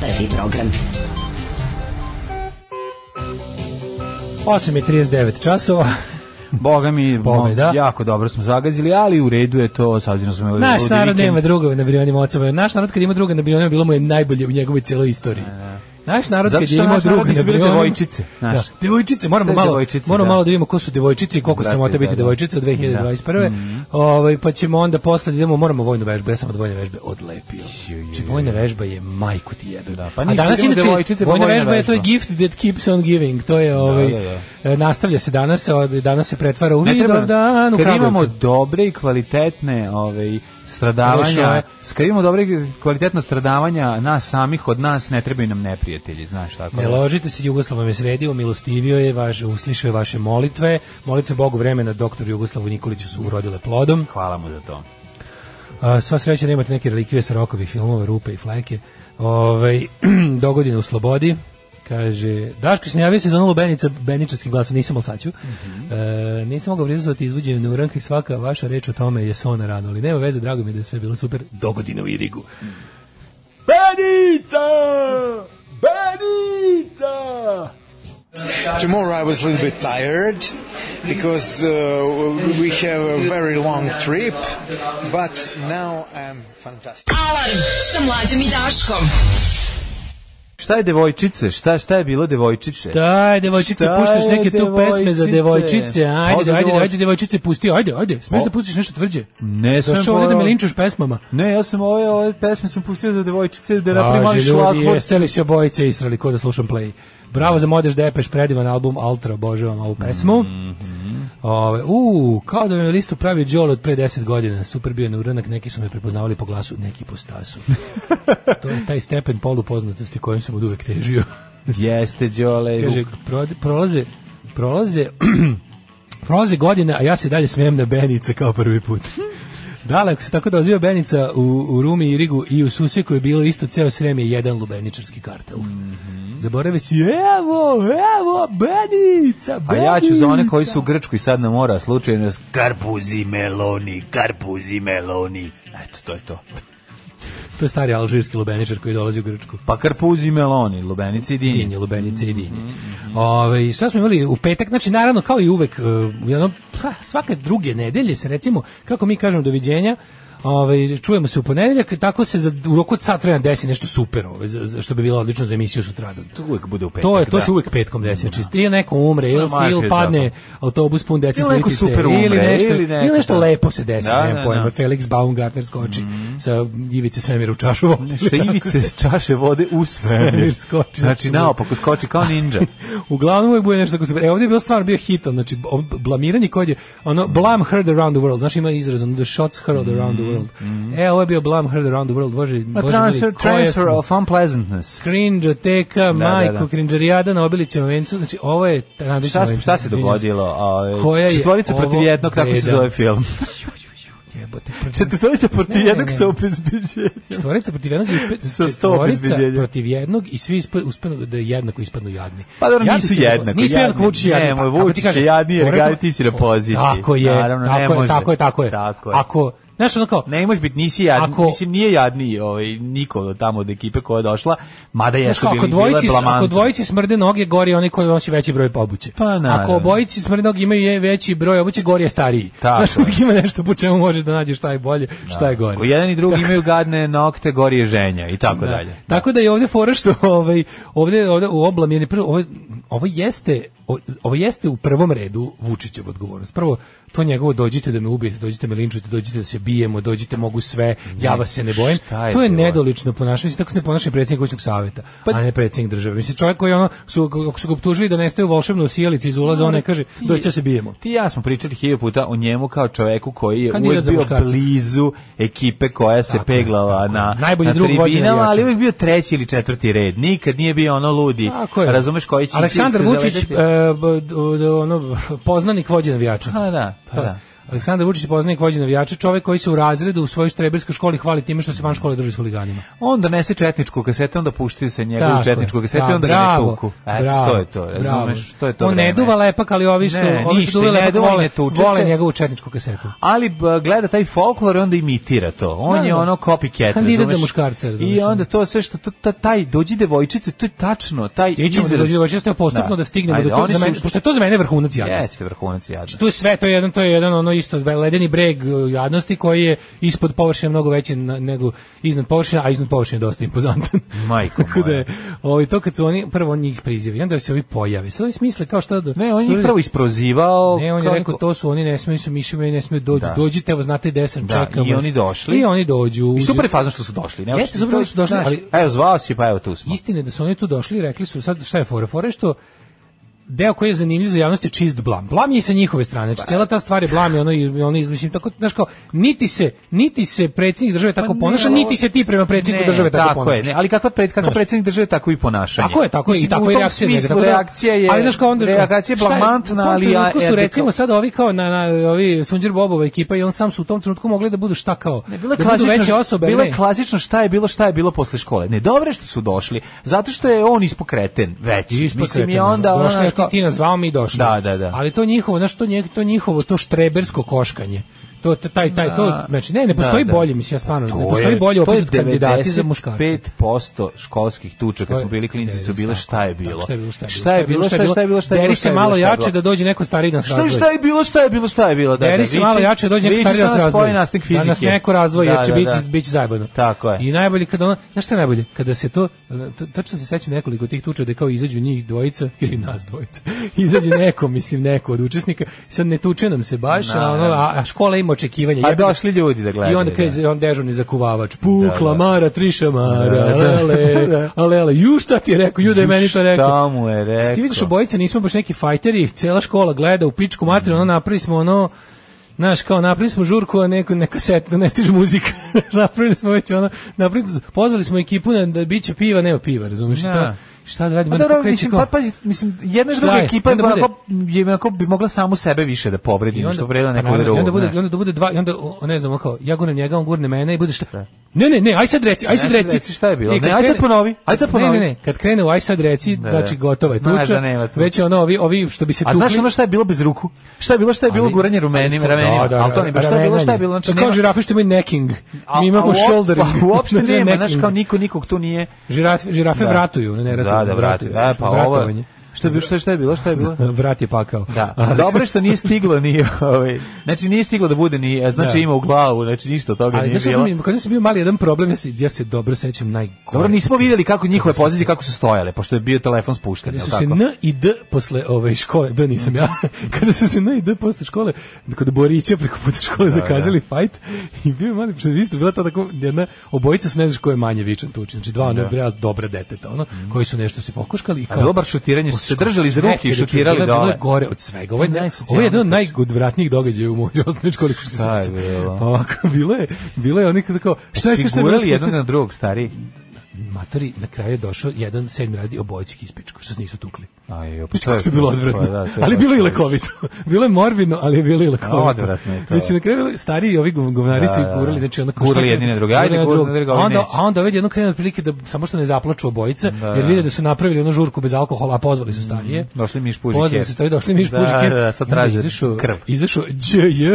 Speaker 3: Prvi program.
Speaker 6: 8.39 časova.
Speaker 5: Boga mi,
Speaker 6: Pobeda.
Speaker 5: mo- jako dobro smo zagazili, ali u redu je to, s obzirom smo imali
Speaker 6: Naš
Speaker 5: ludi
Speaker 6: narod
Speaker 5: vikend.
Speaker 6: nema drugove na brionima oca. Naš narod kad ima druga na brionima, bilo mu je najbolje u njegovoj cijeloj istoriji. Naš narod
Speaker 5: Zato
Speaker 6: kad
Speaker 5: što
Speaker 6: je imao
Speaker 5: naš narod
Speaker 6: druga na
Speaker 5: nisu bile
Speaker 6: brionima...
Speaker 5: devojčice, znaš.
Speaker 6: Da, devojčice, moramo
Speaker 5: Sve
Speaker 6: malo,
Speaker 5: devojčice,
Speaker 6: moramo
Speaker 5: da.
Speaker 6: malo da vidimo ko su devojčice i koliko se mota
Speaker 5: Brate,
Speaker 6: biti
Speaker 5: da, Mhm. da.
Speaker 6: devojčice od 2021. Ovaj, pa ćemo onda posle da idemo, moramo vojnu vežbu. Ja sam od vojne vežbe odlepio. Či vojna vežba je majku ti jebe.
Speaker 5: Da, pa
Speaker 6: A
Speaker 5: ništa,
Speaker 6: danas
Speaker 5: idemo
Speaker 6: inače,
Speaker 5: devojčice, pa
Speaker 6: vojna
Speaker 5: vojna
Speaker 6: vežba je to je
Speaker 5: vežba.
Speaker 6: gift that keeps on giving. To je ovaj,
Speaker 5: da,
Speaker 6: e, nastavlja se danas, od- danas se pretvara u
Speaker 5: Ne treba,
Speaker 6: vidov dan u
Speaker 5: kad imamo
Speaker 6: Kragujevcu.
Speaker 5: dobre i kvalitetne ovaj,
Speaker 6: Rešava.
Speaker 5: stradavanja, s- kad imamo dobre i kvalitetna stradavanja nas samih, od nas ne trebaju nam neprijatelji, znaš tako.
Speaker 6: Ne ložite se, Jugoslav vam je sredio, milostivio je, vaš, uslišao je vaše molitve. Molitve Bogu vremena doktoru Jugoslavu Nikoliću su urodile plodom.
Speaker 5: Hvala mu za to.
Speaker 6: A, sva sreća da imate neke relikvije sa rokovih filmova, rupe i fleke. Ove, dogodine u slobodi. Kaže, Daško se najavio se za onu lubenica, beničarski glas, nisam ali sad ću.
Speaker 5: Mhm.
Speaker 6: E, nisam mogao prizvati izvođenje neuranka i svaka vaša reč o tome je sona rano, ali nema veze, drago mi je da je sve bilo super. Dogodine u Irigu. Benica! Benica!
Speaker 14: Tomorrow I was a little bit tired because uh, we have a very long trip, but now I'm fantastic.
Speaker 3: Alarm sa mlađom i Daškom.
Speaker 5: Šta je devojčice? Šta, šta je bilo devojčice?
Speaker 6: Daj, devojčice,
Speaker 5: Šta
Speaker 6: puštaš
Speaker 5: je
Speaker 6: neke tu pesme za
Speaker 5: devojčice?
Speaker 6: devojčice.
Speaker 5: Pa
Speaker 6: Ajde,
Speaker 5: za
Speaker 6: ajde,
Speaker 5: devoj-
Speaker 6: ajde, devojčice, pusti, ajde, ajde. Smeš
Speaker 5: O.
Speaker 6: da pustiš nešto tvrđe?
Speaker 5: Ne smem,
Speaker 6: Došao ovde da
Speaker 5: pa-
Speaker 6: me linčaš pesmama.
Speaker 5: Ne, ja sam ove, ove pesme sam pustio za devojčice da napravim
Speaker 6: Kaže,
Speaker 5: mali
Speaker 6: ljudi,
Speaker 5: šlakvort.
Speaker 6: jeste li se obojice istrali ko da slušam play? Bravo za Modeš Depeš, predivan album Altra, obožavam ovu pesmu. Ove, u, kao da mi je listu pravi Đole od pre 10 godina. Super bio na uranak, neki su me prepoznavali po glasu, neki po stasu. to je taj stepen polupoznatosti kojim sam od uvek težio.
Speaker 5: Jeste, Đole.
Speaker 6: Kaže, pro- prolaze, prolaze, prolaze godine, a ja se dalje smijem na Benica kao prvi put. Dale, ako se tako da oziva Benica u, u Rumi i Rigu i u Suseku je bilo isto ceo srem je jedan lubeničarski kartel.
Speaker 5: Mhm.
Speaker 6: Zaborave si, evo, evo, Benica,
Speaker 5: A
Speaker 6: Benica.
Speaker 5: ja ću za one koji su u Grčkoj sad na mora slučajno s karpuzi meloni, karpuzi meloni. Eto, to je to.
Speaker 6: To je stari alžirski lubeničar koji dolazi u Grčku.
Speaker 5: Pa karpuzi meloni, lubenici i dinje.
Speaker 6: Dinje, lubenice i dinje.
Speaker 5: Mhm,
Speaker 6: Ove, i šta smo imali u petak? Znači, naravno, kao i uvek, e, u jednom, ha, svake druge nedelje se, recimo, kako mi kažemo, doviđenja, Ove, čujemo se u ponedeljak, i tako se za, u roku od sat vremena desi nešto super, ove, za- za- što bi bilo odlično za emisiju sutradan.
Speaker 5: To uvek bude u petak,
Speaker 6: To, je, to
Speaker 5: da.
Speaker 6: se uvek petkom desi. Znači, ili neko umre, ili,
Speaker 5: Ma,
Speaker 6: se- ili
Speaker 5: Marko je
Speaker 6: padne autobus pun deci
Speaker 5: Ili neko
Speaker 6: slitice,
Speaker 5: super umre,
Speaker 6: ili nešto,
Speaker 5: ili neko,
Speaker 6: ili nešto
Speaker 5: da.
Speaker 6: lepo se desi,
Speaker 5: Da,
Speaker 6: nemam
Speaker 5: da,
Speaker 6: pojma.
Speaker 5: da. Mhm.
Speaker 6: Felix Baumgartner skoči sa ivice svemira u čašu. vode.
Speaker 5: Sa ivice s čaše vode u svemir.
Speaker 6: Svemir skoči.
Speaker 5: Znači, naopako skoči kao ninja.
Speaker 6: Uglavnom uvijek bude nešto tako super. E, ovdje je bilo stvarno bio hitan, znači o- blamiranje koje je, ono, blam heard around the world, znači ima izraz, ono, the shots heard
Speaker 5: Mm,
Speaker 6: around the world. E, ovo je bio blam heard around the world, bože,
Speaker 5: Ma,
Speaker 6: bože,
Speaker 5: mm. transfer,
Speaker 6: mili, koja
Speaker 5: transfer
Speaker 6: smo
Speaker 5: of unpleasantness.
Speaker 6: krinđoteka,
Speaker 5: da,
Speaker 6: majko,
Speaker 5: da.
Speaker 6: krinđarijada na obilićem vencu, znači ovo je ta- na
Speaker 5: Šta,
Speaker 6: Obilićevom vencu,
Speaker 5: šta se
Speaker 6: izvinjam
Speaker 5: dogodilo? A,
Speaker 6: Koja je
Speaker 5: Četvorica
Speaker 6: ovo
Speaker 5: protiv jednog, tako se
Speaker 6: beda?
Speaker 5: zove film.
Speaker 6: Jebote, protiv-
Speaker 5: Četvorica protiv jednog sa obezbeđenjem.
Speaker 6: Četvorica protiv jednog i uspe,
Speaker 5: Sa sto
Speaker 6: četvorica
Speaker 5: obezbeđenja.
Speaker 6: protiv jednog i svi ispe, uspenu da jednako ispadnu jadni.
Speaker 5: Pa dobro,
Speaker 6: Jadni
Speaker 5: nisu
Speaker 6: su-
Speaker 5: jednako
Speaker 6: Nisu
Speaker 5: jadni.
Speaker 6: jednako Vučić je
Speaker 5: Ne,
Speaker 6: jadni.
Speaker 5: moj
Speaker 6: Pa, kako ti
Speaker 5: Vučić je
Speaker 6: kažem,
Speaker 5: jadniji jer
Speaker 6: poreklo-
Speaker 5: ga ti si na poziciji.
Speaker 6: Tako je,
Speaker 5: Naravno, ne
Speaker 6: tako, je
Speaker 5: može.
Speaker 6: tako je, tako je.
Speaker 5: Tako je.
Speaker 6: Ako Znaš, ono kao...
Speaker 5: Ne može biti, nisi jadni,
Speaker 6: Ako-
Speaker 5: mislim, nije jadni ovaj, niko tamo od ekipe koja je došla, mada
Speaker 6: Znaš
Speaker 5: jesu
Speaker 6: kako, ako
Speaker 5: bili, bila
Speaker 6: dvojici,
Speaker 5: je
Speaker 6: ako
Speaker 5: blamanta.
Speaker 6: dvojici smrde noge, gori onaj koji nosi veći broj obuće.
Speaker 5: Pa, naravno.
Speaker 6: ako obojici smrde noge imaju je veći broj obuće, gori je stariji.
Speaker 5: Tako
Speaker 6: Znaš,
Speaker 5: je.
Speaker 6: uvijek ima nešto po čemu možeš da nađeš šta je bolje, šta je gore.
Speaker 5: Ako jedan i drugi imaju gadne nokte, gori je ženja i tako Pa dalje.
Speaker 6: Tako da je ovdje fora što ovaj ovdje ovdje u oblamjeni prvo ovo, ovo jeste o- ovo jeste u prvom redu Vučićev odgovornost. Prvo to njegovo dođite da me ubijete, dođite me linčujete, dođite da se bijemo, dođite mogu sve, ja vas se ne bojim.
Speaker 5: šta je
Speaker 6: to je
Speaker 5: bilo? Pa-
Speaker 6: nedolično ponašanje, mislim tako se ne ponaša predsjednik kućnog savjeta, a ne predsjednik države. Mislim čovjek koji ono su ako su ga optužili da nestaje u volšebnu sijalici iz ulaza, on ne kaže
Speaker 5: Pa,
Speaker 6: dođite da se bijemo.
Speaker 5: Ti i ja smo pričali hiljadu puta o njemu kao čoveku koji je
Speaker 6: Kandidat
Speaker 5: uvijek
Speaker 6: za
Speaker 5: bio
Speaker 6: muškarca.
Speaker 5: blizu ekipe koja se
Speaker 6: Tako je,
Speaker 5: peglala
Speaker 6: tako je.
Speaker 5: na,
Speaker 6: Najbolji
Speaker 5: na
Speaker 6: drug vođe
Speaker 5: tribinama,
Speaker 6: navijača.
Speaker 5: ali uvijek bio treći ili četvrti red. Nikad nije bio ono ludi.
Speaker 6: Tako je.
Speaker 5: Razumeš koji će
Speaker 6: Aleksandar
Speaker 5: se
Speaker 6: Vučić,
Speaker 5: zavedati?
Speaker 6: e, b- d- d- ono, poznanik vođe navijača.
Speaker 5: Pa da, pa
Speaker 6: To je.
Speaker 5: da.
Speaker 6: Aleksandar Vučić je poznanik vođe navijača, čovjek koji se u razredu u svojoj štreberskoj školi hvali time što se van škole drži s huliganima.
Speaker 5: On donese četničku kasetu, onda pušti se
Speaker 6: Tako
Speaker 5: njegovu
Speaker 6: je.
Speaker 5: četničku kasetu i
Speaker 6: Da,
Speaker 5: onda ga ne
Speaker 6: bravo,
Speaker 5: tuku. Eto,
Speaker 6: bravo,
Speaker 5: to je to,
Speaker 6: bravo.
Speaker 5: razumeš? To je to
Speaker 6: On ne
Speaker 5: vreme.
Speaker 6: duva lepak, ali ovi što,
Speaker 5: Ne,
Speaker 6: ovi
Speaker 5: ništa,
Speaker 6: što duve
Speaker 5: i ne
Speaker 6: lepak
Speaker 5: duva i
Speaker 6: vole,
Speaker 5: ne tuče
Speaker 6: vole
Speaker 5: se.
Speaker 6: njegovu četničku kasetu.
Speaker 5: ali b, gleda taj folklor i onda imitira to. On
Speaker 6: Da,
Speaker 5: je
Speaker 6: da.
Speaker 5: ono copycat,
Speaker 6: Kandidat
Speaker 5: razumeš?
Speaker 6: za muškarca, razumeš,
Speaker 5: I onda to sve što, to, ta- taj dođi devojčice, to je tačno, taj
Speaker 6: Ti ćemo da
Speaker 5: izraz.
Speaker 6: dođe očesto postupno da, stignemo
Speaker 5: Ajde,
Speaker 6: do toga,
Speaker 5: oni
Speaker 6: za
Speaker 5: su-
Speaker 6: mene, pošto je to za mene vrhunac jadnosti.
Speaker 5: Jeste vrhunac jadnosti.
Speaker 6: To je sve, to je jedan, to je jedan ono isto ledeni breg e, jadnosti koji je ispod površine mnogo veći na- nego iznad površine, a iznad površine je dosta impozantan.
Speaker 5: Majko
Speaker 6: Tako da je,
Speaker 5: moja.
Speaker 6: ovaj, to kad su oni, prvo on njih prizivi, onda se ovi pojave. Sad oni smisle kao šta da...
Speaker 5: Ne, on
Speaker 6: šta
Speaker 5: je
Speaker 6: da-
Speaker 5: prvo isprozivao.
Speaker 6: Ne, on je
Speaker 5: kao neko-
Speaker 6: rekao, to su oni, ne smiju su mišljima i ne smiju dođu.
Speaker 5: Da.
Speaker 6: Dođite, evo znate gde sam,
Speaker 5: Da,
Speaker 6: čekam
Speaker 5: i
Speaker 6: vas.
Speaker 5: oni došli.
Speaker 6: I oni dođu.
Speaker 5: I super je fazno što su došli. Ne,
Speaker 6: Jeste,
Speaker 5: Uopšte,
Speaker 6: super
Speaker 5: to-
Speaker 6: da su došli,
Speaker 5: znaš,
Speaker 6: ali-
Speaker 5: Evo, zvao si, pa evo tu smo.
Speaker 6: Istina je da su oni tu došli i rekli su, sad šta je fora? Fora je što deo koji je zanimljiv za javnost je čist blam. Blam je i sa njihove strane.
Speaker 5: Pa,
Speaker 6: Znači, cijela ta stvar je blam i ono, i ono izmišljam. Tako, znaš kao, niti se, niti se predsjednik države tako
Speaker 5: Pa ne,
Speaker 6: ponaša,
Speaker 5: ali-
Speaker 6: niti se ti prema predsjedniku
Speaker 5: Ne,
Speaker 6: države tako, ponaša.
Speaker 5: je, ne, ali kakva pred, kako predsjednik države, tako i ponašanje.
Speaker 6: Tako je, tako je, i
Speaker 5: Mislim,
Speaker 6: tako
Speaker 5: u
Speaker 6: je
Speaker 5: tom
Speaker 6: reakcija. njega,
Speaker 5: smislu
Speaker 6: tako da-
Speaker 5: reakcija je,
Speaker 6: ali znaš kao onda,
Speaker 5: reakcija je
Speaker 6: šta
Speaker 5: blamantna, ali...
Speaker 6: U tom
Speaker 5: ja-
Speaker 6: trenutku su
Speaker 5: eto,
Speaker 6: recimo sad ovi kao na, na ovi Sunđer Bobova ekipa i on sam su u tom trenutku mogli da budu šta kao,
Speaker 5: Ne, bila je
Speaker 6: da budu
Speaker 5: klasično-
Speaker 6: veće osobe.
Speaker 5: Bila
Speaker 6: ne?
Speaker 5: je klasično šta je bilo, šta je bilo posle škole. Ne, dobro je što su došli, zato što je on ispokreten već.
Speaker 6: Ispod
Speaker 5: Mislim, i
Speaker 6: kretena,
Speaker 5: onda...
Speaker 6: ono,
Speaker 5: ono,
Speaker 6: došli,
Speaker 5: znaš,
Speaker 6: ti-
Speaker 5: kao-
Speaker 6: ti nas zvao, mi došli.
Speaker 5: Da, da, da.
Speaker 6: Ali to njihovo, znaš, to, nje- to njihovo, to štrebersko koškanje. To, to- taj, taj, to,
Speaker 5: Da.
Speaker 6: znači, ne, ne postoji
Speaker 5: Da, da.
Speaker 6: bolje, mislim, ja stvarno,
Speaker 5: To
Speaker 6: ne postoji
Speaker 5: je-
Speaker 6: bolje
Speaker 5: to je
Speaker 6: opet kandidati za muškarce.
Speaker 5: 95% školskih tuča
Speaker 6: To
Speaker 5: kad
Speaker 6: je-
Speaker 5: smo bili klinci su
Speaker 6: 90,
Speaker 5: bile šta je
Speaker 6: tako,
Speaker 5: bilo.
Speaker 6: Šta je bilo, šta je bilo?
Speaker 5: bilo, šta je šta je bilo, šta je
Speaker 6: Deri
Speaker 5: bilo,
Speaker 6: se
Speaker 5: šta je
Speaker 6: malo
Speaker 5: bilo, šta je
Speaker 6: jače da
Speaker 5: bilo.
Speaker 6: dođe neko stariji da nas
Speaker 5: Šta je,
Speaker 6: razdvoji.
Speaker 5: šta je bilo, šta je bilo, šta je bilo, da, da,
Speaker 6: Deri se
Speaker 5: viči-
Speaker 6: malo jače da dođe neko
Speaker 5: viči
Speaker 6: stariji da nas
Speaker 5: samo
Speaker 6: razdvoji.
Speaker 5: spoji nasnik
Speaker 6: Da nas
Speaker 5: fizike.
Speaker 6: neko razdvoji,
Speaker 5: Da,
Speaker 6: jer će
Speaker 5: da,
Speaker 6: biti,
Speaker 5: da.
Speaker 6: biti zajebano.
Speaker 5: Tako je.
Speaker 6: I najbolje kad ono, znaš šta je najbolje? Kada se to, t- tačno se sećam nekoliko tih tuča da je kao izađu njih dvojica ili nas dvojica. Izađe neko, mislim, neko od učesnika. Sad ne tuče nam se baš, a, ono, a, a škola ima očekivanja.
Speaker 5: A
Speaker 6: Jebe ga.
Speaker 5: Pa došli ljudi da gledaju,
Speaker 6: I onda
Speaker 5: da.
Speaker 6: kreće on dežurni zakuvavač. Pukla,
Speaker 5: Da, da.
Speaker 6: mara, trišamara, ale, ale, ale. Ju šta ti je rekao, ju da je
Speaker 5: Ju,
Speaker 6: meni to
Speaker 5: šta
Speaker 6: rekao.
Speaker 5: mu je rekao?
Speaker 6: Ti vidiš obojice, nismo baš neki fajteri, cela škola gleda u pičku materiju, ono napravili smo ono, Znaš, kao napravili smo žurku, a neku, neka setna, ne stiže muzika. napravili smo već ono, napravili smo, pozvali smo ekipu na, da bit će piva, nema piva, razumiješ?
Speaker 5: Da.
Speaker 6: Šta, šta da radimo?
Speaker 5: Pa
Speaker 6: Onda
Speaker 5: dobro,
Speaker 6: kreće
Speaker 5: mislim,
Speaker 6: kao-
Speaker 5: pa, pazi, mislim, jedna i
Speaker 6: Šta
Speaker 5: druga
Speaker 6: je?
Speaker 5: ekipa je
Speaker 6: Onda bude-
Speaker 5: onako, je onako bi mogla samu sebe više da povredi,
Speaker 6: I
Speaker 5: nego
Speaker 6: onda,
Speaker 5: što povredila
Speaker 6: pa
Speaker 5: nekog
Speaker 6: naravno, i
Speaker 5: drugog.
Speaker 6: onda bude,
Speaker 5: ne.
Speaker 6: i onda bude dva, i onda, o, ne znam, ono kao, ja gurnem njega, on gurne mene i bude šta? Ne, ne, ne, aj sad reci, aj
Speaker 5: Ne,
Speaker 6: sad
Speaker 5: sad
Speaker 6: reci.
Speaker 5: reci, šta je bilo?
Speaker 6: I kad
Speaker 5: Ne, aj sad
Speaker 6: krene-
Speaker 5: ponovi, aj sad ponovi.
Speaker 6: Ne, ne, ne, kad krene u aj sad reci,
Speaker 5: Da, da.
Speaker 6: znači gotova je
Speaker 5: Znaš
Speaker 6: tuča,
Speaker 5: da nema tuče.
Speaker 6: već ono, ovi, ovi što bi se
Speaker 5: A
Speaker 6: tukli.
Speaker 5: znaš ono šta je bilo bez ruku? Šta je bilo, šta je bilo
Speaker 6: Ali-
Speaker 5: guranje rumenima, ramenima? ali to ne, baš šta je bilo, šta je bilo? Znači,
Speaker 6: Znači, kao
Speaker 5: nema-
Speaker 6: žirafe što imaju necking.
Speaker 5: a-
Speaker 6: Mi
Speaker 5: a
Speaker 6: imamo
Speaker 5: uop-
Speaker 6: shouldering.
Speaker 5: Pa uopšte
Speaker 6: Znači,
Speaker 5: nema, znaš,
Speaker 6: necking.
Speaker 5: kao niko nikog tu nije...
Speaker 6: Žirafe, žirafe
Speaker 5: Da.
Speaker 6: vratuju, ne, ne ratuju.
Speaker 5: Da, da, vrati. E, pa ovo...
Speaker 6: vratovanje.
Speaker 5: Šta je bilo, šta je- šta je bilo, šta je bilo?
Speaker 6: Vrat je pakao.
Speaker 5: Da. Dobro je što nije stiglo ni, ovaj, znači nije stiglo da bude ni, znači
Speaker 6: Da.
Speaker 5: ima u glavu, znači ništa od toga
Speaker 6: Ali
Speaker 5: nije
Speaker 6: znaš šta
Speaker 5: bilo.
Speaker 6: sam, im- kada sam bio mali jedan problem, ja se, ja se dobro sećam najgore.
Speaker 5: Dobro, nismo vidjeli kako njihove pozicije kako su stojale, pošto je bio telefon spušten, je
Speaker 6: Kada
Speaker 5: li
Speaker 6: su se
Speaker 5: tako? Mm.
Speaker 6: N i D posle ove škole, da nisam ja, kada su se N i D posle škole, kod Borića preko puta škole zakazali fight i bio je mali, pošto je isto bila ta tako jedna, obojica su ne znaš ko je manje vičan tuči, znači dva ono real dobra deteta, ono, koji su nešto se pokoškali i kao...
Speaker 5: Mm. bilo bar šutiranje, su se držali za ruke i
Speaker 6: Nekada
Speaker 5: šutirali
Speaker 6: bilo je
Speaker 5: dole.
Speaker 6: gore od svega, ovo je,
Speaker 5: To je
Speaker 6: ne-
Speaker 5: najsocijalnije
Speaker 6: ovo je jedan od najodvratnijih događaja u mojoj osnovnoj školi, kako se
Speaker 5: Šta je
Speaker 6: sećam.
Speaker 5: bilo? Pa
Speaker 6: Pa ovako, bilo je, bilo je onih kao, šta je sve što je bilo,
Speaker 5: Sigurali jedan
Speaker 6: šta
Speaker 5: na
Speaker 6: je-
Speaker 5: drugog, stari.
Speaker 6: matori, na kraju je došao jedan sedmi radi obojićih ispičku, što se nisu tukli.
Speaker 5: Aj, jo,
Speaker 6: pa to je to bilo odvratno. Pa, da, ali bilo i lekovito. bilo je morbidno, ali je bilo i lekovito.
Speaker 5: Odvratno je to.
Speaker 6: Mislim, na kraju stariji ovi govnari su ih gurali, znači onako...
Speaker 5: Gurali jedine druge, ajde, gurali druge,
Speaker 6: a onda,
Speaker 5: neće.
Speaker 6: a onda ovdje jedno krenu otprilike da samo što ne zaplaču obojica, jer vide da su napravili onu žurku bez alkohola, a pozvali su starije.
Speaker 5: Mhm. Došli miš pužike.
Speaker 6: Pozvali su starije, došli miš
Speaker 5: Da,
Speaker 6: pužike.
Speaker 5: da, sad
Speaker 6: I onda
Speaker 5: traže
Speaker 6: izašao-
Speaker 5: krv.
Speaker 6: Izašao DJ,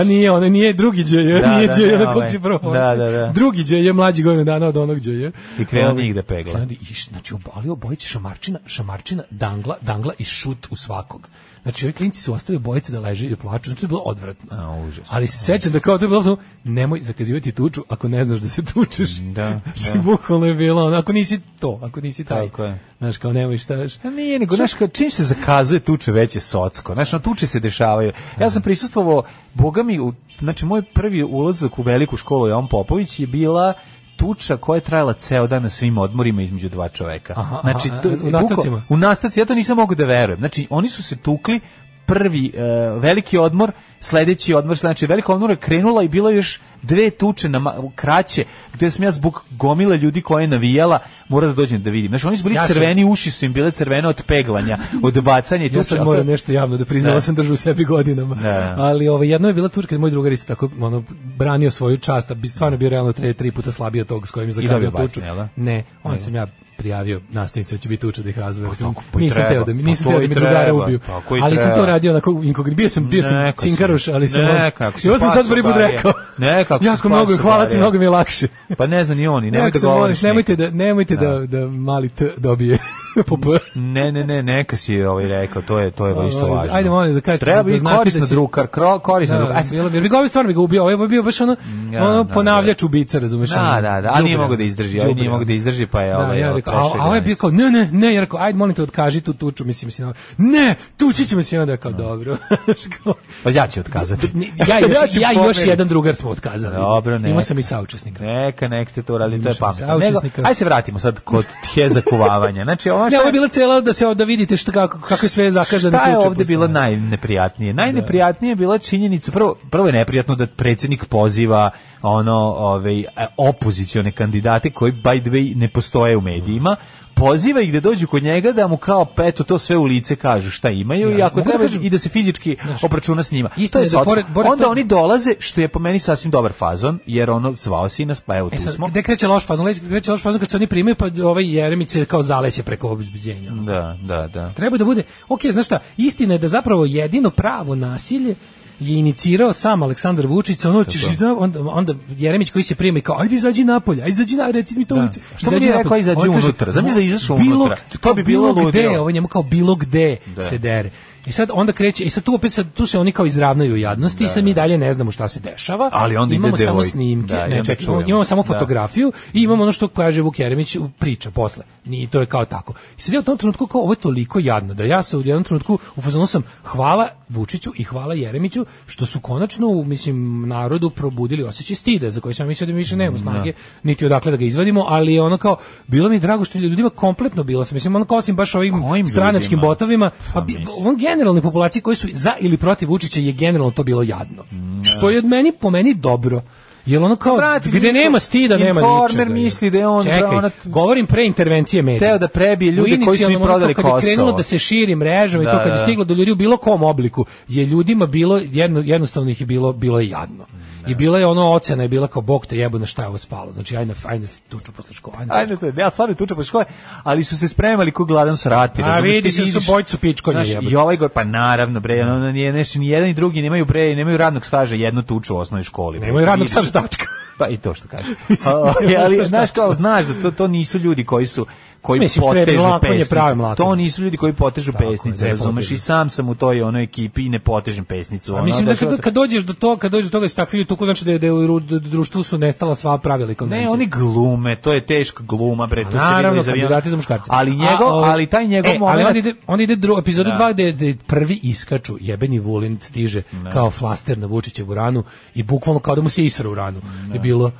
Speaker 6: a nije, ona nije drugi DJ,
Speaker 5: Da,
Speaker 6: nije
Speaker 5: da,
Speaker 6: DJ,
Speaker 5: ne,
Speaker 6: na kog
Speaker 5: ovaj.
Speaker 6: će prvo
Speaker 5: Da, da, da.
Speaker 6: Drugi DJ, mlađi godinu dana od onog DJ.
Speaker 5: I krenu
Speaker 6: Ovaj,
Speaker 5: njih da pegla.
Speaker 6: krenu i iš- znači obali obojice šamarčina, šamarčina, dangla, dangla i šut u svakog. Znači, ovi klinci su ostavili bojice da leže i da plaču, znači to je bilo odvratno.
Speaker 5: A, užas.
Speaker 6: Ali se sećam da kao to je bilo samo, nemoj zakazivati tuču ako ne znaš da se tučeš.
Speaker 5: Da,
Speaker 6: Znači,
Speaker 5: da.
Speaker 6: bukvalno je bilo, ono, ako nisi to, ako nisi taj.
Speaker 5: Tako je.
Speaker 6: Znaš, kao nemoj šta, znaš.
Speaker 5: A Pa nije, nego, znaš, kao, čim se zakazuje tuče veće socko. Znaš, no, tuče se dešavaju. Ja sam prisustvovao, boga mi, u, znači, moj prvi ulazak u veliku školu Jovan Popović je bila tuča koja je trajala ceo dan na svim odmorima između dva čoveka.
Speaker 6: Aha,
Speaker 5: znači,
Speaker 6: aha,
Speaker 5: to-
Speaker 6: u
Speaker 5: bukval-
Speaker 6: nastavcima?
Speaker 5: U nastavci, ja to nisam mogu da verujem. Znači, oni su se tukli prvi e, veliki odmor, sledeći odmor, znači velika odmor je krenula i bilo je još dve tuče na ma- kraće, gde sam ja zbog gomila ljudi koje je navijala, mora da dođem da vidim. Znači, oni su bili
Speaker 6: Ja sam-
Speaker 5: crveni, uši su im bile crvene od peglanja, od bacanja i tuče.
Speaker 6: Ja sad
Speaker 5: ali to-
Speaker 6: moram nešto javno da priznam,
Speaker 5: Da.
Speaker 6: da. sam držao u sebi godinama.
Speaker 5: Da.
Speaker 6: Ali ovaj jedno je bila turka, moj drugar isto tako ono branio svoju čast, a bi stvarno bio realno tri, tri puta slabiji od tog s kojim je
Speaker 5: dobio
Speaker 6: zakazao
Speaker 5: batine,
Speaker 6: tuču.
Speaker 5: jel da?
Speaker 6: Ne, on sam ja prijavio nastavnice da će biti tuča da ih razvoj.
Speaker 5: tako, pa i
Speaker 6: nisam
Speaker 5: treba,
Speaker 6: teo da mi
Speaker 5: pa
Speaker 6: nisam
Speaker 5: to
Speaker 6: teo
Speaker 5: i
Speaker 6: da mi
Speaker 5: treba,
Speaker 6: drugara ubiju.
Speaker 5: tako i
Speaker 6: Ali sam
Speaker 5: treba.
Speaker 6: to radio onako inkognito. Bio sam bio sam
Speaker 5: Neka si-
Speaker 6: cinkaroš, ali sam
Speaker 5: neka, ako si
Speaker 6: I ovo sam sad
Speaker 5: spaso
Speaker 6: prvi put
Speaker 5: barije.
Speaker 6: rekao.
Speaker 5: Neka, ako si
Speaker 6: Jako mnogo
Speaker 5: spaso
Speaker 6: hvala ti,
Speaker 5: barije.
Speaker 6: mnogo mi je lakše.
Speaker 5: Pa ne znam ni oni, nemoj
Speaker 6: Neka
Speaker 5: da
Speaker 6: se moliš,
Speaker 5: govoriš.
Speaker 6: nemojte da
Speaker 5: nikom.
Speaker 6: nemojte da da mali t dobije po p.
Speaker 5: Ne, ne, ne, neka si je ovaj rekao, to je, to je isto
Speaker 6: Ovaj,
Speaker 5: važno.
Speaker 6: ajde, molim da kažete
Speaker 5: Treba
Speaker 6: da
Speaker 5: biti
Speaker 6: znate da
Speaker 5: korisno
Speaker 6: će-
Speaker 5: drukar, kro- korisno drukar.
Speaker 6: Da,
Speaker 5: Aj, sad-
Speaker 6: bilo bi, jer bi ga ovaj stvarno bi ga ubio, ovaj bi bio baš ono,
Speaker 5: Ja,
Speaker 6: ono
Speaker 5: Mm, da,
Speaker 6: ponavljač ubica, razumeš?
Speaker 5: Da,
Speaker 6: ono,
Speaker 5: da, da, a
Speaker 6: đubre.
Speaker 5: nije mogao da izdrži, ovaj nije
Speaker 6: Đubre.
Speaker 5: mogao da izdrži, pa je
Speaker 6: Da,
Speaker 5: ovaj,
Speaker 6: ja
Speaker 5: ovaj
Speaker 6: rekao, a,
Speaker 5: prešao
Speaker 6: a ovaj je
Speaker 5: granicu.
Speaker 6: bio kao, ne, ne, ne, ja rekao, ajde, molim te, odkaži tu tuču, mislim, mislim, ono, ne, tući ćemo se, i onda je kao, dobro, Znaš, kao,
Speaker 5: Pa ja ću otkazati.
Speaker 6: ni- ja, i još,
Speaker 5: ću
Speaker 6: ja i još
Speaker 5: pomeriti.
Speaker 6: jedan drugar smo otkazali,
Speaker 5: Dobro, ne.
Speaker 6: imao sam i saučesnika.
Speaker 5: Neka, nek ste to radili, to je
Speaker 6: Imaš mi
Speaker 5: pametno. Nego,
Speaker 6: saučesnika.
Speaker 5: Aj se vratimo sad kod tjeza kuvavanja. Znači, ovo
Speaker 6: Ne,
Speaker 5: šta,
Speaker 6: ovo je bila cela da se da vidite šta kako kako je sve zakazano
Speaker 5: šta je ovde bilo najneprijatnije? Najneprijatnije je bila činjenica, prvo, prvo je neprijatno da predsjednik poziva ono ovaj, e, opozicione kandidate koji by the way ne postoje u medijima, poziva ih da dođu kod njega da mu kao peto to sve u lice kažu šta imaju i
Speaker 6: Ja,
Speaker 5: ako
Speaker 6: mogu da
Speaker 5: treba
Speaker 6: kažem-
Speaker 5: i da se fizički obračuna s njima.
Speaker 6: Istina
Speaker 5: To je
Speaker 6: je da
Speaker 5: socko.
Speaker 6: pored- pored
Speaker 5: Onda
Speaker 6: tog-
Speaker 5: oni dolaze što je po meni sasvim dobar fazon jer ono zvao si nas pa evo tu
Speaker 6: E sad,
Speaker 5: smo.
Speaker 6: gde kreće loš fazon? Leći- Kreće loš fazon kad se oni primaju, pa ovaj Jeremić se kao zaleće preko obzbiđenja.
Speaker 5: Da, da, da.
Speaker 6: Treba da bude, ok, znaš šta, istina je da zapravo jedino pravo nasilje je inicirao sam Aleksandar Vučić,
Speaker 5: E,
Speaker 6: ono ćeš, da, onda, onda Jeremić koji se prima i kao, ajde izađi napolje, ajde izađi na, reci mi to
Speaker 5: Da.
Speaker 6: ulice.
Speaker 5: Što mu nije
Speaker 6: napolje."
Speaker 5: rekao, "Izađi
Speaker 6: On kaže,
Speaker 5: unutra." Zamisli da je izašao
Speaker 6: bilo,
Speaker 5: unutra.
Speaker 6: To bi bilo, bilo
Speaker 5: ludilo.
Speaker 6: gde, ovo njemu kao bilo gde se dere. I sad onda kreće, i sad tu opet sad, tu se oni kao izravnaju u jadnosti i sad mi dalje ne znamo šta se dešava.
Speaker 5: Ali onda ide
Speaker 6: imamo samo
Speaker 5: devoj.
Speaker 6: snimke,
Speaker 5: Da, i
Speaker 6: ne,
Speaker 5: onda
Speaker 6: čekaj, imamo-
Speaker 5: čujemo.
Speaker 6: imamo samo
Speaker 5: Da.
Speaker 6: fotografije fotografiju i imamo ono što kaže Vuk Jeremić u- priča posle. Ni to je kao tako. I sad ja u tom trenutku kao ovo je toliko jadno da ja se u jednom trenutku u fazonu sam hvala Vučiću i hvala Jeremiću što su konačno u mislim narodu probudili osjećaj stida za koji sam mislio da mi više
Speaker 5: Mm,
Speaker 6: nema snage niti odakle da ga izvadimo, ali je ono kao bilo mi je drago što je ljudima kompletno bilo sam mislim ono kao osim baš ovim
Speaker 5: Kojim
Speaker 6: stranačkim
Speaker 5: ljudima?
Speaker 6: botovima,
Speaker 5: Pa
Speaker 6: pa bi-
Speaker 5: mislim.
Speaker 6: on generalne populacije koji su za ili protiv Vučića je generalno to bilo jadno.
Speaker 5: Mm,
Speaker 6: Što je od meni po meni dobro. Jel ono kao
Speaker 5: Brate,
Speaker 6: gde
Speaker 5: niko-
Speaker 6: nema stida, nema ničega.
Speaker 5: Informer misli da je on-
Speaker 6: Čekaj,
Speaker 5: ona-
Speaker 6: govorim pre intervencije medija.
Speaker 5: Teo da prebije ljude
Speaker 6: U
Speaker 5: koji su im
Speaker 6: inicijalnom ono
Speaker 5: prodali
Speaker 6: Kad je krenulo
Speaker 5: Kosovo.
Speaker 6: da se širi mreža i
Speaker 5: Da,
Speaker 6: to kad
Speaker 5: da,
Speaker 6: je
Speaker 5: da.
Speaker 6: stiglo do ljudi u bilo kom obliku, je ljudima bilo, jedno, jednostavno ih je bilo, bilo je jadno. I bila je ono ocena, je bila kao, bog te jebo na šta je ovo spalo. Znači, ajde, na- ajde tuču posle škole. Ajde, na-
Speaker 5: Ajde, to je, ja stvarno tuče po škole, ali su se spremali ko gladan srati.
Speaker 6: A
Speaker 5: razumeš,
Speaker 6: vidi
Speaker 5: ti
Speaker 6: se da su
Speaker 5: vidiš-
Speaker 6: bojcu pičkonja
Speaker 5: Znaš,
Speaker 6: jebote.
Speaker 5: I ovaj gore, pa naravno, bre, ono, ono, nije, znaš, ni jedan ni drugi nemaju, bre, nemaju radnog staža, jednu tuču u osnovnoj školi. bre,
Speaker 6: Nemoj radnog
Speaker 5: vidiš.
Speaker 6: staža tačka.
Speaker 5: Pa i to što kažeš. Ali, ali znaš kao znaš da to to nisu ljudi koji su koji
Speaker 6: Mislim, Štreber
Speaker 5: potežu
Speaker 6: Mlakon je
Speaker 5: pesnicu.
Speaker 6: pravi Mlakon.
Speaker 5: To nisu ljudi koji potežu
Speaker 6: Tako je,
Speaker 5: pesnice,
Speaker 6: ne
Speaker 5: razumeš?
Speaker 6: potežu.
Speaker 5: I sam sam u toj onoj ekipi i ne potežem pesnicu.
Speaker 6: A
Speaker 5: ono,
Speaker 6: mislim da
Speaker 5: što-
Speaker 6: kad, kad dođeš do toga, kad dođeš do toga da se takvi tuku, znači da je, da je u ru- da društvu su nestala sva pravila i konvencije.
Speaker 5: Ne, oni glume, to je teška gluma, bre, tu se vidi
Speaker 6: Naravno,
Speaker 5: iz aviona.
Speaker 6: kandidati za muškarce.
Speaker 5: Ali njegov,
Speaker 6: A, ovaj,
Speaker 5: ali taj njegov
Speaker 6: e,
Speaker 5: moment,
Speaker 6: Ali onda ide, onda ide dru, epizodu 2 gde, gde prvi iskaču, jebeni Vulin stiže kao flaster na Vučićevu ranu i bukvalno kao da mu se isra u ranu. Je bilo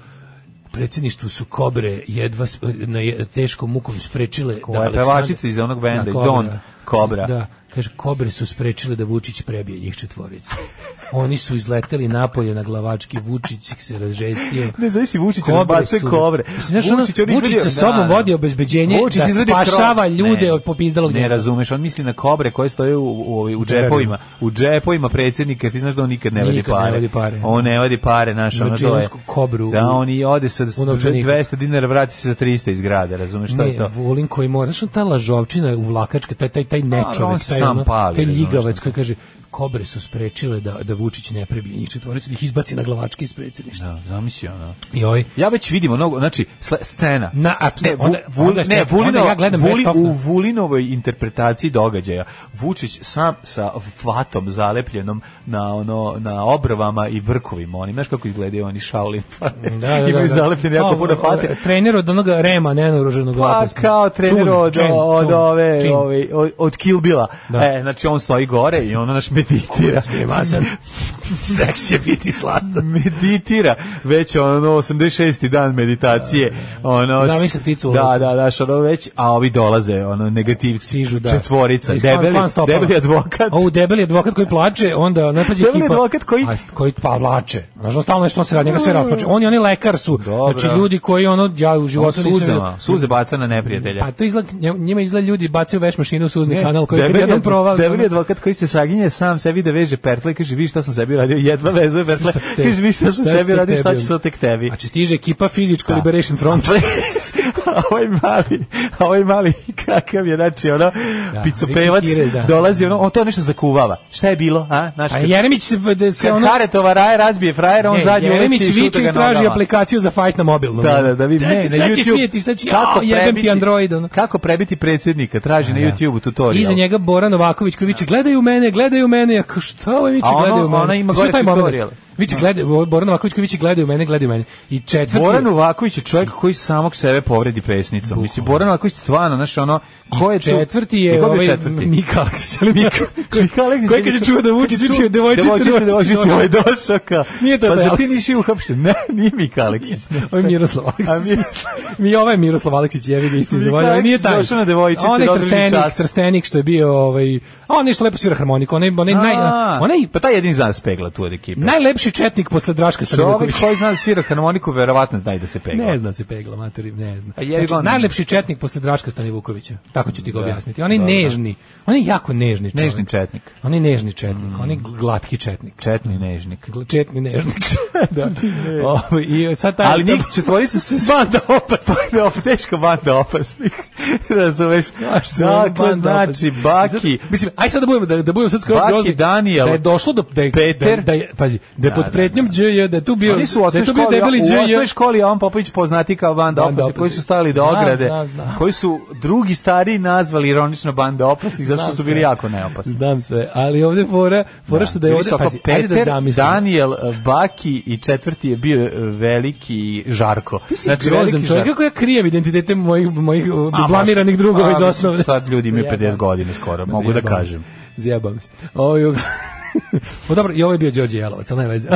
Speaker 6: u predsjedništvu su kobre jedva sp- na je- teškom mukom sprečile
Speaker 5: Koja je
Speaker 6: Aleksandar-
Speaker 5: pevačica iz onog benda,
Speaker 6: Da, Kobra.
Speaker 5: Don Kobra.
Speaker 6: Da. Kaže, kobre su sprečile da Vučić prebije njih četvoricu. Oni su izleteli napolje na glavački, Vučić se razžestio.
Speaker 5: Ne znaš si Vučić razbacuje kobre.
Speaker 6: Mislim, znaš, ono, Vučić, Vučić sa sobom vodi obezbeđenje
Speaker 5: Vučić
Speaker 6: da
Speaker 5: izvadi
Speaker 6: spašava
Speaker 5: krov.
Speaker 6: ljude
Speaker 5: Ne,
Speaker 6: od popizdalog
Speaker 5: Ne
Speaker 6: djeteta.
Speaker 5: razumeš, on misli na kobre koje stoje u, u, u, u džepovima. U džepovima predsjednika, ti znaš da on nikad ne vadi
Speaker 6: Nikad ne
Speaker 5: pare.
Speaker 6: vadi pare.
Speaker 5: On ne vadi pare, naš,
Speaker 6: Ima
Speaker 5: ono to je.
Speaker 6: džinovsku kobru
Speaker 5: Da,
Speaker 6: u-
Speaker 5: on i ode sa
Speaker 6: u novčaniku.
Speaker 5: 200 dinara, vrati se za 300 iz grada, razumeš šta je
Speaker 6: Ne,
Speaker 5: to?
Speaker 6: volim koji mora. Znaš, on ta lažovčina u vlakačka, taj, taj, taj
Speaker 5: A, on
Speaker 6: nečovek,
Speaker 5: se
Speaker 6: taj,
Speaker 5: sam
Speaker 6: ono,
Speaker 5: pali,
Speaker 6: taj
Speaker 5: razumeš
Speaker 6: ljigavac
Speaker 5: šta.
Speaker 6: koji kaže, kobre su sprečile da, da Vučić ne prebije njih četvoricu, da ih izbaci na glavačke iz predsjedništva.
Speaker 5: Da, zamisli ono.
Speaker 6: I ovaj,
Speaker 5: Ja već vidim onog, znači, sle- scena.
Speaker 6: Na, a,
Speaker 5: ne,
Speaker 6: onda-
Speaker 5: Vu-
Speaker 6: onda
Speaker 5: ne,
Speaker 6: se-
Speaker 5: Vulino,
Speaker 6: onda ja gledam
Speaker 5: Vuli,
Speaker 6: best of.
Speaker 5: u Vulinovoj interpretaciji događaja. Vučić sam sa vatom zalepljenom na ono na obrvama i vrkovima. Oni znaš kako izgledaju oni Shaolin fate.
Speaker 6: da, da,
Speaker 5: Imaju
Speaker 6: da. Pa,
Speaker 5: zalepljene jako
Speaker 6: Kao,
Speaker 5: puno fate.
Speaker 6: o, Trener od onoga Rema, nenaoruženog
Speaker 5: Pa
Speaker 6: opisnog.
Speaker 5: kao trener
Speaker 6: Čun,
Speaker 5: od,
Speaker 6: čun,
Speaker 5: od,
Speaker 6: čun,
Speaker 5: ove,
Speaker 6: čin.
Speaker 5: ove, od, od Kill Billa. E, znači on stoji gore i ono naš meditira.
Speaker 6: Seks će biti slastan.
Speaker 5: meditira već ono 86. dan meditacije ono
Speaker 6: Zamisli pticu u
Speaker 5: da
Speaker 6: letu.
Speaker 5: da da što ono već a ovi dolaze ono negativci
Speaker 6: Sižu, da.
Speaker 5: četvorica
Speaker 6: Iz plan-
Speaker 5: debeli
Speaker 6: plan stopala.
Speaker 5: debeli advokat
Speaker 6: A u debeli advokat koji plače, onda ne plaće
Speaker 5: Debeli
Speaker 6: ekipa.
Speaker 5: advokat koji- Mm.
Speaker 6: A, koji pa plače. Znaš, on stalno nešto on se radi, njega sve rasplače. Oni oni lekar su.
Speaker 5: Dobro.
Speaker 6: Znači ljudi koji ono ja u životu nisam
Speaker 5: suzama
Speaker 6: vidio-
Speaker 5: suze baca na neprijatelja
Speaker 6: Pa to izgleda njima izgleda ljudi bacaju veš mašinu u suzni
Speaker 5: Ne,
Speaker 6: kanal koji kad jedan
Speaker 5: adv-
Speaker 6: provali.
Speaker 5: debeli
Speaker 6: ono-
Speaker 5: advokat koji se saginje sam sebi da veže pertle i kaže vi šta sam sebi radio jedva vezuje pertle
Speaker 6: Šta te-
Speaker 5: kaže vi šta sam
Speaker 6: šta ću
Speaker 5: sebi
Speaker 6: tek
Speaker 5: radio šta
Speaker 6: tebi,
Speaker 5: ću sad tek tebi
Speaker 6: Znači stiže ekipa Physical Liberation Front.
Speaker 5: a ovaj mali, a ovaj mali kakav je, znači ono, picopevac,
Speaker 6: neki kirez, da.
Speaker 5: dolazi ono, on to nešto zakuvava. Šta je bilo, a? Znaš,
Speaker 6: A
Speaker 5: kad-
Speaker 6: Jeremić se, da se
Speaker 5: kad
Speaker 6: ono...
Speaker 5: Haretova raje razbije frajer, on
Speaker 6: Ne,
Speaker 5: zadnji
Speaker 6: Jeremić
Speaker 5: uleće i šuta
Speaker 6: viče
Speaker 5: ga
Speaker 6: i traži
Speaker 5: nogama.
Speaker 6: aplikaciju za fight na mobilnom. ono. Znači,
Speaker 5: Da, da, da vidim. Ne, na
Speaker 6: Sad će
Speaker 5: YouTube.
Speaker 6: svijeti, sad će, "Jao, jebem ti Android. Ono.
Speaker 5: Kako prebiti predsjednika, traži na YouTube-u tutorial.
Speaker 6: Iza njega Bora Novaković koji viče gledaju mene, gledaju mene. Ja kao šta ovaj viče
Speaker 5: A ono-
Speaker 6: gledaju mene? Pa
Speaker 5: ona ima
Speaker 6: Šta
Speaker 5: gore
Speaker 6: je taj moment?
Speaker 5: tutorial.
Speaker 6: Viče gledaju, Bora Novaković koji viče gledaju mene, gledaju mene. I četvrti
Speaker 5: Boran Novaković je čovjek koji samog sebe povredi presnicom. Mislim, Boran Novaković stvarno, znaš, ono, ko je tu-
Speaker 6: četvrti
Speaker 5: I
Speaker 6: je
Speaker 5: ko je bio
Speaker 6: ovaj
Speaker 5: četvrti?
Speaker 6: Mika Aleksić. ali
Speaker 5: Mika- Mika Aleksić
Speaker 6: Koji kad je
Speaker 5: je
Speaker 6: čuo da Vučić učio devojčice,
Speaker 5: devojčice, devojčice,
Speaker 6: devojčice.
Speaker 5: ovaj došao kao,
Speaker 6: Nije to
Speaker 5: pa
Speaker 6: taj
Speaker 5: za ti
Speaker 6: Aleksić.
Speaker 5: nisi uhapšen, ne, nije Mika Aleksić.
Speaker 6: Ovo je Ovaj Miroslav
Speaker 5: A
Speaker 6: Aleksić.
Speaker 5: Miroslav-
Speaker 6: Mi ovaj je Miroslav Aleksić jevi ga istin
Speaker 5: Miroslav
Speaker 6: zavolja, ali nije
Speaker 5: Aleksić
Speaker 6: taj.
Speaker 5: došao na devojčice,
Speaker 6: Onaj
Speaker 5: došao
Speaker 6: Trstenik,
Speaker 5: čas.
Speaker 6: Trstenik što je bio ovaj, a on nešto lepo svira harmoniku, onaj onaj naj
Speaker 5: A,
Speaker 6: onaj
Speaker 5: pa taj jedini zna da spegla tu od ekipe.
Speaker 6: najlepši četnik posle Draška
Speaker 5: Čovjek
Speaker 6: Stanilovića.
Speaker 5: koji zna da svira harmoniku, verovatno zna i da se pegla.
Speaker 6: Ne zna se pegla, materi, ne zna.
Speaker 5: A jebi ga
Speaker 6: Znači,
Speaker 5: onda.
Speaker 6: najlepši četnik posle Draška Stanivukovića. Tako ću ti ga objasniti. On je
Speaker 5: da, da.
Speaker 6: nežni. On je jako nežni čovjek.
Speaker 5: Nežni četnik. Mm.
Speaker 6: On je nežni četnik. On je glatki četnik.
Speaker 5: Četni nežnik.
Speaker 6: Gl- Četni nežnik. da. Ovo, I sad taj...
Speaker 5: Ali njih četvorica se
Speaker 6: Pa Banda opasna.
Speaker 5: Banda op- teška banda opasnih. Razumeš? Dakle, znači, Baki,
Speaker 6: Zato- mislim, aj sad da budemo da da budemo sad skoro
Speaker 5: Baki,
Speaker 6: grozni.
Speaker 5: Daniel,
Speaker 6: da je došlo do da je,
Speaker 5: Peter.
Speaker 6: da, da je pazi, da je pod pretnjom DJ, da je tu bio,
Speaker 5: Oni su u
Speaker 6: da je
Speaker 5: osnovnoj
Speaker 6: tu bio
Speaker 5: školi,
Speaker 6: debeli
Speaker 5: u osnovnoj
Speaker 6: DJ.
Speaker 5: školi Jovan Popović poznati kao banda
Speaker 6: Banda
Speaker 5: opasnih, koji
Speaker 6: opasnih.
Speaker 5: su stali do
Speaker 6: Znam,
Speaker 5: ograde,
Speaker 6: znam, znam.
Speaker 5: koji su drugi stariji nazvali ironično banda opasnih, zato što
Speaker 6: Znam
Speaker 5: su bili
Speaker 6: sve.
Speaker 5: jako neopasni.
Speaker 6: Znam sve, ali ovde fora, fora što da je
Speaker 5: Bili
Speaker 6: ovde,
Speaker 5: su oko
Speaker 6: pazi, ajde da
Speaker 5: Peter,
Speaker 6: zamislim.
Speaker 5: Daniel, Baki i četvrti je bio e, veliki Žarko. Znači,
Speaker 6: Ti si grozan čovjek, kako ja krijem identitete mojih, mojih uh, blamiranih drugova iz osnovne.
Speaker 5: Sad ljudi imaju
Speaker 6: Zajebam
Speaker 5: 50
Speaker 6: se.
Speaker 5: godina skoro,
Speaker 6: Ma,
Speaker 5: mogu da
Speaker 6: zajebam se.
Speaker 5: kažem.
Speaker 6: Zjebam se. Ovo je... o, dobro, i ovo je bio Đorđe Jelovac, ali ne veze.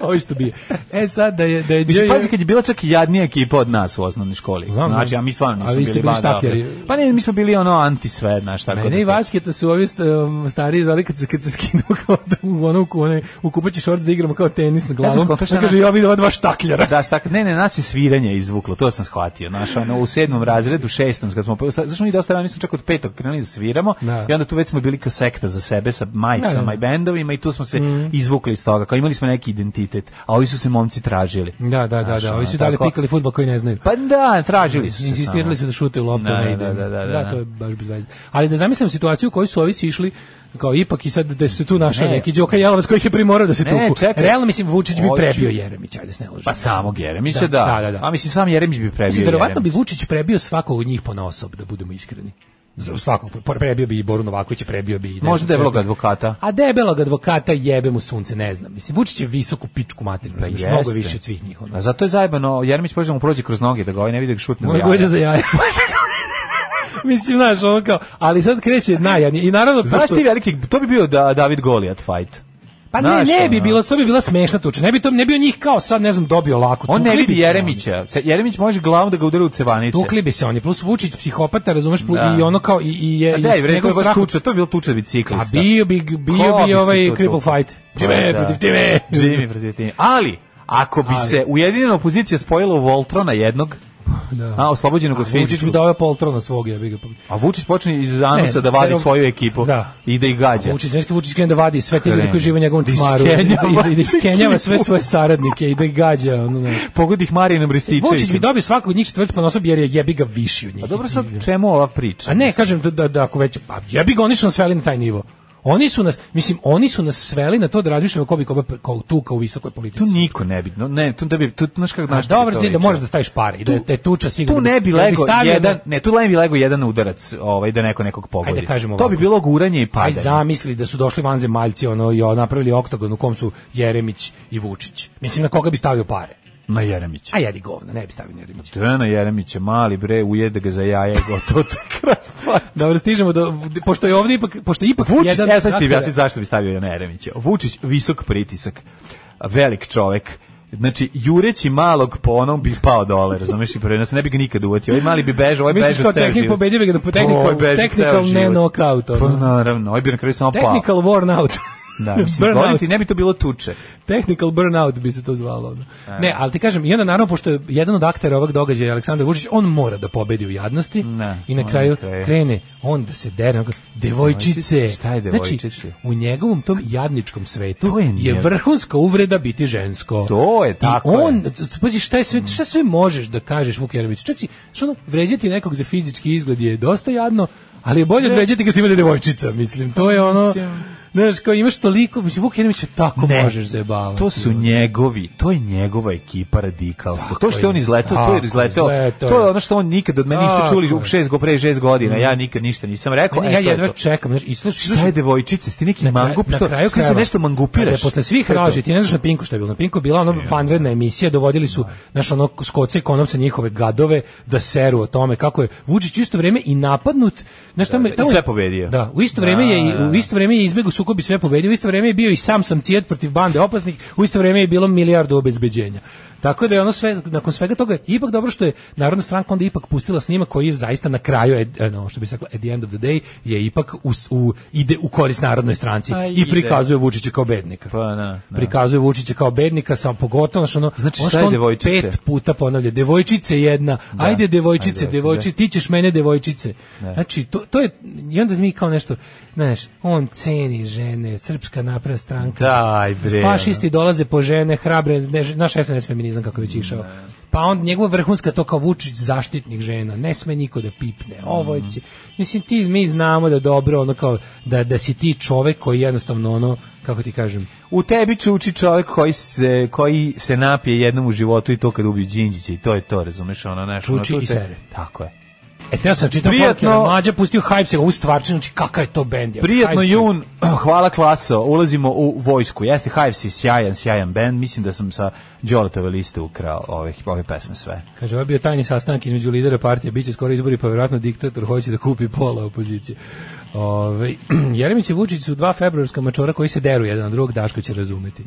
Speaker 6: ovo je što bije. E sad da je... Da je
Speaker 5: Mislim,
Speaker 6: Đorđe-
Speaker 5: pazi, kad je bila čak i jadnija ekipa od nas u osnovnoj školi.
Speaker 6: Znam,
Speaker 5: znači,
Speaker 6: znam.
Speaker 5: a mi stvarno
Speaker 6: A
Speaker 5: nismo
Speaker 6: vi
Speaker 5: bili,
Speaker 6: ste bili
Speaker 5: banda
Speaker 6: štakljeri.
Speaker 5: opasnih. Pa ne, mi smo bili ono anti sve, znaš, tako
Speaker 6: Mene i
Speaker 5: to-
Speaker 6: Vasketa su ovi st- um, stariji zvali kad se, kad se skinu kao da u ono, u, onaj, u kupaći šorc da igramo kao tenis na
Speaker 5: Ja sam
Speaker 6: glavom.
Speaker 5: skontao šta
Speaker 6: Ja kaže,
Speaker 5: nas-
Speaker 6: ja vidim ova dva štakljara.
Speaker 5: Da, šta, ne, ne, nas je sviranje izvuklo, to sam shvatio. Znaš, ono, u sedmom razredu, šestom, kad smo, pa- sa- zašto mi dosta rano, mi smo čak od petog krenuli da sviramo,
Speaker 6: Da.
Speaker 5: i onda tu već smo bili kao sekta za sebe sa
Speaker 6: Da, Mhm.
Speaker 5: majicama
Speaker 6: da.
Speaker 5: i bendovima i tu smo se izvukli iz toga, kao imali smo neki identitet, a ovi su se momci tražili.
Speaker 6: Da, da, da,
Speaker 5: Znaš,
Speaker 6: da, ovi su
Speaker 5: ono,
Speaker 6: dalje
Speaker 5: tako.
Speaker 6: pikali fudbal koji ne znaju.
Speaker 5: Pa da, tražili su se samo.
Speaker 6: Insistirali su da šute u loptu
Speaker 5: Da,
Speaker 6: ne
Speaker 5: da,
Speaker 6: ide.
Speaker 5: da, da, da, da.
Speaker 6: to je baš bez veze. Ali da zamislim situaciju u kojoj su ovi sišli kao ipak i sad da su se tu našao
Speaker 5: Ne.
Speaker 6: neki Đoka Jelovac koji ih je primorao da se
Speaker 5: Ne,
Speaker 6: tuku.
Speaker 5: čekaj.
Speaker 6: Realno mislim Vučić bi
Speaker 5: Hoće.
Speaker 6: prebio Jeremića, ajde se ne lažemo.
Speaker 5: Pa samog Jeremića, da.
Speaker 6: Da, da, da.
Speaker 5: A mislim, sam Jeremić bi prebio
Speaker 6: Mislim, verovatno bi
Speaker 5: Jeremića.
Speaker 6: Vučić prebio svakog od njih po osob, da budemo iskreni. Za svakog, prebio bi i Boru Novakovića, prebio bi i... ne znam
Speaker 5: Možda je
Speaker 6: čega.
Speaker 5: vlog advokata.
Speaker 6: A debelog advokata jebe mu sunce, ne znam. Mislim, Vučić je visoku pičku materinu, znaš,
Speaker 5: Pa jeste.
Speaker 6: mnogo više od svih njih. Ono.
Speaker 5: A zato je zajebano, Jeremić može da mu prođe kroz noge, da ga ovaj ne vidi da ga šutne u
Speaker 6: Možda
Speaker 5: jaja.
Speaker 6: ga ide za jaja. Mislim, znaš, ono kao, ali sad kreće najjadnije. I naravno,
Speaker 5: Znaš
Speaker 6: pošto-
Speaker 5: ti veliki, to bi bio da, David Goliat fight.
Speaker 6: Pa ne,
Speaker 5: Znaš,
Speaker 6: ne bi
Speaker 5: ono.
Speaker 6: bilo, to bi bila smešna tuča. Ne bi to ne bi on njih kao sad ne znam dobio lako.
Speaker 5: On ne
Speaker 6: Tukli bi
Speaker 5: vidi
Speaker 6: se
Speaker 5: Jeremića. Ce- Jeremić može glavom da ga udari u cevanice.
Speaker 6: oni. Tukli bi se oni. Plus Vučić psihopata, razumeš, plu-
Speaker 5: Da.
Speaker 6: i ono kao i i je
Speaker 5: A da,
Speaker 6: i
Speaker 5: i bre, to je
Speaker 6: njegov
Speaker 5: baš
Speaker 6: strah od
Speaker 5: tuča, to je bilo tuča
Speaker 6: A
Speaker 5: biciklista.
Speaker 6: bio bi bio
Speaker 5: Ko
Speaker 6: bi
Speaker 5: se
Speaker 6: ovaj
Speaker 5: tu
Speaker 6: cripple
Speaker 5: tukao?
Speaker 6: fight. Time
Speaker 5: Da.
Speaker 6: protiv time.
Speaker 5: Jimmy protiv time. Ali, ako bi
Speaker 6: Ali.
Speaker 5: se ujedinjena opozicija spojila u Voltrona jednog, a oslobođenog od
Speaker 6: Vučić bi
Speaker 5: fizičkog,
Speaker 6: dao Poltrona svog, ja bih ga.
Speaker 5: a Vučić počne iz anusa da vadi
Speaker 6: ne,
Speaker 5: svoju ekipu
Speaker 6: da.
Speaker 5: i da ih gađa.
Speaker 6: Vučić, znači Vučić krene da vadi sve te ljude
Speaker 5: Krene.
Speaker 6: koji žive u njegovom
Speaker 5: Da
Speaker 6: čmaru. I
Speaker 5: iskenjava
Speaker 6: da- i da iskenjava sve
Speaker 5: ekipu.
Speaker 6: svoje saradnike i da ih gađa. Ono, ne.
Speaker 5: Pogodi ih Marijanom Rističevićem.
Speaker 6: Vučić bi dobio svakog od njih četvrt po nosu, jer je jebi ga viši od njih.
Speaker 5: A dobro sad, čemu ova priča?
Speaker 6: A ne, kažem da, da, da ako već, pa jebi ga, oni su nas sveli na taj nivo. Oni su nas, mislim, oni su nas sveli na to da razmišljamo ko bi koga pre- ko tuka u visokoj politici.
Speaker 5: Tu niko ne bi, no, ne, tu da bi, tu, znaš kako
Speaker 6: A
Speaker 5: znaš
Speaker 6: dobro,
Speaker 5: kako
Speaker 6: znači da
Speaker 5: liči.
Speaker 6: moraš da staviš pare i da
Speaker 5: Tu-
Speaker 6: te tuča sigurno.
Speaker 5: tu ne bi
Speaker 6: da
Speaker 5: legao
Speaker 6: stavio na-
Speaker 5: jedan, ne, tu ne bi legao jedan udarac, ovaj da neko nekog pogodi.
Speaker 6: Ajde, kažemo
Speaker 5: to bi
Speaker 6: ovako.
Speaker 5: bilo guranje i
Speaker 6: Aj
Speaker 5: padanje.
Speaker 6: zamisli da su došli vanzemaljci ono i ono, napravili oktagon u kom su Jeremić i Vučić. Mislim na koga bi stavio pare?
Speaker 5: Na Jeremića.
Speaker 6: A jedi govna, ne bi stavio na Jeremića.
Speaker 5: To je na Jeremića, mali bre, ujede ga za jaja i gotovo to je kraj.
Speaker 6: Dobro, stižemo do pošto je ovdje ipak pošto je ipak
Speaker 5: Vučić,
Speaker 6: jedan
Speaker 5: evo sad ću ti
Speaker 6: faktor-
Speaker 5: objasniti zašto bi stavio na Jeremića. Vučić, visok pritisak, velik čovek, Znači, jureći malog po onom bi pao dole, razumeš i prvi, ne bi ga nikad uvatio. Ovaj mali bi bežao, ovaj
Speaker 6: Misliš
Speaker 5: bežao
Speaker 6: kao
Speaker 5: ceo
Speaker 6: tehnik
Speaker 5: život.
Speaker 6: pobedio bi ga na po technical-
Speaker 5: Ovaj beži ceo
Speaker 6: technical ne
Speaker 5: život.
Speaker 6: knockout, ono.
Speaker 5: Pa naravno, ovaj bi na kraju samo pao.
Speaker 6: Technical worn out.
Speaker 5: Da, mislim,
Speaker 6: Burnout.
Speaker 5: govorim ti, ne bi to bilo tuče.
Speaker 6: Technical burnout bi se to zvalo. ono. Ne, ali ti kažem, i onda naravno, pošto je jedan od aktera ovog događaja, Aleksandar Vučić, on mora da pobedi u jadnosti
Speaker 5: Ne,
Speaker 6: i na
Speaker 5: on
Speaker 6: kraju
Speaker 5: na kraju.
Speaker 6: krene on da se dere, onako, devojčice.
Speaker 5: Devojčice, šta je
Speaker 6: Znači,
Speaker 5: devojčice?
Speaker 6: u njegovom tom jadničkom svetu
Speaker 5: To je
Speaker 6: je,
Speaker 5: njev-
Speaker 6: vrhunska uvreda biti žensko.
Speaker 5: To je, tako
Speaker 6: I
Speaker 5: je.
Speaker 6: on, pazi, šta, je sve, šta sve možeš da kažeš Vuk Jeremiću? Čak si, što ono, vređati nekog za fizički izgled je dosta jadno, ali je bolje određati kad ste imali devojčica, mislim. To je ono... Znaš, kao imaš toliko, mislim, Vuk Jeremić je tako
Speaker 5: Ne.
Speaker 6: možeš zajebavati. ono?
Speaker 5: To su njegovi, to je njegova ekipa radikalska. to što je on
Speaker 6: je,
Speaker 5: izletao, to
Speaker 6: tako
Speaker 5: je izletao.
Speaker 6: je, izletao
Speaker 5: To je
Speaker 6: je.
Speaker 5: ono što on nikad od mene niste
Speaker 6: Tako
Speaker 5: čuli
Speaker 6: je.
Speaker 5: u šest go pre šest godina. Ja nikad ništa nisam rekao.
Speaker 6: Meni,
Speaker 5: e,
Speaker 6: ja
Speaker 5: to je
Speaker 6: jedva
Speaker 5: to.
Speaker 6: čekam, znaš, i slušaj,
Speaker 5: Šta je devojčice, ti neki
Speaker 6: na kraju-
Speaker 5: mangup,
Speaker 6: na
Speaker 5: to,
Speaker 6: kraju
Speaker 5: šta se
Speaker 6: krajeva,
Speaker 5: nešto
Speaker 6: kada
Speaker 5: mangupiraš?
Speaker 6: je Posle svih
Speaker 5: To je to.
Speaker 6: raži, ti ne znaš na Pinku šta je bilo. Na Pinku je bila ono vanredna emisija, dovodili su naš ono skoce i konopce njihove gadove da seru o tome kako je Vučić u isto vrijeme i napadnut, znaš tamo,
Speaker 5: da, i
Speaker 6: tamo je-
Speaker 5: sve pobedio.
Speaker 6: Da, u isto vrijeme je
Speaker 5: Da,
Speaker 6: i- u isto vrijeme je izbegao sukob i sve pobedio, u isto vrijeme je bio i sam sam cijet protiv bande opasnih, u isto vrijeme je bilo milijardu obezbeđenja. Tako da je ono sve nakon svega toga ipak dobro što je Narodna stranka onda ipak pustila snimak koji je zaista na kraju ed- ono što bi se reklo at the end of the day je ipak u, s- u- ide u korist narodnoj stranci
Speaker 5: A
Speaker 6: i
Speaker 5: ide.
Speaker 6: prikazuje Vučića kao bednika.
Speaker 5: Pa, da, da.
Speaker 6: Prikazuje Vučića kao bednika, sam pogotovo što ono,
Speaker 5: Znači,
Speaker 6: ono
Speaker 5: šta
Speaker 6: što
Speaker 5: je
Speaker 6: on
Speaker 5: devojčice?
Speaker 6: pet puta ponavlja, devojčice jedna, ajde devojčice,
Speaker 5: ajde,
Speaker 6: devojčice, ti ćeš mene devojčice. Znači, to, to je, i onda mi kao nešto, znaš, on ceni žene, srpska napravna stranka,
Speaker 5: Daj, bre, ono.
Speaker 6: fašisti dolaze po žene, hrabre, ne, ž- naš SNS feminizam kako je već išao. Pa on, njegova vrhunska to kao Vučić zaštitnik žena, ne sme niko da pipne, ovo
Speaker 5: Mhm.
Speaker 6: će, mislim ti, mi znamo da dobro, ono kao, da, da si ti čovek koji jednostavno ono, kako ti kažem,
Speaker 5: U tebi čuči čovjek koji se, koji se napije jednom u životu i to kad ubiju Đinđića i to je to, razumeš, ono nešto.
Speaker 6: Čuči i sere.
Speaker 5: Tako je.
Speaker 6: E, teo sam čitao
Speaker 5: Prijatno-
Speaker 6: Prijatno... mlađa pustio Hype se u stvarčinu, znači kakav je to bend. je,
Speaker 5: Prijatno
Speaker 6: Hype se-
Speaker 5: jun, hvala klaso, ulazimo u vojsku. Jeste Hives je sjajan, sjajan band, mislim da sam sa Đoletove liste ukrao ove, ove pesme sve.
Speaker 6: Kaže, ovo je bio tajni sastanak između lidera partije, bit će skoro izbori, pa vjerojatno diktator hoće da kupi pola opozicije. Ove, Jeremić i Vučić su dva februarska mačora koji se deru jedan od drugog, Daško će razumeti.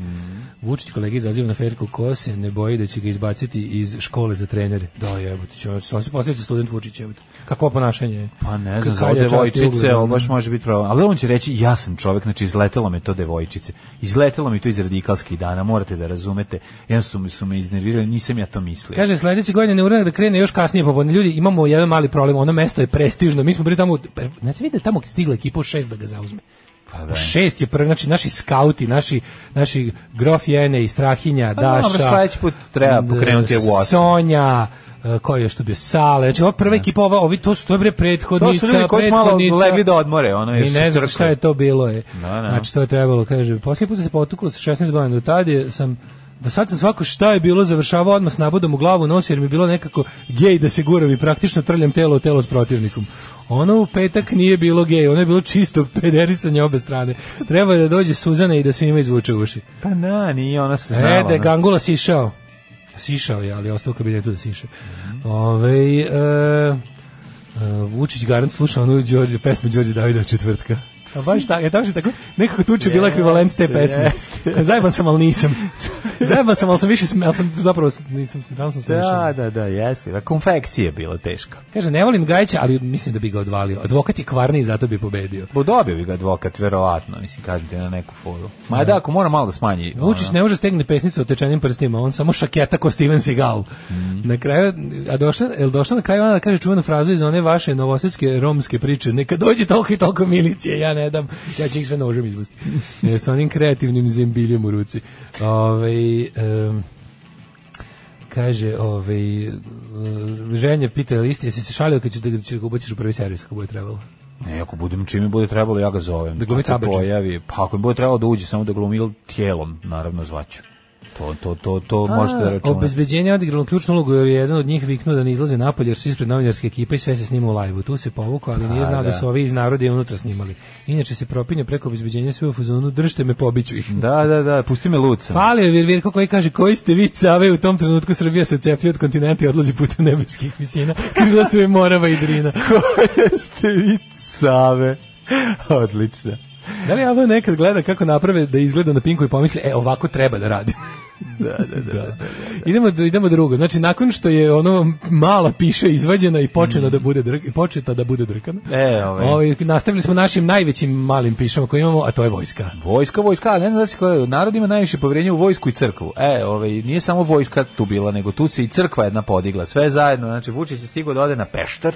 Speaker 6: Vučić kolegi izaziva na ferku ko se ne boji da će ga izbaciti iz škole za trenere. Da, jebote, će, on se postaviti student Vučić, jebote. Kakvo ponašanje je?
Speaker 5: Pa ne znam,
Speaker 6: Kad
Speaker 5: za ovo
Speaker 6: kalja čast i ugled,
Speaker 5: devojčice, ovo
Speaker 6: ono.
Speaker 5: baš može biti problem. Ali on će reći, ja sam čovjek, znači izletelo me to devojčice. Izletelo mi to iz radikalskih dana, morate da razumete. Jedan su, mi- su me iznervirali, nisam ja to mislio.
Speaker 6: Kaže sledeće godine ne uradak da krene još kasnije popodne. Ljudi, imamo jedan mali problem, ono mesto je prestižno. Mi smo bili tamo, pre- znači vidite tamo stigla ekipa u šest da ga zauzme.
Speaker 5: Pa da.
Speaker 6: U Šest je prvi, znači naši skauti, naši, naši grof Jene i Strahinja,
Speaker 5: Pa dobro,
Speaker 6: Daša.
Speaker 5: sledeći put treba
Speaker 6: d-
Speaker 5: pokrenuti u osam.
Speaker 6: Sonja, e, ko je još tu bio Sale, znači ova prva ekipa, ova, ovi, to su, to je bre prethodnica,
Speaker 5: To su ljudi koji su malo
Speaker 6: prethodnica.
Speaker 5: legli da odmore, ono, jer
Speaker 6: I
Speaker 5: su
Speaker 6: ne znam
Speaker 5: crkli.
Speaker 6: šta je to bilo je.
Speaker 5: Da, da.
Speaker 6: Znači to je trebalo, kaže. Poslije puta se potukao sa 16 godina, do tad je sam Do sad sam svako šta je bilo završavao odmah s nabodom u glavu nosi jer mi je bilo nekako gej da se guram i praktično trljam telo u telo s protivnikom. Ono u petak nije bilo gej, ono je bilo čisto pederisanje obe strane. Treba je da dođe Suzana i da svima izvuče uši.
Speaker 5: Pa na, nije ona se znala.
Speaker 6: E, da je
Speaker 5: ono.
Speaker 6: Gangula sišao. Sišao je, ali je ostao u kabinetu da siše. Ove, e, e, Vučić garant sluša onu Đorđe, pesmu Đorđe Davida četvrtka. A baš tako, je tačno tako, nekako tuče bila ekvivalent te pesme. Zajeban sam, ali nisam. Zajeban sam, ali sam više, sm- ali sam zapravo s- nisam, tamo sam smešan.
Speaker 5: Da, da, da, jeste. A konfekcija je bila teška.
Speaker 6: Kaže, ne volim Gajića, ali mislim da bi ga odvalio. Advokat je kvarni i zato bi pobedio.
Speaker 5: Bo dobio bi ga advokat, verovatno, mislim, kažem ti na neku foru. Ma da, ako mora malo da smanji.
Speaker 6: Vučić
Speaker 5: ono.
Speaker 6: ne može stegne pesnicu otečenim prstima, on samo šaketa ko Steven Seagal. Na kraju, a došla, el došla na kraju ona da kaže čuvenu frazu iz one vaše novosadske romske priče, neka dođe toliko i toliko milicije, ja ne dam, ja ću ih sve nožem izbusti. E, sa onim kreativnim zembiljem u ruci. Ovaj em, kaže, ovaj, e, ženja pita, je li isti, jesi se šalio kad ćeš da ćeš ga ubaciš u prvi servis kako bude trebalo?
Speaker 5: Ne, ako budem čime bude trebalo, ja ga zovem.
Speaker 6: Da glumi
Speaker 5: Kad se
Speaker 6: Tabađin.
Speaker 5: pojavi, pa ako mi bude trebalo da uđe, samo da glumi ili tijelom, naravno zvaću. To, to, to, to možete da računate.
Speaker 6: Obezbeđenje je odigralo ključnu ulogu jer je jedan od njih viknuo da ne izlaze napolje jer su ispred novinarske ekipe i sve se snima u lajvu. Tu se povukao, ali nije
Speaker 5: A,
Speaker 6: znao da.
Speaker 5: Pa da.
Speaker 6: su ovi iz naroda i unutra snimali. Inače se propinje preko obezbeđenja sve u fuzonu, držite me, pobiću ih.
Speaker 5: Da, da, da, pusti me lucem.
Speaker 6: Falio je Virvirko koji kaže koji ste vi cave u tom trenutku Srbija se ceplja od kontinenta i odlazi putem nebeskih visina. Krila su je Morava i Drina.
Speaker 5: ste vi cave. Odlično.
Speaker 6: Da li ovo nekad gleda kako naprave da izgleda na pinku i pomisli, e, ovako treba da radi.
Speaker 5: Da, da, da. da.
Speaker 6: idemo, idemo drugo. Znači, nakon što je ono mala piše izvađena i počela da bude drk, i početa da bude drkana,
Speaker 5: Mm. E, ovaj.
Speaker 6: ovaj, nastavili smo našim najvećim malim pišama koje imamo, a to je vojska.
Speaker 5: Vojska, vojska, ne znam da se koja, narod ima najviše povjerenja u vojsku i crkvu. E, ovaj, nije samo vojska tu bila, nego tu se i crkva jedna podigla, sve zajedno, znači Vučić je stigao da ode na Pešter,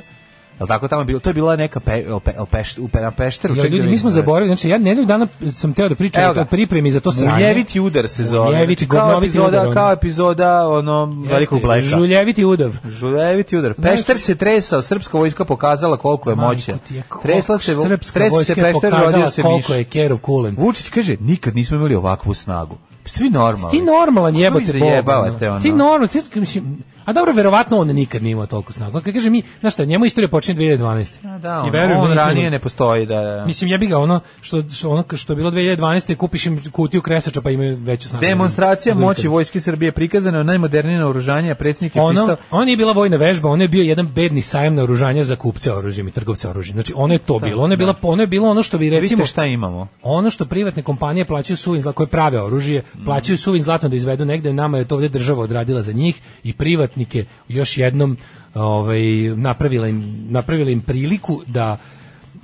Speaker 5: jel tako tamo je bilo, to je bila neka pe, el, pe, el, peš, u, pe, na Pešteru.
Speaker 6: Ja,
Speaker 5: čekaj da
Speaker 6: ljudi, mi
Speaker 5: vidim.
Speaker 6: smo zaboravili, znači ja nedelju dana sam teo da pričam
Speaker 5: Evo
Speaker 6: o toj
Speaker 5: ga.
Speaker 6: pripremi za to sranje.
Speaker 5: Munjeviti udar se zove.
Speaker 6: Munjeviti,
Speaker 5: znači, kao
Speaker 6: govnoviti
Speaker 5: epizoda,
Speaker 6: udar, ono.
Speaker 5: kao epizoda ono,
Speaker 6: Jeste,
Speaker 5: velikog bleka.
Speaker 6: Žuljeviti udav.
Speaker 5: Žuljeviti udar. Pešter se tresao, srpska vojska pokazala koliko je moćna.
Speaker 6: Majko ti je, koliko
Speaker 5: Tresla se,
Speaker 6: srpska
Speaker 5: tresao se
Speaker 6: vojska je
Speaker 5: Pešter,
Speaker 6: pokazala
Speaker 5: rodio se miš.
Speaker 6: Koliko je Kerov kulen.
Speaker 5: Vučić kaže, nikad nismo imali ovakvu snagu. Pa Ste vi normalni?
Speaker 6: Ti normalan
Speaker 5: Kako vi
Speaker 6: jebote
Speaker 5: zajebavate, ono?
Speaker 6: Ti normalan, ti mislim, a dobro, verovatno on nikad nije imao toliko snagu. Kad kaže mi, znaš šta, njemu istorija počinje 2012.
Speaker 5: A Da, ono,
Speaker 6: I
Speaker 5: on,
Speaker 6: verujem da
Speaker 5: on
Speaker 6: nisam-
Speaker 5: ranije ne postoji, da, da.
Speaker 6: Mislim, ja bi ga ono, što, što, ono što je bilo 2012. kupiš im kutiju kresača pa imaju veću snagu.
Speaker 5: Demonstracija moći vojske Srbije prikazana je najmodernije naoružanje, a predsjednik je
Speaker 6: Ono,
Speaker 5: pristao...
Speaker 6: on nije bila vojna vežba, on je bio jedan bedni sajam naoružanja za kupce oružjem i trgovce oružjem. Znači, ono je to bilo. Ono je, bila, ono je bilo ono što bi recimo...
Speaker 5: Vidite šta imamo.
Speaker 6: ono što privatne kompanije plaćaju suvin zlato, koje prave oružje,
Speaker 5: Mhm.
Speaker 6: plaćaju suvin zlato da izvedu negde, nama je to ovde država odradila za njih i privatnike još jednom ovaj, napravila, im, napravila im priliku da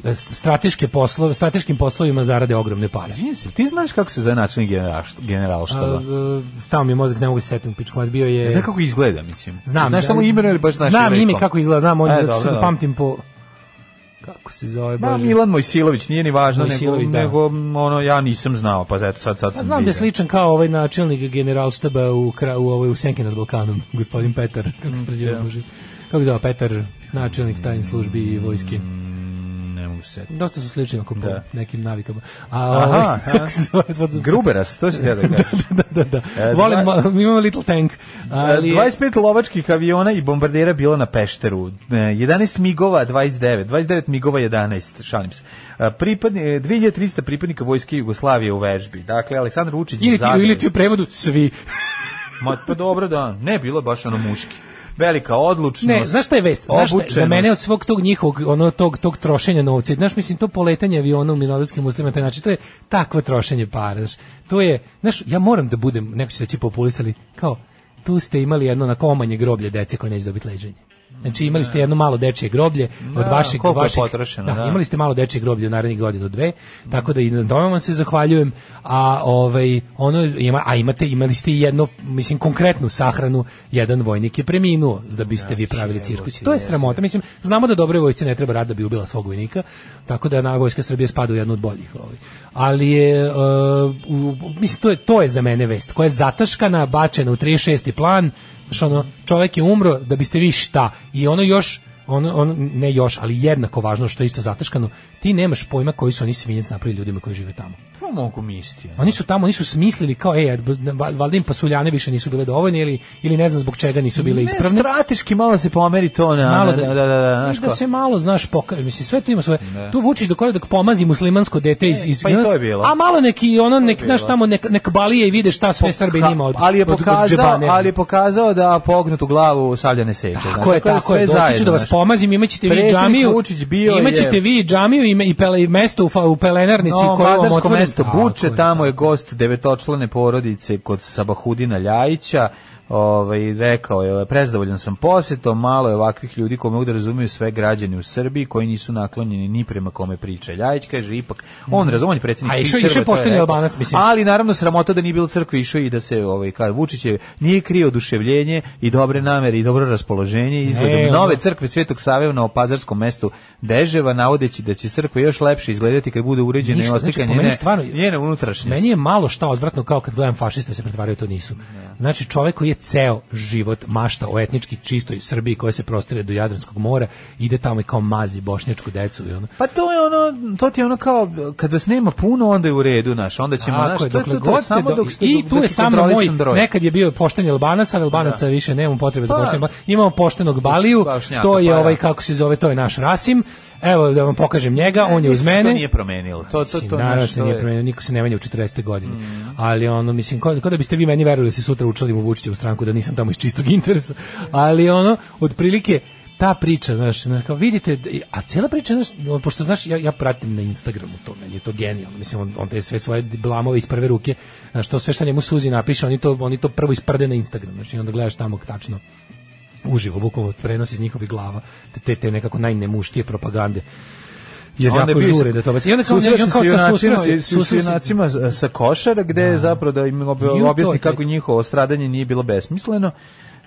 Speaker 6: e, strateške poslove, strateškim poslovima zarade ogromne pare.
Speaker 5: Izvinjam se, ti znaš kako se zove načelnik generalšt- generalštaba?
Speaker 6: A, e, Stao mi je mozak, ne mogu se setim, pičko, bio je...
Speaker 5: Znaš kako izgleda, mislim.
Speaker 6: E. Znam,
Speaker 5: znaš
Speaker 6: da-
Speaker 5: samo ime ili baš znaš
Speaker 6: Znam
Speaker 5: i
Speaker 6: ime
Speaker 5: likom?
Speaker 6: kako izgleda, znam, on
Speaker 5: E,
Speaker 6: je, zato
Speaker 5: dobro,
Speaker 6: što ga
Speaker 5: dobro.
Speaker 6: pamtim po... Kako se zove,
Speaker 5: Ba,
Speaker 6: Bože?
Speaker 5: Milan Mojsilović, nije ni važno, nego,
Speaker 6: Mojsilović, da.
Speaker 5: nego m, ono, ja nisam znao, pa zato sad, sad
Speaker 6: Pa
Speaker 5: sam
Speaker 6: znam da je
Speaker 5: vidio.
Speaker 6: sličan kao ovaj načelnik generalštaba u, kra, u, ovoj, u Senki nad Balkanom, gospodin Petar, kako
Speaker 5: Mm,
Speaker 6: se preziva Bože. Kako se zove Petar, načelnik tajnih službi i vojske.
Speaker 5: Ne mogu se setiti.
Speaker 6: Dosta su slični oko po
Speaker 5: Da.
Speaker 6: nekim navikama. A,
Speaker 5: Aha,
Speaker 6: ovaj,
Speaker 5: aha.
Speaker 6: kako se zove, pod-
Speaker 5: Gruberas, to si ja da kažem.
Speaker 6: da, da, da.
Speaker 5: E,
Speaker 6: Volim,
Speaker 5: dva- E,
Speaker 6: ma- mi imamo Little Tank. Ali,
Speaker 5: Ali... 25 lovačkih aviona i bombardera bilo na Pešteru. E, 11 migova, 29. 29 migova, 11. Šalim se. E, Pripadni, e, 2300 pripadnika vojske Jugoslavije u vežbi. Dakle, Aleksandar Vučić
Speaker 6: ili, ti,
Speaker 5: Zagreb.
Speaker 6: ili ti u prevodu svi.
Speaker 5: Ma, pa dobro da, ne bilo baš ono muški. Velika odlučnost.
Speaker 6: Ne, znaš šta je vest? Znaš šta je, za
Speaker 5: obučenost.
Speaker 6: mene od svog tog njihovog, ono, tog, tog trošenja novca, znaš, mislim, to poletanje aviona u minorijskim muslimima, taj način, to je takvo trošenje para, znaš, to je, znaš, ja moram da budem, neko će reći populista, ali kao, tu ste imali jedno na komanje groblje dece koje neće dobiti leđenje. Znači imali ste jedno malo dečije groblje od
Speaker 5: Da,
Speaker 6: vašeg
Speaker 5: koliko je
Speaker 6: vašeg
Speaker 5: potrošeno, da.
Speaker 6: imali ste malo dečije groblje u narednih godinu dve, tako da i na tome vam se zahvaljujem. A ovaj ono ima a imate imali ste i jedno mislim konkretnu sahranu, jedan vojnik je preminuo da biste vi pravili cirkus. To je sramota. Mislim znamo da dobroj vojsci ne treba rad da bi ubila svog vojnika, tako da na vojska Srbije spada u jednu od boljih, ovaj. Ali je e, u- mislim to je to je za mene vest koja je zataškana, bačena u 36. plan. Znaš, ono, čovjek je umro da biste vi šta i ono još ono, ono, ne još, ali jednako važno što je isto zataškano, ti nemaš pojma koji su oni svinjac napravili ljudima koji žive tamo.
Speaker 5: To mogu misliti.
Speaker 6: Oni su tamo, oni su smislili kao, "E, ej, val- valjda im pasuljane više nisu bile dovoljne ili, ili ne znam zbog čega nisu bile
Speaker 5: Ne,
Speaker 6: ispravne.
Speaker 5: strateški malo se pomeri to na...
Speaker 6: Malo
Speaker 5: da, da, da, da, da,
Speaker 6: i
Speaker 5: znaš
Speaker 6: da
Speaker 5: ko.
Speaker 6: se malo, znaš, pokaže, mislim, sve to ima svoje, tu vučiš do koljeda dok pomazi muslimansko dete iz, iz
Speaker 5: pa i to je bilo.
Speaker 6: a malo neki, ono, nek, znaš, tamo nek, nek balije i vide šta sve Srbi
Speaker 5: Ka-
Speaker 6: njima od,
Speaker 5: ali je
Speaker 6: od- od
Speaker 5: pokazao,
Speaker 6: džebanera.
Speaker 5: ali Pa je pokazao da pognutu glavu savljane seče.
Speaker 6: Tako je, tako je. Doći ću da vas pomazim, imaćete vi
Speaker 5: Predsjednik
Speaker 6: džamiju.
Speaker 5: Vučić bio je-
Speaker 6: imaćete vi džamiju i, me- i, pele, i mesto u, fa- u pelenarnici
Speaker 5: No,
Speaker 6: koje vam
Speaker 5: Pazarsko
Speaker 6: otvorim.
Speaker 5: mesto
Speaker 6: Tako
Speaker 5: Buče,
Speaker 6: je,
Speaker 5: tamo je
Speaker 6: tako.
Speaker 5: gost devetočlane porodice kod Sabahudina Ljajića. Ovaj rekao je, prezdovoljan sam posjetom, malo je ovakvih ljudi koji mogu da razumiju sve građane u Srbiji koji nisu naklonjeni ni prema kome priča. Ljajić kaže ipak on razumije predsjednik
Speaker 6: Mhm.
Speaker 5: svih
Speaker 6: A išao-
Speaker 5: Srba,
Speaker 6: išao je
Speaker 5: to
Speaker 6: pošteni
Speaker 5: rekao.
Speaker 6: Albanac, mislim.
Speaker 5: Ali naravno sramota da nije bilo crkve išao i da se ovaj kaže Vučić je nije krio oduševljenje i dobre namere i dobro raspoloženje izgledom
Speaker 6: Ne, ono-
Speaker 5: nove crkve Svetog Save na opazarskom mestu Deževa navodeći da će crkva još lepše izgledati kad bude uređena
Speaker 6: Ništa,
Speaker 5: i oslika
Speaker 6: znači, po meni
Speaker 5: njene,
Speaker 6: stvarno-
Speaker 5: njene unutrašnjosti.
Speaker 6: Meni je malo šta odvratno kao kad gledam fašiste se pretvaraju to nisu. Znači čovjek koji je ceo život mašta o etnički čistoj Srbiji koja se prostire do Jadranskog mora, ide tamo i kao mazi bošnjačku decu i ono.
Speaker 5: Pa to je ono, to ti je ono kao, kad vas nema puno, onda je u redu, naš, onda ćemo,
Speaker 6: Tako
Speaker 5: naš,
Speaker 6: je,
Speaker 5: to,
Speaker 6: dokle
Speaker 5: to- to je
Speaker 6: god ste
Speaker 5: samo
Speaker 6: do-
Speaker 5: dok ste,
Speaker 6: I
Speaker 5: dok
Speaker 6: tu je
Speaker 5: ste
Speaker 6: samo
Speaker 5: kontrolisan
Speaker 6: moj,
Speaker 5: broj.
Speaker 6: nekad je bio pošteni Albanac, ali Albanaca više nemamo potrebe za
Speaker 5: Pa.
Speaker 6: pošteni Albanac. Imamo poštenog Baliju,
Speaker 5: Bošnjaka,
Speaker 6: to je
Speaker 5: pa da.
Speaker 6: ovaj, kako se zove, to je naš Rasim. Evo da vam pokažem
Speaker 5: E,
Speaker 6: njega, on je uz
Speaker 5: Ništa se To
Speaker 6: mene.
Speaker 5: nije promenilo. To, to, to,
Speaker 6: Mislim, naravno
Speaker 5: naš,
Speaker 6: se
Speaker 5: to
Speaker 6: nije
Speaker 5: je- Mm.
Speaker 6: promenio, niko se ne menja u 40. godini. Ali ono, mislim, kao, kao da biste vi meni verovali da se sutra učlanim u Vučićevu stranku, da nisam tamo iz čistog interesa. Ali ono, otprilike, ta priča, znaš, znaš, kao vidite, da- a cijela priča, znaš, ono, pošto, znaš, ja, ja pratim na Instagramu to, meni je to genijalno, mislim, on, on te sve svoje blamove iz prve ruke, znaš, to sve što njemu suzi napiše, oni to, oni to prvo isprde na Instagram, znači, i onda gledaš tamo tačno uživo, bukvalno prenos iz njihovih glava, te, te, te nekako najnemuštije propagande jer
Speaker 5: Onda je
Speaker 6: jako
Speaker 5: bio-
Speaker 6: žure da to baci. I onda kao,
Speaker 5: susreo
Speaker 6: i
Speaker 5: se
Speaker 6: on kao
Speaker 5: sa
Speaker 6: sa
Speaker 5: junacima-
Speaker 6: susreo se-
Speaker 5: sa
Speaker 6: susreo se-
Speaker 5: junacima sa- sa košara gde je zapravo da im ob-
Speaker 6: I u to
Speaker 5: objasni
Speaker 6: je-
Speaker 5: kako njihovo stradanje nije bilo besmisleno.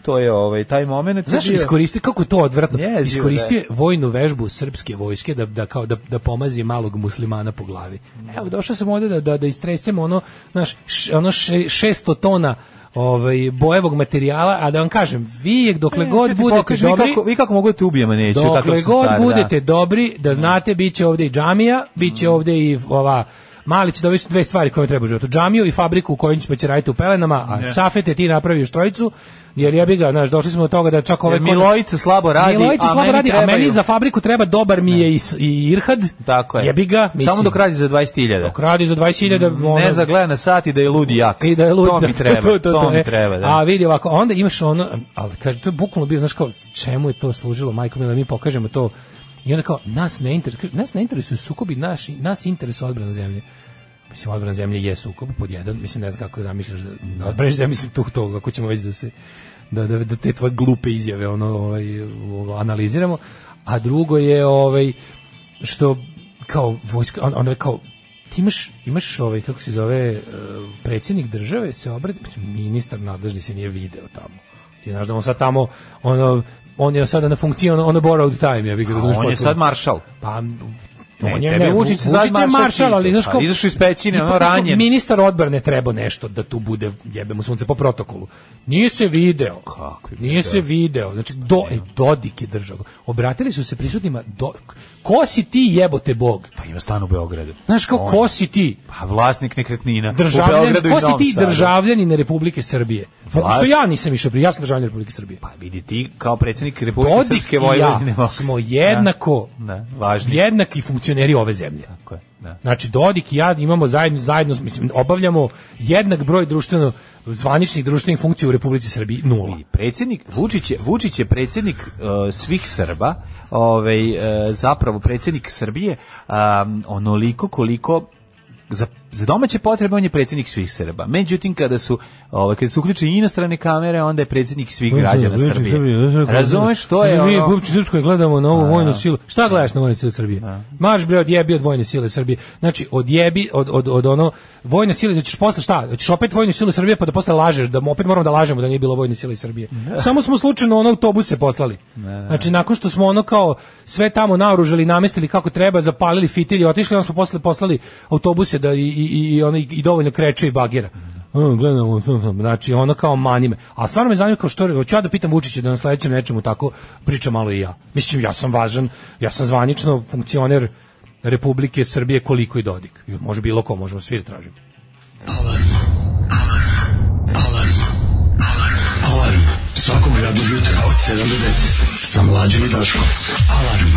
Speaker 5: To je ovaj taj momenat.
Speaker 6: Znaš,
Speaker 5: bio-
Speaker 6: iskoristio kako je to odvratno.
Speaker 5: Jezivo,
Speaker 6: iskoristio
Speaker 5: da.
Speaker 6: je vojnu vežbu srpske vojske da da kao da da pomazi malog muslimana po glavi. Evo došao sam ovde da da da istresemo ono naš ono še, 600 tona ovaj bojevog materijala, a da vam kažem, vi dokle
Speaker 5: E,
Speaker 6: god
Speaker 5: ću ti
Speaker 6: budete
Speaker 5: pokažem, vi
Speaker 6: dobri,
Speaker 5: kako, vi kako mogu da te ubijem, a neću. kakav
Speaker 6: Dokle
Speaker 5: sam
Speaker 6: god
Speaker 5: car, da. Mm.
Speaker 6: budete dobri, da znate, bit će ovdje i džamija, bit će ovdje i ova Mali će dovesti dve stvari koje mu treba u životu. Džamiju i fabriku u kojoj ćemo će raditi u pelenama, a Safete ti napraviš trojicu, jer ja bi ga, znaš, došli smo do toga da čak ovaj...
Speaker 5: Jer Milojica slabo radi,
Speaker 6: Milojica
Speaker 5: a
Speaker 6: slabo
Speaker 5: meni
Speaker 6: radi, a
Speaker 5: trebaju.
Speaker 6: meni za fabriku treba dobar mi je i, s- i Irhad.
Speaker 5: Tako je.
Speaker 6: Jebi ga, mislim.
Speaker 5: Samo dok radi za 20.000.
Speaker 6: Dok radi za 20.000, ono,
Speaker 5: Ne za gleda na sat i da je ludi jak.
Speaker 6: i da je lud.
Speaker 5: To mi treba, to, mi
Speaker 6: e.
Speaker 5: treba, da.
Speaker 6: A vidi ovako, onda imaš ono, ali kaže, to je bukvalno bio, znaš kao, čemu je to služilo, majko mila, mi pokažemo to. I onda kao, nas ne interesuje, nas ne interesuju sukobi, naš, nas interesuje odbrana zemlje. Mislim, odbrana zemlje je sukob, pod jedan, mislim, ne znam kako zamišljaš da, da odbraniš zemlje, mislim, tu, to, ako ćemo već da se, da, da, da te tvoje glupe izjave, ono, ovaj, ovo, analiziramo. A drugo je, ovaj, što, kao, vojska, on, ono je kao, ti imaš, imaš ovaj, kako se zove, eh, predsjednik države se obrati, pa ministar nadležni se nije video tamo. Ti znaš da on sad tamo, ono, on je sada na funkciji, ono, ono borrowed time, ja bih ga
Speaker 5: A
Speaker 6: razumiješ
Speaker 5: on je
Speaker 6: potpuno.
Speaker 5: sad maršal.
Speaker 6: Pa,
Speaker 5: Ne,
Speaker 6: on je,
Speaker 5: tebe
Speaker 6: ne,
Speaker 5: je
Speaker 6: Vučić,
Speaker 5: Vučić sad
Speaker 6: je
Speaker 5: maršal
Speaker 6: maršal, ali
Speaker 5: Tito,
Speaker 6: znaš
Speaker 5: pa
Speaker 6: kao...
Speaker 5: izašao iz pećine,
Speaker 6: I
Speaker 5: ono,
Speaker 6: pa, znaš kao,
Speaker 5: ranjen.
Speaker 6: Ministar odbrane treba nešto da tu bude, jebe mu sunce, po protokolu. Nije se video. Kako Nije se video. Znači, do, e, Dodik je držao. Obratili su se prisutnima, do, ko si ti jebote bog?
Speaker 5: Pa ima stan u Beogradu.
Speaker 6: Znaš kao,
Speaker 5: On-
Speaker 6: ko si ti?
Speaker 5: Pa vlasnik nekretnina. u
Speaker 6: Državljan,
Speaker 5: Beogradu i
Speaker 6: ko si
Speaker 5: Novom
Speaker 6: ti
Speaker 5: Sadu.
Speaker 6: državljanine Republike Srbije? Pa,
Speaker 5: Vlast-
Speaker 6: što ja nisam išao prije, ja sam državljan Republike Srbije.
Speaker 5: Pa vidi ti kao predsjednik Republike
Speaker 6: Dodik
Speaker 5: Srpske
Speaker 6: i
Speaker 5: Vojvodine.
Speaker 6: ja smo jednako
Speaker 5: Da, da, važni.
Speaker 6: jednaki funkcioneri ove zemlje.
Speaker 5: Tako je, da.
Speaker 6: Znači Dodik i ja imamo zajedno zajedno mislim obavljamo jednak broj društveno zvaničnih društvenih funkcija u Republici Srbiji nula.
Speaker 5: I predsjednik Vučić je, Vučić je predsjednik uh, svih Srba, ovaj uh, zapravo predsjednik Srbije um, onoliko koliko za, za domaće potrebe on je predsjednik svih Srba. Međutim kada su ovaj kada su uključene inostrane kamere, onda je predsjednik svih građana Srbije. Razumeš što je
Speaker 6: Mi
Speaker 5: ono?
Speaker 6: Bubči Srpskoj gledamo na ovu vojnu silu. Šta gledaš na vojnu silu Srbije? Marš bre odjebi od vojne sile Srbije. Znači odjebi od od od ono vojne sile da ćeš posle šta? Hoćeš opet vojnu silu Srbije pa da posle lažeš da opet moramo da lažemo da nije bilo vojne sile Srbije. Samo smo slučajno ono autobuse poslali. Znači nakon što smo ono kao sve tamo naoružali, namestili kako treba, zapalili fitilje, otišli, onda smo posle poslali autobuse da i i i, i ono i, i dovoljno kreče i bagera. Mm, gledam, mm, mm, znači ono kao manime. A stvarno me zanima kao što, hoću ja da pitam Vučića da na sledećem nečemu tako priča malo i ja. Mislim, ja sam važan, ja sam zvanično funkcioner Republike Srbije koliko i Dodik. I Može bilo ko, možemo svi da tražimo.
Speaker 15: Svakog radnog jutra od 7 do 10 sa mlađim i Daškom. Alarm.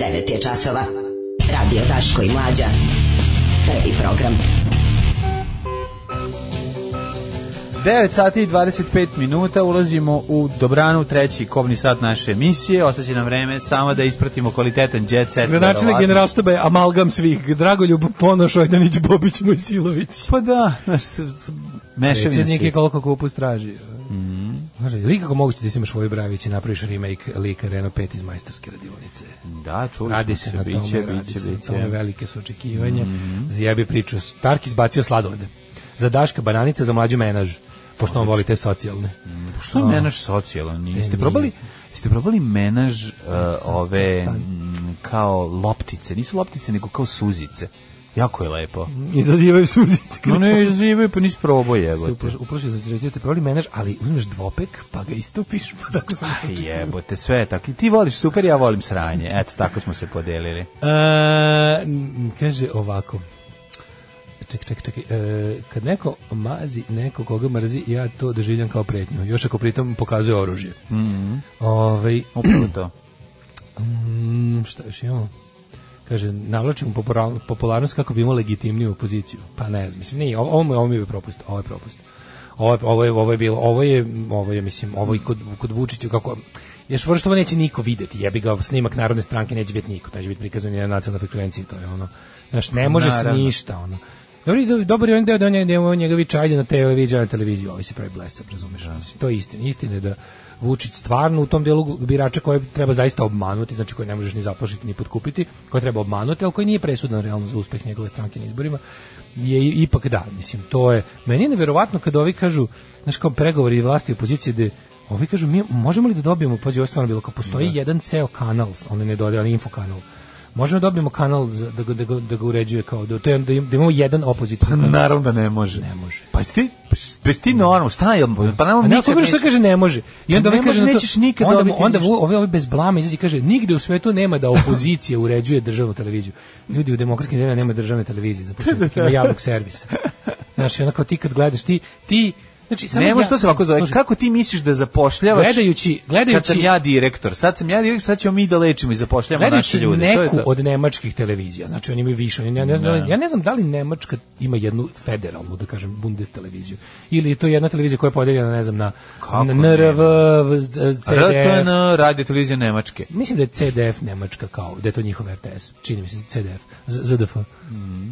Speaker 3: 9 je časova. Radio Daško i Mlađa. Prvi program.
Speaker 5: 9 sati i 25 minuta ulazimo u dobranu treći kobni sat naše emisije. Ostaće nam vreme samo da ispratimo kvalitetan jet set.
Speaker 6: Gradonačelnik
Speaker 5: verovatno.
Speaker 6: generalštaba je amalgam svih. Dragoljub Ponoš, Ojdanić, Bobić, Mojsilović.
Speaker 5: Pa da, znaš, s- s- mešavina
Speaker 6: Predsjednik je
Speaker 5: svih. Mhm.
Speaker 6: koliko kupus traži. Može, ili kako moguće da si imaš Voju Bravić i napraviš remake lika Renault 5 iz majstorske radionice?
Speaker 5: Da, čuli
Speaker 6: Radi
Speaker 5: smo
Speaker 6: se na tome,
Speaker 5: biće,
Speaker 6: radi
Speaker 5: biće,
Speaker 6: se na
Speaker 5: biće. Mhm.
Speaker 6: tome, velike su očekivanja. Zajebi priču, Stark izbacio sladolede. Za Daška bananica, za mlađu menaž, pošto on voli te socijalne.
Speaker 5: Što je menaž socijalan? Jeste probali, jeste probali menaž uh, ove mm, kao loptice? Nisu loptice, nego kao suzice. Jako je lepo.
Speaker 6: Izazivaju sudice.
Speaker 5: No ne, izazivaju, pa nisi probao
Speaker 6: se
Speaker 5: jebote.
Speaker 6: uploš- uplošio sam se reći, jeste provali menaž, ali uzmeš dvopek, pa ga istupiš, pa tako sam
Speaker 5: Aj, Jebote, sve je tako. I ti voliš super, ja volim sranje. Eto, tako smo se podelili.
Speaker 6: E, n- kaže ovako. Ček, ček, ček. E, kad neko mazi neko koga mrzi, ja to doživljam kao pretnju. Još ako pritom pokazuje oružje. Ovaj, Mm
Speaker 5: Mhm. Upravo to.
Speaker 6: Mm, šta još imamo? Kaže, navlačimo popora- popularnost kako bi imao legitimniju opoziciju. Pa ne znam, mislim, nije, ovo, ovo, mu je- ovo mi je propust, ovo je propust. Ovo, je- ovo, je, ovo je bilo, ovo je, ovo je, mislim, ovo i kod, kod Vučića, kako, još vrlo što ovo neće niko videti, jebi ga, snimak Narodne stranke neće biti niko, neće biti prikazan ni na nacionalnoj frekvenciji, to je ono, znaš, ne može se
Speaker 5: Naravno.
Speaker 6: ništa, ono. Dobri, do- dobar je on deo da on, da on njega viče, ajde na televiziju, ajde na televiziju, ovi se pravi blesav, razumeš, mislim, to je istina, istina je da Vučić stvarno u tom delu birača koje treba zaista obmanuti, znači koje ne možeš ni zaplašiti ni potkupiti, koje treba obmanuti, ali koji nije presudan realno za uspeh njegove stranke na izborima, je i- ipak da, mislim, to je, meni je neverovatno kada ovi kažu, znaš, kao pregovori vlasti i opozicije, da ovi kažu, mi možemo li da dobijemo, pazi, ovo je stvarno bilo, kao postoji jedan ceo kanal, on je ne dodaje, on je infokanal, možemo da dobijemo kanal za- da ga, da ga, da ga uređuje kao, da, to je, da, im- da imamo jedan
Speaker 5: Pa
Speaker 6: opozicijni kanal.
Speaker 5: Naravno da ne može.
Speaker 6: Ne može.
Speaker 5: Pa jesi ti, pa jesi ti normalno, šta je, pa
Speaker 6: A
Speaker 5: nam
Speaker 6: ne,
Speaker 5: nikad
Speaker 6: osoba što
Speaker 5: neće-
Speaker 6: kaže ne može. I
Speaker 5: Pa
Speaker 6: onda
Speaker 5: ne
Speaker 6: ovaj
Speaker 5: može,
Speaker 6: kaže na to-
Speaker 5: nećeš nikad
Speaker 6: onda, mu-
Speaker 5: dobiti
Speaker 6: onda
Speaker 5: ništa.
Speaker 6: ovaj, ovaj bez blama izađe i kaže nigde u svetu nema da opozicija uređuje državnu televiziju. Ljudi u demokratskim zemljama nema državne televizije za početak, ima javnog servisa. Znači, onako ti kad gledaš, ti, ti Znači, samo
Speaker 5: Ne
Speaker 6: ja-
Speaker 5: može to se ovako zove.
Speaker 6: Slušaj,
Speaker 5: Kako ti misliš da zapošljavaš?
Speaker 6: Gledajući- gledajući-
Speaker 5: Kad sam ja direktor. Sad sam ja direktor, sad ćemo mi da lečimo i zapošljavamo naše
Speaker 6: gledajući
Speaker 5: ljude. to je
Speaker 6: neku
Speaker 5: to.
Speaker 6: od nemačkih televizija, znači oni imaju više, oni- ja ne, znam, ja ne znam da li Nemačka ima jednu federalnu, da kažem, Bundes televiziju, ili je to jedna televizija koja je podeljena, ne znam, na,
Speaker 5: Kako
Speaker 6: na NRV, v- z- CDF,
Speaker 5: RTN, Radio Televizija Nemačke.
Speaker 6: Mislim da je CDF Nemačka kao, da je to njihov RTS, čini mi se CDF, Z- ZDF.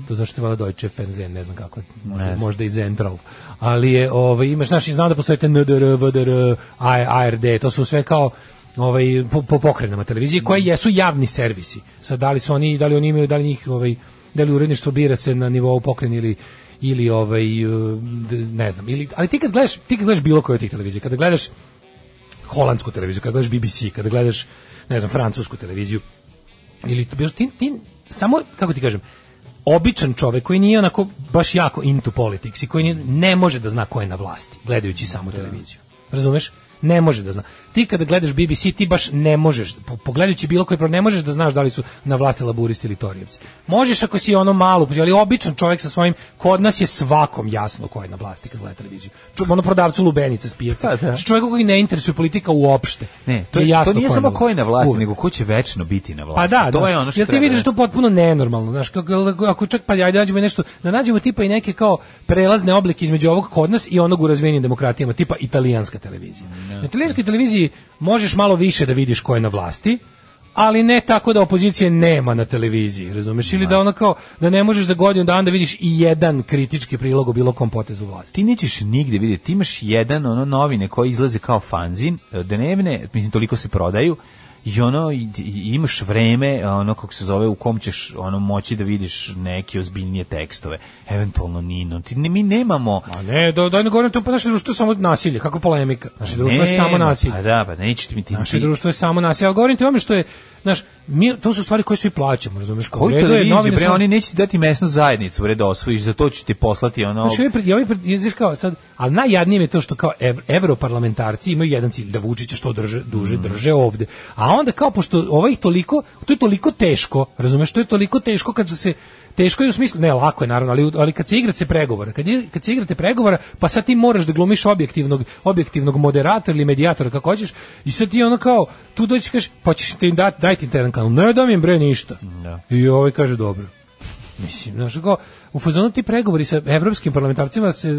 Speaker 6: To zašto je valjda Deutsche Fernsehen, Mhm. ne znam kako, možda, možda i Zentral. Ali je, ovaj, imaš, znaš, i znam da postoje te NDR, VDR, A- ARD, to su sve kao ovaj, po, po pokrenama televizije, koje jesu javni servisi. Sad, da li su oni, da li oni imaju, da li njih, ovaj, da li uredništvo bira se na nivou pokren ili ili ovaj d- ne znam ili ali ti kad gledaš ti kad gledaš bilo koju od tih televizija kada gledaš holandsku televiziju, kada gledaš BBC, kada gledaš, ne znam, francusku televiziju, ili to bilo, ti, ti samo, kako ti kažem, običan čovek koji nije onako baš jako into politics i koji nije- ne može da zna ko je na vlasti, gledajući samo televiziju. Razumeš? Ne može da zna. Ti kada gledaš BBC, ti baš ne možeš, po- pogledajući bilo koji program, ne možeš da znaš da li su na vlasti laburisti ili torijevci. Možeš ako si ono malo, ali običan čovek sa svojim, kod nas je svakom jasno ko je na vlasti kad gleda televiziju. Ču- Ono prodavcu lubenica s pijaca.
Speaker 5: Pa da.
Speaker 6: Čovjeku koji ne interesuje politika uopšte.
Speaker 5: Ne, to,
Speaker 6: je
Speaker 5: je, to
Speaker 6: jasno
Speaker 5: nije
Speaker 6: ko
Speaker 5: samo
Speaker 6: na
Speaker 5: ko je na vlasti,
Speaker 6: Uvek.
Speaker 5: nego ko će večno biti na
Speaker 6: Pa
Speaker 5: vlasti.
Speaker 6: da,
Speaker 5: to
Speaker 6: znaš,
Speaker 5: je ono što
Speaker 6: jer ti
Speaker 5: treba,
Speaker 6: vidiš
Speaker 5: ne?
Speaker 6: to potpuno nenormalno, znaš, kako- ako čak pa ajde nađemo nešto, da nađemo tipa i neke kao prelazne oblike između ovog kod nas i onog u razvijenim demokratijama, tipa italijanska televizija. Na italijanskoj televiziji možeš malo više da vidiš ko je na vlasti, ali ne tako da opozicije nema na televiziji, razumeš? Ili da ono kao, da ne možeš za godinu dana da vidiš i jedan kritički prilog o bilo kom potezu vlasti.
Speaker 5: ti nećeš nigde vidjeti, ti imaš jedan ono novine koje izlaze kao fanzin, e, dnevne, mislim toliko se prodaju, i ono i- i imaš vreme ono kako se zove u kom ćeš ono moći da vidiš neke ozbiljnije tekstove eventualno Nino ti ne, mi nemamo
Speaker 6: A ne, da, da ne govorim to, pa naše društvo je samo nasilje, kako polemika. Naše društvo je samo
Speaker 5: Nema,
Speaker 6: nasilje.
Speaker 5: pa da pa neće ti mi ti
Speaker 6: Naše
Speaker 5: ti-
Speaker 6: Znači, društvo je samo nas. Ja govorim ti o tome što je, znaš, mi, to su stvari koje svi plaćamo, razumeš? Kao, u
Speaker 5: koju
Speaker 6: redu je,
Speaker 5: televiziju
Speaker 6: novine
Speaker 5: bre
Speaker 6: su-
Speaker 5: oni neće ti dati mesnu zajednicu bre da osvojiš za to ću ti poslati ono
Speaker 6: Znaš, i ovi pred, i ovi pred, i znaš kao sad, ali najjadnije mi je to što kao ev, evroparlamentarci imaju jedan cilj, da Vučića što drže, duže drže ovde. A onda kao, pošto ovaj toliko, to je toliko teško, razumeš, to je toliko teško kad su se, teško je u smislu, ne, lako je naravno, ali, u- ali kad se igrate pregovora, kad, je- kad se igrate pregovora, pa sad ti moraš da glumiš objektivnog, objektivnog moderatora ili medijatora, kako hoćeš, i sad ti ono kao, tu
Speaker 5: Mm.
Speaker 6: dođeš i kažeš, pa ćeš ti im dati, dajte im taj jedan kanal, ne dam im bre ništa. I ovaj kaže, dobro. Mislim, znaš, kao, u fazonu ti pregovori sa evropskim parlamentarcima se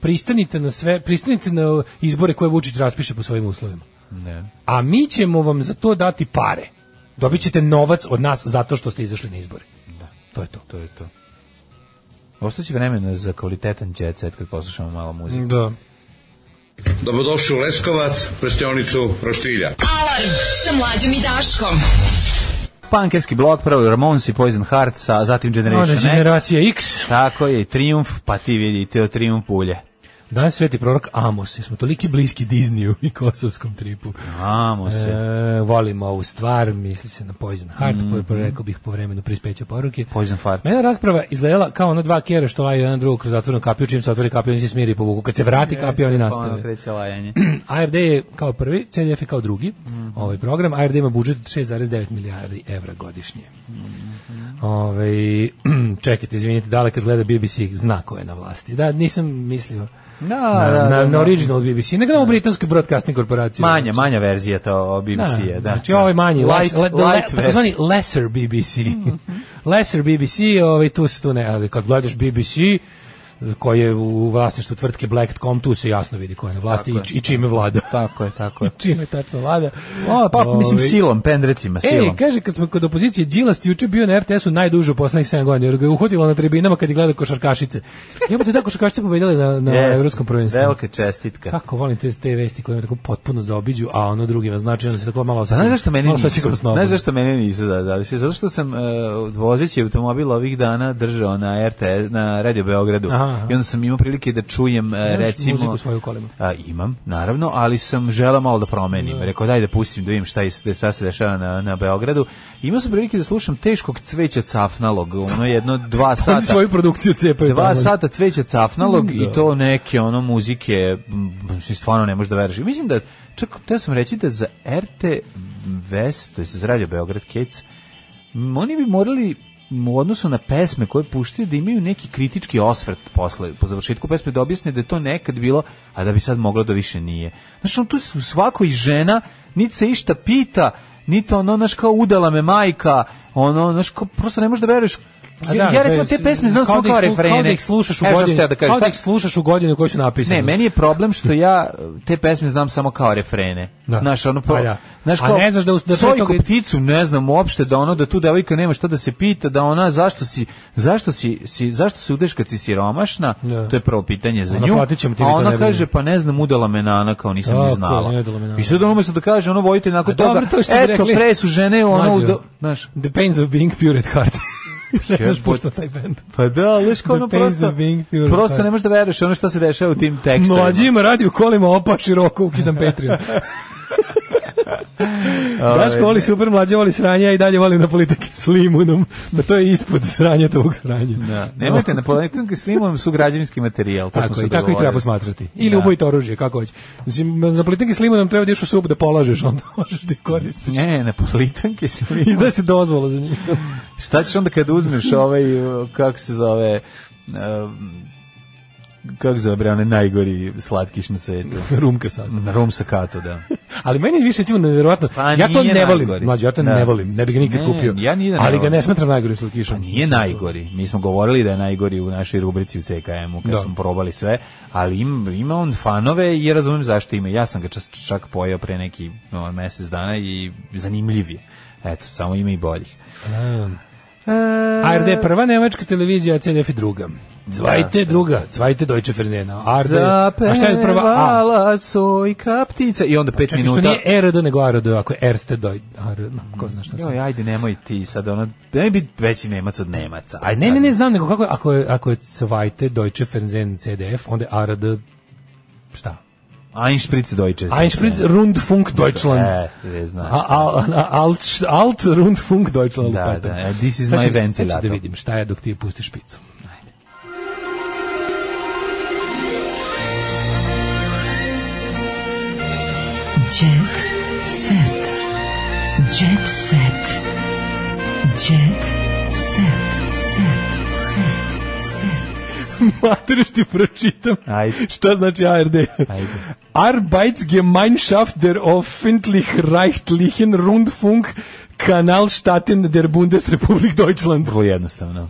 Speaker 6: pristanite na sve, pristanite na izbore koje Vučić raspiše po svojim uslovima.
Speaker 5: Ne.
Speaker 6: A mi ćemo vam za to dati pare. Dobit ćete novac od nas zato što ste izašli na izbore.
Speaker 5: Da.
Speaker 6: To je to.
Speaker 5: To je to. Ostaće vremena za kvalitetan jet set kad poslušamo malo muzike.
Speaker 6: Da.
Speaker 16: Dobrodošli u Leskovac, prštionicu Roštilja.
Speaker 3: Alarm sa mlađom i Daškom.
Speaker 5: Punkerski blok, prvo Ramones i Poison Hearts, a zatim Generation
Speaker 6: Ona
Speaker 5: X.
Speaker 6: generacija X.
Speaker 5: Tako je, i Triumf, pa ti vidite o Triumf ulje.
Speaker 6: Danas sveti prorok Amos, jer smo toliki bliski Disneyu i kosovskom tripu.
Speaker 5: Amo se.
Speaker 6: E, volim ovu stvar, misli se na Poison Heart, mm rekao bih po vremenu prispeća poruke.
Speaker 5: Mhm. Poison Heart.
Speaker 6: Mene rasprava izgledala kao ono dva kjera što laju jedan drugog kroz zatvorenu kapiju, čim se otvori kapija, oni se smiri i povuku. Kad se vrati kapija, oni
Speaker 5: Pa ono
Speaker 6: nastave.
Speaker 5: kreće lajanje.
Speaker 6: ARD je kao prvi, CDF je kao drugi
Speaker 5: Mhm.
Speaker 6: ovaj program. ARD ima budžet od 6,9 milijardi evra godišnje.
Speaker 5: Mhm.
Speaker 6: Ovaj, čekajte, izvinite, dale kad gleda BBC zna ko je na vlasti. Da, nisam mislio
Speaker 5: Da,
Speaker 6: na,
Speaker 5: da,
Speaker 6: na,
Speaker 5: da,
Speaker 6: na
Speaker 5: da.
Speaker 6: original BBC, nego na ovu britansku broadcasting korporaciju.
Speaker 5: Manja, manja verzija to BBC-a, da.
Speaker 6: Znači ovaj manji,
Speaker 5: light, Mhm.
Speaker 6: light, le, the
Speaker 5: light
Speaker 6: le- takozvani lesser BBC. lesser BBC, ovaj, tu se tu ne, ali kad gledaš BBC, koji je u vlasništvu tvrtke Black.com, tu se jasno vidi ko je na vlasti i, i čime vlada.
Speaker 5: Tako je, tako je.
Speaker 6: čime tačno vlada.
Speaker 5: O, pa mislim
Speaker 6: Ovaj,
Speaker 5: silom, pendrecima, silom.
Speaker 6: Ej, kaže, kad smo kod opozicije, Đilas ti juče bio na RTS-u najduže u poslednjih 7 godina, jer ga je uhvatilo na tribinama kad je gledao košarkašice. Jebote, da, košarkašice pobedile na, na
Speaker 5: Jeste,
Speaker 6: evropskom prvenstvu.
Speaker 5: Velika čestitka.
Speaker 6: Kako volim te, te vesti koje me tako potpuno zaobiđu, a ono drugima znači, onda se tako malo osjećam.
Speaker 5: Pa Znaš zašto meni
Speaker 6: malo se
Speaker 5: nisu?
Speaker 6: osjećam snobno.
Speaker 5: Znaš zašto meni nisu zadavisi? Zato što sam uh, vozeći automobil ovih dana držao na RTS, na Radio Beogradu.
Speaker 6: Aha, aha.
Speaker 5: I onda sam imao prilike da čujem, uh,
Speaker 6: Imaš
Speaker 5: recimo...
Speaker 6: muziku svoju u kolima?
Speaker 5: A, imam, naravno, ali sam želeo malo da promenim. Rekao, daj da pustim, da vidim šta, je, šta se dešava na, na Beogradu. Imao sam prilike da slušam teškog cveća cafnalog, ono jedno dva
Speaker 6: Oni
Speaker 5: sata.
Speaker 6: svoju produkciju cepaju.
Speaker 5: Dva
Speaker 6: tamo.
Speaker 5: sata cveća cafnalog i to neke ono muzike, m, mislim, stvarno ne možeš da veruješ. I Mislim da, čak, teo sam reći da za RT West, to je za Radio Beograd Kids, m, oni bi morali m, u odnosu na pesme koje puštaju da imaju neki kritički osvrt posle, po završetku pesme da objasne da je to nekad bilo, a da bi sad moglo da više nije. Znaš, on tu se u svakoj žena, niti se išta pita, niti ono, znaš, kao udala me majka, ono, znaš, kao, prosto ne možeš da veruješ
Speaker 6: A
Speaker 5: ja,
Speaker 6: da,
Speaker 5: ja
Speaker 6: to
Speaker 5: recimo
Speaker 6: je-
Speaker 5: te pesme znam samo
Speaker 6: da
Speaker 5: kao
Speaker 6: ih slu-
Speaker 5: refrene.
Speaker 6: Kao da ih slušaš u
Speaker 5: Evo šta sam
Speaker 6: godini,
Speaker 5: teo da kažem,
Speaker 6: kao da ih
Speaker 5: šta-
Speaker 6: slušaš u godini u kojoj su napisane.
Speaker 5: Ne, meni je problem što ja te pesme znam samo kao refrene.
Speaker 6: Da.
Speaker 5: Znaš, ono pro...
Speaker 6: Pa da.
Speaker 5: Znaš,
Speaker 6: A
Speaker 5: kao,
Speaker 6: ne znaš da us- da pre
Speaker 5: Sojku
Speaker 6: toga-
Speaker 5: pticu ne znam uopšte, da ono, da tu devojka nema šta da se pita, da ona zašto si, zašto si, si zašto se udeš kad si siromašna,
Speaker 6: Da.
Speaker 5: to je prvo pitanje za
Speaker 6: Ona,
Speaker 5: nju.
Speaker 6: "Platit ćemo ti,
Speaker 5: a
Speaker 6: vi to ne
Speaker 5: ona
Speaker 6: brinite."
Speaker 5: kaže, pa ne znam, udala me nana, kao nisam
Speaker 6: Tako
Speaker 5: ni
Speaker 6: je,
Speaker 5: znala.
Speaker 6: ne udala me nana.
Speaker 5: I sad ono umesto da kaže, ono, vojitelj nakon
Speaker 6: A E, dobro,
Speaker 5: toga,
Speaker 6: to što bi
Speaker 5: eto,
Speaker 6: rekli-
Speaker 5: pre su žene, ono,
Speaker 6: Mlađo.
Speaker 5: udo... znaš,
Speaker 6: The Pains of Being Pure at Heart. ne znaš
Speaker 5: Jebote.
Speaker 6: pošto taj band.
Speaker 5: pa da, znaš, kao
Speaker 6: The
Speaker 5: ono,
Speaker 6: pains
Speaker 5: prosto,
Speaker 6: of being pure.
Speaker 5: prosto ne možeš da veruješ ono šta se dešava u tim tekstovima.
Speaker 6: Mlađima radi u kolima, opa široko, ukidam Patreon. Daško voli super mlađe, voli sranje, a i dalje volim na politike s limunom. Pa to je ispod sranja tog sranja.
Speaker 5: Da, nemojte na poletnike s limom su građevinski materijal, to smo
Speaker 6: Tako,
Speaker 5: se
Speaker 6: i tako ih
Speaker 5: dogovorili.
Speaker 6: treba posmatrati. Ili
Speaker 5: Da.
Speaker 6: ubojite oružje, kako hoće. Mislim, za politike s limunom treba da ideš u sub da polažeš, onda možeš da ih koristiš.
Speaker 5: Ne, na politanke s limom.
Speaker 6: Izda se dozvola za njih.
Speaker 5: Šta ćeš onda kad uzmeš ovaj, uh, kako se zove, uh, kako se zove, bre, onaj najgori slatkiš na svetu?
Speaker 6: Rumka sad.
Speaker 5: Na rum sakato, da.
Speaker 6: Mm. Ali meni je više recimo nevjerovatno.
Speaker 5: Pa
Speaker 6: ja to
Speaker 5: nije
Speaker 6: ne volim.
Speaker 5: najgori.
Speaker 6: Mlađe, ja to
Speaker 5: Da.
Speaker 6: ne volim. Ne bih ga nikad
Speaker 5: Ne,
Speaker 6: kupio.
Speaker 5: ja ni da ne
Speaker 6: ali ga
Speaker 5: volim.
Speaker 6: ne smatram najgorim slatkišom.
Speaker 5: Nije najgori. Mi smo govorili da je najgori u našoj rubrici u CKM-u kad
Speaker 6: Da.
Speaker 5: smo probali sve, ali im, ima on fanove i ja razumem zašto ima. Ja sam ga čas, čak pojao pre neki no, mesec dana i zanimljiv je. Eto, samo ima i boljih.
Speaker 6: ARD je prva nemačka televizija, a CDF je druga. Cvajte druga, cvajte Deutsche Fernsehena. ARD, je- a šta je prva A?
Speaker 5: Zapevala sojka ptica i onda pet
Speaker 6: Čekaj, što
Speaker 5: minuta.
Speaker 6: nije RD, nego ARD, ako je Erste Deutsche, ARD, ko zna šta sam.
Speaker 5: Joj, ajde, nemoj ti sad, ono, ne bi veći Nemac od Nemaca. Ajde,
Speaker 6: Pa Ne,
Speaker 5: sad.
Speaker 6: ne, ne, znam, nego kako je, ako je, ako je Cvajte Deutsche Fernsehen CDF, onda je ARD, šta?
Speaker 5: Einspritz Deutsche.
Speaker 6: Einspritz Rundfunk Deutschland.
Speaker 5: E, ne znaš.
Speaker 6: A- a- a- Alt, alt Rundfunk Deutschland.
Speaker 5: Da,
Speaker 6: pardon.
Speaker 5: da, e, this is
Speaker 6: Sad
Speaker 5: my
Speaker 6: ću- sad ću
Speaker 5: ventilator.
Speaker 6: da vidim šta je dok ti pustiš špicu.
Speaker 3: Jet set. Jet set. Jet set. Set. Set.
Speaker 6: Materiš ti pročitam.
Speaker 5: Ajde.
Speaker 6: Šta znači ARD?
Speaker 5: Ajde.
Speaker 6: Arbeitsgemeinschaft der Offentlich Reichtlichen Rundfunk Kanalstaaten der Bundesrepublik Deutschland.
Speaker 5: Vrlo jednostavno.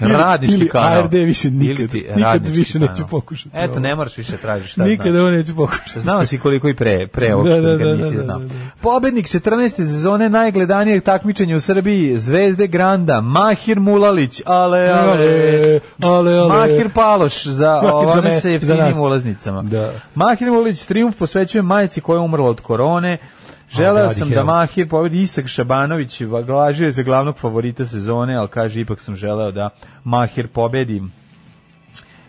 Speaker 5: Radnički
Speaker 6: ili
Speaker 5: kanal.
Speaker 6: ARD više nikad,
Speaker 5: Ili ti
Speaker 6: nikad
Speaker 5: radnički
Speaker 6: više neću
Speaker 5: kanal.
Speaker 6: pokušati.
Speaker 5: Eto,
Speaker 6: ovo.
Speaker 5: ne moraš više tražiti šta
Speaker 6: Nikad
Speaker 5: znaš.
Speaker 6: ovo neću pokušati.
Speaker 5: Znao si koliko i pre, pre ovog
Speaker 6: Da,
Speaker 5: što
Speaker 6: da,
Speaker 5: nikad
Speaker 6: da,
Speaker 5: nisi
Speaker 6: da, da,
Speaker 5: znao.
Speaker 6: da.
Speaker 5: Pobednik 14. sezone najgledanijeg takmičenja u Srbiji, Zvezde Granda, Mahir Mulalić, ale, ale,
Speaker 6: Ale, ale, ale.
Speaker 5: Mahir Paloš za
Speaker 6: Mahir za
Speaker 5: ovane
Speaker 6: me-
Speaker 5: sa
Speaker 6: za
Speaker 5: jeftinim
Speaker 6: nas.
Speaker 5: ulaznicama.
Speaker 6: Da.
Speaker 5: Mahir Mulalić triumf posvećuje majici koja je umrla od korone. Želeo
Speaker 6: dragi
Speaker 5: sam da
Speaker 6: heroj.
Speaker 5: Mahir povedi Isak Šabanović, glažio je za glavnog favorita sezone, ali kaže ipak sam želeo da Mahir pobedi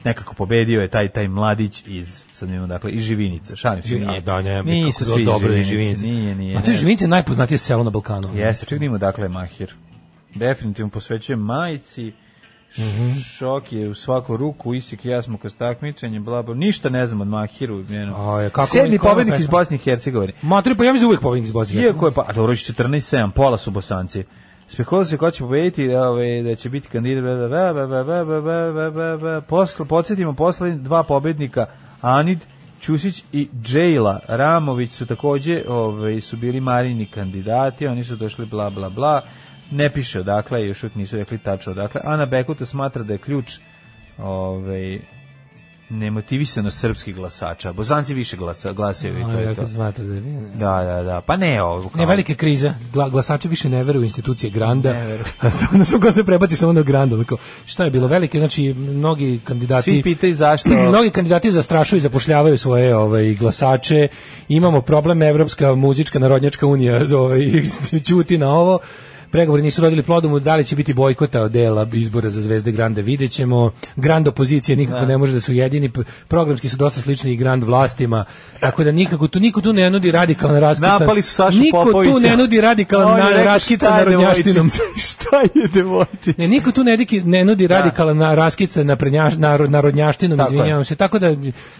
Speaker 5: nekako pobedio je taj taj mladić iz sad ne znam dakle iz Živinica šalim se
Speaker 6: Nije, da, ne, mi
Speaker 5: nisu
Speaker 6: kako
Speaker 5: svi
Speaker 6: svi dobro je
Speaker 5: iz
Speaker 6: Živinice.
Speaker 5: Živinice nije nije
Speaker 6: A to je
Speaker 5: ne.
Speaker 6: Živinice najpoznatije selo na Balkanu.
Speaker 5: jeste čekaj nimo dakle je Mahir definitivno posvećujem majici šok je u svaku ruku Isik i ja smo kroz takmičenje bla bla ništa ne znam od Mahiru njeno.
Speaker 6: A je, kako-
Speaker 5: sedmi
Speaker 6: koja je
Speaker 5: pobednik iz
Speaker 6: pesma?
Speaker 5: Bosne i Hercegovine
Speaker 6: Matri, pa ja mislim da uvijek pobednik iz Bosne. i
Speaker 5: iako je pa a dobro 14 7 pola su Bosanci Spekulo se ko će pobediti, da, ovaj, da će biti kandidat, bla, bla, bla, bla, bla, bla, bla, bla, bla, bla. Posle, podsjetimo, posle dva pobednika, Anid Ćusić i Džejla Ramović su takođe, ovaj, su bili Marini kandidati, oni su došli bla, bla, bla, ne piše odakle, još uvijek nisu rekli tačno odakle. Ana Bekuta smatra da je ključ ovaj, nemotivisano srpskih glasača. Bosanci više glasa, glasaju i to
Speaker 6: Hercegovine. A,
Speaker 5: je
Speaker 6: ja
Speaker 5: to.
Speaker 6: kad smatra da je-
Speaker 5: Da, da, da. Pa ne ovo.
Speaker 6: Ne,
Speaker 5: kao-
Speaker 6: velika kriza. Gla, glasači više ne veruju u institucije Granda. Ono su kao se prebaci samo na Granda. Ono kao, šta je bilo velike? Znači, mnogi kandidati...
Speaker 5: Svi pitaju zašto...
Speaker 6: Mnogi kandidati zastrašuju i zapošljavaju svoje ovaj, glasače. Imamo problem Evropska muzička narodnjačka unija ovaj, ćuti na ovo. Pregovori nisu rodili plodom, da li će biti bojkota od dela izbora za Zvezde Granda, vidjet ćemo. Grand opozicija nikako ne može da su jedini, programski su dosta slični i Grand vlastima, tako da nikako tu, niko tu ne nudi radikalan raskican.
Speaker 5: Napali su Sašu
Speaker 6: niko
Speaker 5: Popovića.
Speaker 6: tu ne nudi radikalan
Speaker 5: On je
Speaker 6: na,
Speaker 5: rekao,
Speaker 6: raskican
Speaker 5: "Šta je
Speaker 6: narodnjaštinom.
Speaker 5: devojčica? Šta je devojčica?
Speaker 6: Ne, niko tu ne, diki- ne nudi radikalan na, raskice na prednjaš, narod, narodnjaštinom,
Speaker 5: Tako je.
Speaker 6: izvinjavam se. Tako da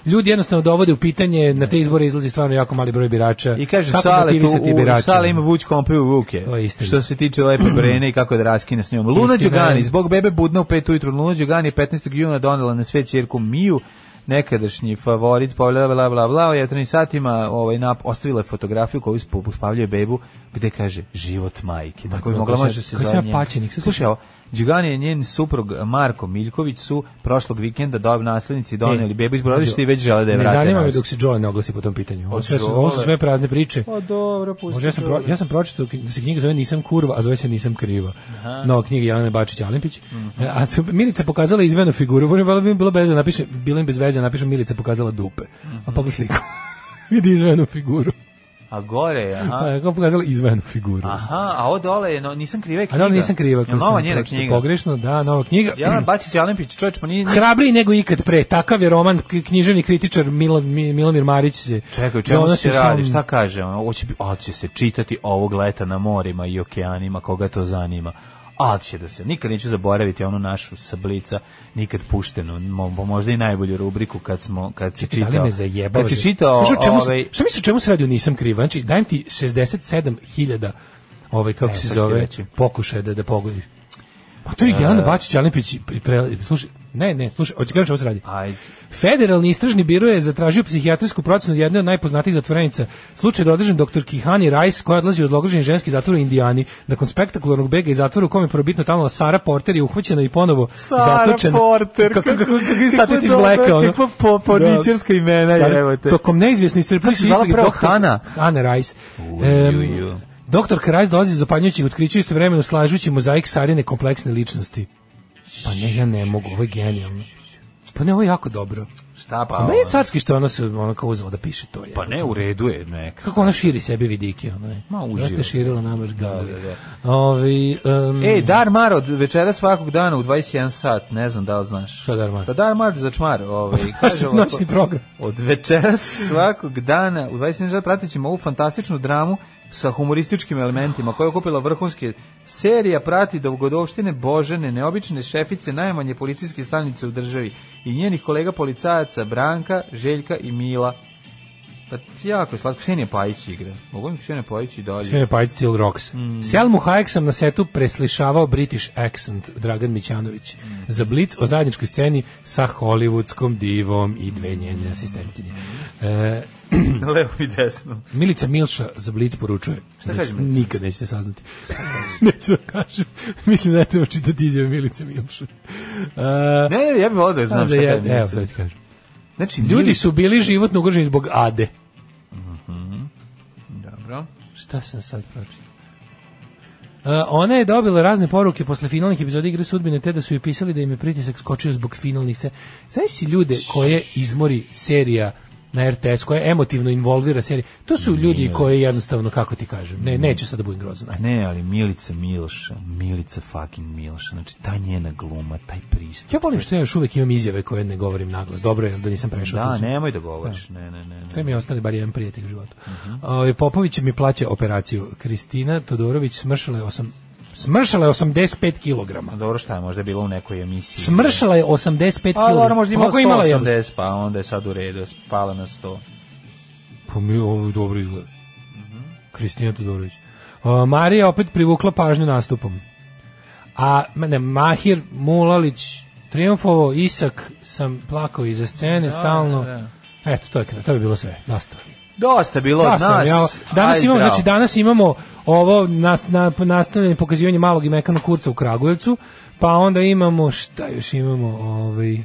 Speaker 6: ljudi jednostavno dovode u pitanje, na te izbore izlazi stvarno jako mali broj birača.
Speaker 5: I kaže
Speaker 6: Kako
Speaker 5: Sale, tu,
Speaker 6: motivisati
Speaker 5: u,
Speaker 6: birače?
Speaker 5: Sale ima vuć kompe u ruke.
Speaker 6: To je istina.
Speaker 5: Što se tiče lepe brene i kako da raskine s njom. Luna
Speaker 6: Istina je.
Speaker 5: Đugani, zbog bebe budna u pet ujutru, Luna Đugani je 15. juna donela na sve čerku Miju, nekadašnji favorit, pa bla bla bla bla, u jutarnjim satima ovaj, nap, ostavila je fotografiju koju spo- uspavljuje bebu, gde kaže život majke. Tako bi
Speaker 6: kako
Speaker 5: mogla
Speaker 6: se-
Speaker 5: može se
Speaker 6: kako se
Speaker 5: zove
Speaker 6: ja
Speaker 5: njen.
Speaker 6: paćenik, sad
Speaker 5: Slušaj,
Speaker 6: sam-
Speaker 5: ovo, Đugani je njen suprug Marko Miljković su prošlog vikenda dob naslednici doneli bebu iz
Speaker 6: Pazi,
Speaker 5: borodišta i već žele da je
Speaker 6: E, Ne
Speaker 5: vrate
Speaker 6: zanima me
Speaker 5: nas.
Speaker 6: dok se Joe ne oglasi po tom pitanju. Ovo,
Speaker 5: Od
Speaker 6: sve su, ovo su
Speaker 5: Joe.
Speaker 6: sve prazne priče.
Speaker 5: Pa dobro, pusti
Speaker 6: Može, ja sam, pro,
Speaker 5: čovjek.
Speaker 6: ja sam pročitao da se knjiga zove Nisam kurva, a zove se Nisam kriva. Nova knjiga Jelene Bačić Alimpić.
Speaker 5: Mhm.
Speaker 6: E, A su- Milica pokazala izvenu figuru, bože, valjda bi im bilo bez veze, napiše, bilo im bez veze, napiše Milica pokazala dupe.
Speaker 5: Mhm.
Speaker 6: A pogledaj sliku. Vidi izvenu figuru.
Speaker 5: A gore je, aha.
Speaker 6: Pa je kao pokazala izvenu figuru.
Speaker 5: Aha, a ovo dole je, no, nisam kriva je
Speaker 6: A
Speaker 5: knjiga.
Speaker 6: da nisam kriva,
Speaker 5: Jel
Speaker 6: koju
Speaker 5: nova
Speaker 6: sam
Speaker 5: njena
Speaker 6: pročitao
Speaker 5: knjiga.
Speaker 6: Pogrešno, da, nova knjiga.
Speaker 5: Jelena Bačić Alimpić, čovječ, pa nije... nije-
Speaker 6: Hrabriji nego ikad pre. Takav je roman k- književni kritičar Milo, Mi- Milomir Marić se.
Speaker 5: Čekaj, o čemu
Speaker 6: donosi
Speaker 5: se
Speaker 6: u svom-
Speaker 5: radi, šta kaže? ono, Ovo će, bi- ali će se čitati ovog leta na morima i okeanima, koga to zanima. Ali će da se, nikad neću zaboraviti onu našu sablica, nikad puštenu, mo- mo- možda i najbolju rubriku kad smo, kad si čitao.
Speaker 6: Da li me zajebao?
Speaker 5: Kad si čitao,
Speaker 6: Slušaj, o čemu, se-
Speaker 5: ovaj,
Speaker 6: Šta misliš o čemu se radi? o Nisam kriv. Znači, dajem ti 67.000 ovaj, kako
Speaker 5: E,
Speaker 6: se
Speaker 5: sad ću ti
Speaker 6: zove,
Speaker 5: reći. E,
Speaker 6: pokušaja da, da pogodiš. Ma to je Jelena Bačić, Alimpić, i pre, pre- slušaj, ne, ne, slušaj, hoćeš kažem čemu se radi?
Speaker 5: Ajde.
Speaker 6: Federalni istražni biro je zatražio psihijatrijsku procenu jedne od najpoznatijih zatvorenica. Slučaj je dodržan doktor Kihani Rice, koja odlazi od logoženi ženski zatvor u Indijani. Nakon spektakularnog bega iz zatvora u kom je probitno tamo Sara Porter je uhvaćena i ponovo
Speaker 5: Sara
Speaker 6: zatočena.
Speaker 5: Porter,
Speaker 6: Kako, kako, kako,
Speaker 5: kako
Speaker 6: je statist iz
Speaker 5: dobro,
Speaker 6: Blacka, ono.
Speaker 5: kakva po- porničarska imena je,
Speaker 6: Sara-
Speaker 5: evo te.
Speaker 6: Tokom neizvjesni
Speaker 5: Kako
Speaker 6: iscrpljujući
Speaker 5: se zvala
Speaker 6: istrage
Speaker 5: prvo,
Speaker 6: doktor-
Speaker 5: Hana?
Speaker 6: Hana Rice.
Speaker 5: Uj,
Speaker 6: Em,
Speaker 5: uj, uj.
Speaker 6: Doktor Karajs dolazi iz zapanjujućih otkrića i istovremeno slažući mozaik Sarine kompleksne ličnosti. Pa ne, ja ne mogu, ovo je genijalno. Pa ne, ovo je jako dobro.
Speaker 5: šta pa?
Speaker 6: A meni je
Speaker 5: ono?
Speaker 6: carski što ona se ono kao uzela da piše to. Je.
Speaker 5: Pa ne, u redu je neka.
Speaker 6: Kako ona širi sebi vidike, ona je.
Speaker 5: Ma, uživo.
Speaker 6: Znaš te širila nama gavli. Ovi, em,
Speaker 5: Ej, E, Dar Maro, od večera svakog dana u 21 sat, ne znam da li znaš.
Speaker 6: Šta Dar Maro?
Speaker 5: Pa Dar Maro za čmar. Ovaj, kaže ovako,
Speaker 6: noćni program.
Speaker 5: Od večeras svakog dana u 21 sat pratit ćemo ovu fantastičnu dramu sa humorističkim elementima koja je okupila vrhunske serija, prati dogodovštine Božene, neobične šefice najmanje policijske stanice u državi i njenih kolega policajaca Branka, Željka i Mila. Pa jako je slatko. Ksenija Pajić igra. Mogu im Ksenija Pajić i dalje.
Speaker 6: Ksenija Pajić Till Rocks. Mm. Selmu Hayek sam na setu preslišavao British accent Dragan Mićanović. Mm. Za Blitz o zajedničkoj sceni sa hollywoodskom divom i dve njene asistentinje. E,
Speaker 5: Levo i desno.
Speaker 6: Milica Milša za Blitz poručuje.
Speaker 5: Šta kaže Milica?
Speaker 6: Nikad nećete saznati. Neću da kažem. Mislim da ne treba čitati izjave Milice Milša. E,
Speaker 5: Ne, ne, ja bih volio da znam šta
Speaker 6: je,
Speaker 5: kad
Speaker 6: evo, to
Speaker 5: mislim.
Speaker 6: ti kažem.
Speaker 5: Znači,
Speaker 6: Ljudi
Speaker 5: Milica-
Speaker 6: su bili životno ugroženi zbog ade.
Speaker 5: Dobro.
Speaker 6: Šta sam sad pročitao? E, ona je dobila razne poruke posle finalnih epizoda igre sudbine, te da su joj pisali da im je pritisak skočio zbog finalnih se. Znaš si ljude koje izmori serija na RTS, koja emotivno involvira seriju, to su ljudi koje jednostavno, kako ti kažem, ne, neću sad da budem grozan. ajde.
Speaker 5: Ne, ali Milica Milša, Milica fucking Milša, znači ta njena gluma, taj pristup.
Speaker 6: Ja volim što ja još uvek imam izjave koje ne govorim naglas. Dobro je da nisam prešao.
Speaker 5: Da,
Speaker 6: tu su-
Speaker 5: nemoj da govoriš, ne, ne, ne.
Speaker 6: To
Speaker 5: ne.
Speaker 6: mi je ostali bar jedan prijatelj u životu.
Speaker 5: Mhm.
Speaker 6: Ovaj, Popović mi plaća operaciju. Kristina Todorović smršala je, osam, smršala je 85 kilograma.
Speaker 5: A Dobro šta je, možda je bilo u nekoj emisiji.
Speaker 6: Smršala je 85 kg.
Speaker 5: A dobro, možda imala
Speaker 6: Koliko Pa je imala je?
Speaker 5: 180, pa onda je sad u redu, pala na 100.
Speaker 6: Pa mi ovo dobro izgleda.
Speaker 5: Mhm.
Speaker 6: Kristina Todorović. A, Marija opet privukla pažnju nastupom. A ma ne, Mahir Mulalić triumfovo, Isak sam plakao iza scene stalno. Eto, to je kraj, to je bilo sve. Dosta.
Speaker 5: Dosta je bilo od
Speaker 6: Dosta,
Speaker 5: nas.
Speaker 6: ja, danas
Speaker 5: Aj,
Speaker 6: imamo,
Speaker 5: zdravo.
Speaker 6: znači danas imamo ovo nas, na, nastavljanje pokazivanje malog i mekanog kurca u Kragujevcu, pa onda imamo, šta još imamo, ovaj, e,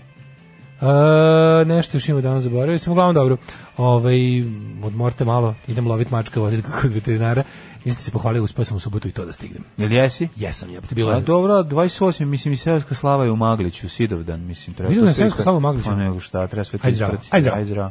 Speaker 6: nešto još imamo danas zaboravio, sam uglavnom dobro, ovaj, odmorte malo, idem lovit mačka, vodit ga kod veterinara, nisam se pohvalio, uspio sam u subotu i to da stignem.
Speaker 5: Jel jesi?
Speaker 6: Jesam, jebote, bilo
Speaker 5: A
Speaker 6: je.
Speaker 5: Pa, dobro, 28. mislim i Seoska Slava je u Magliću, Sidovdan, mislim. Treba
Speaker 6: Vidio
Speaker 5: to
Speaker 6: sam
Speaker 5: sve
Speaker 6: Seoska
Speaker 5: ispra-
Speaker 6: Slava u Magliću.
Speaker 5: Pa nego šta, treba sve to
Speaker 6: Ajde, zdravo.
Speaker 5: ispratiti.
Speaker 6: Ajde, zdravo.
Speaker 5: zdravo.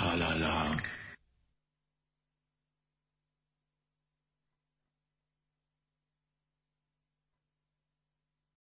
Speaker 2: tra-la-la.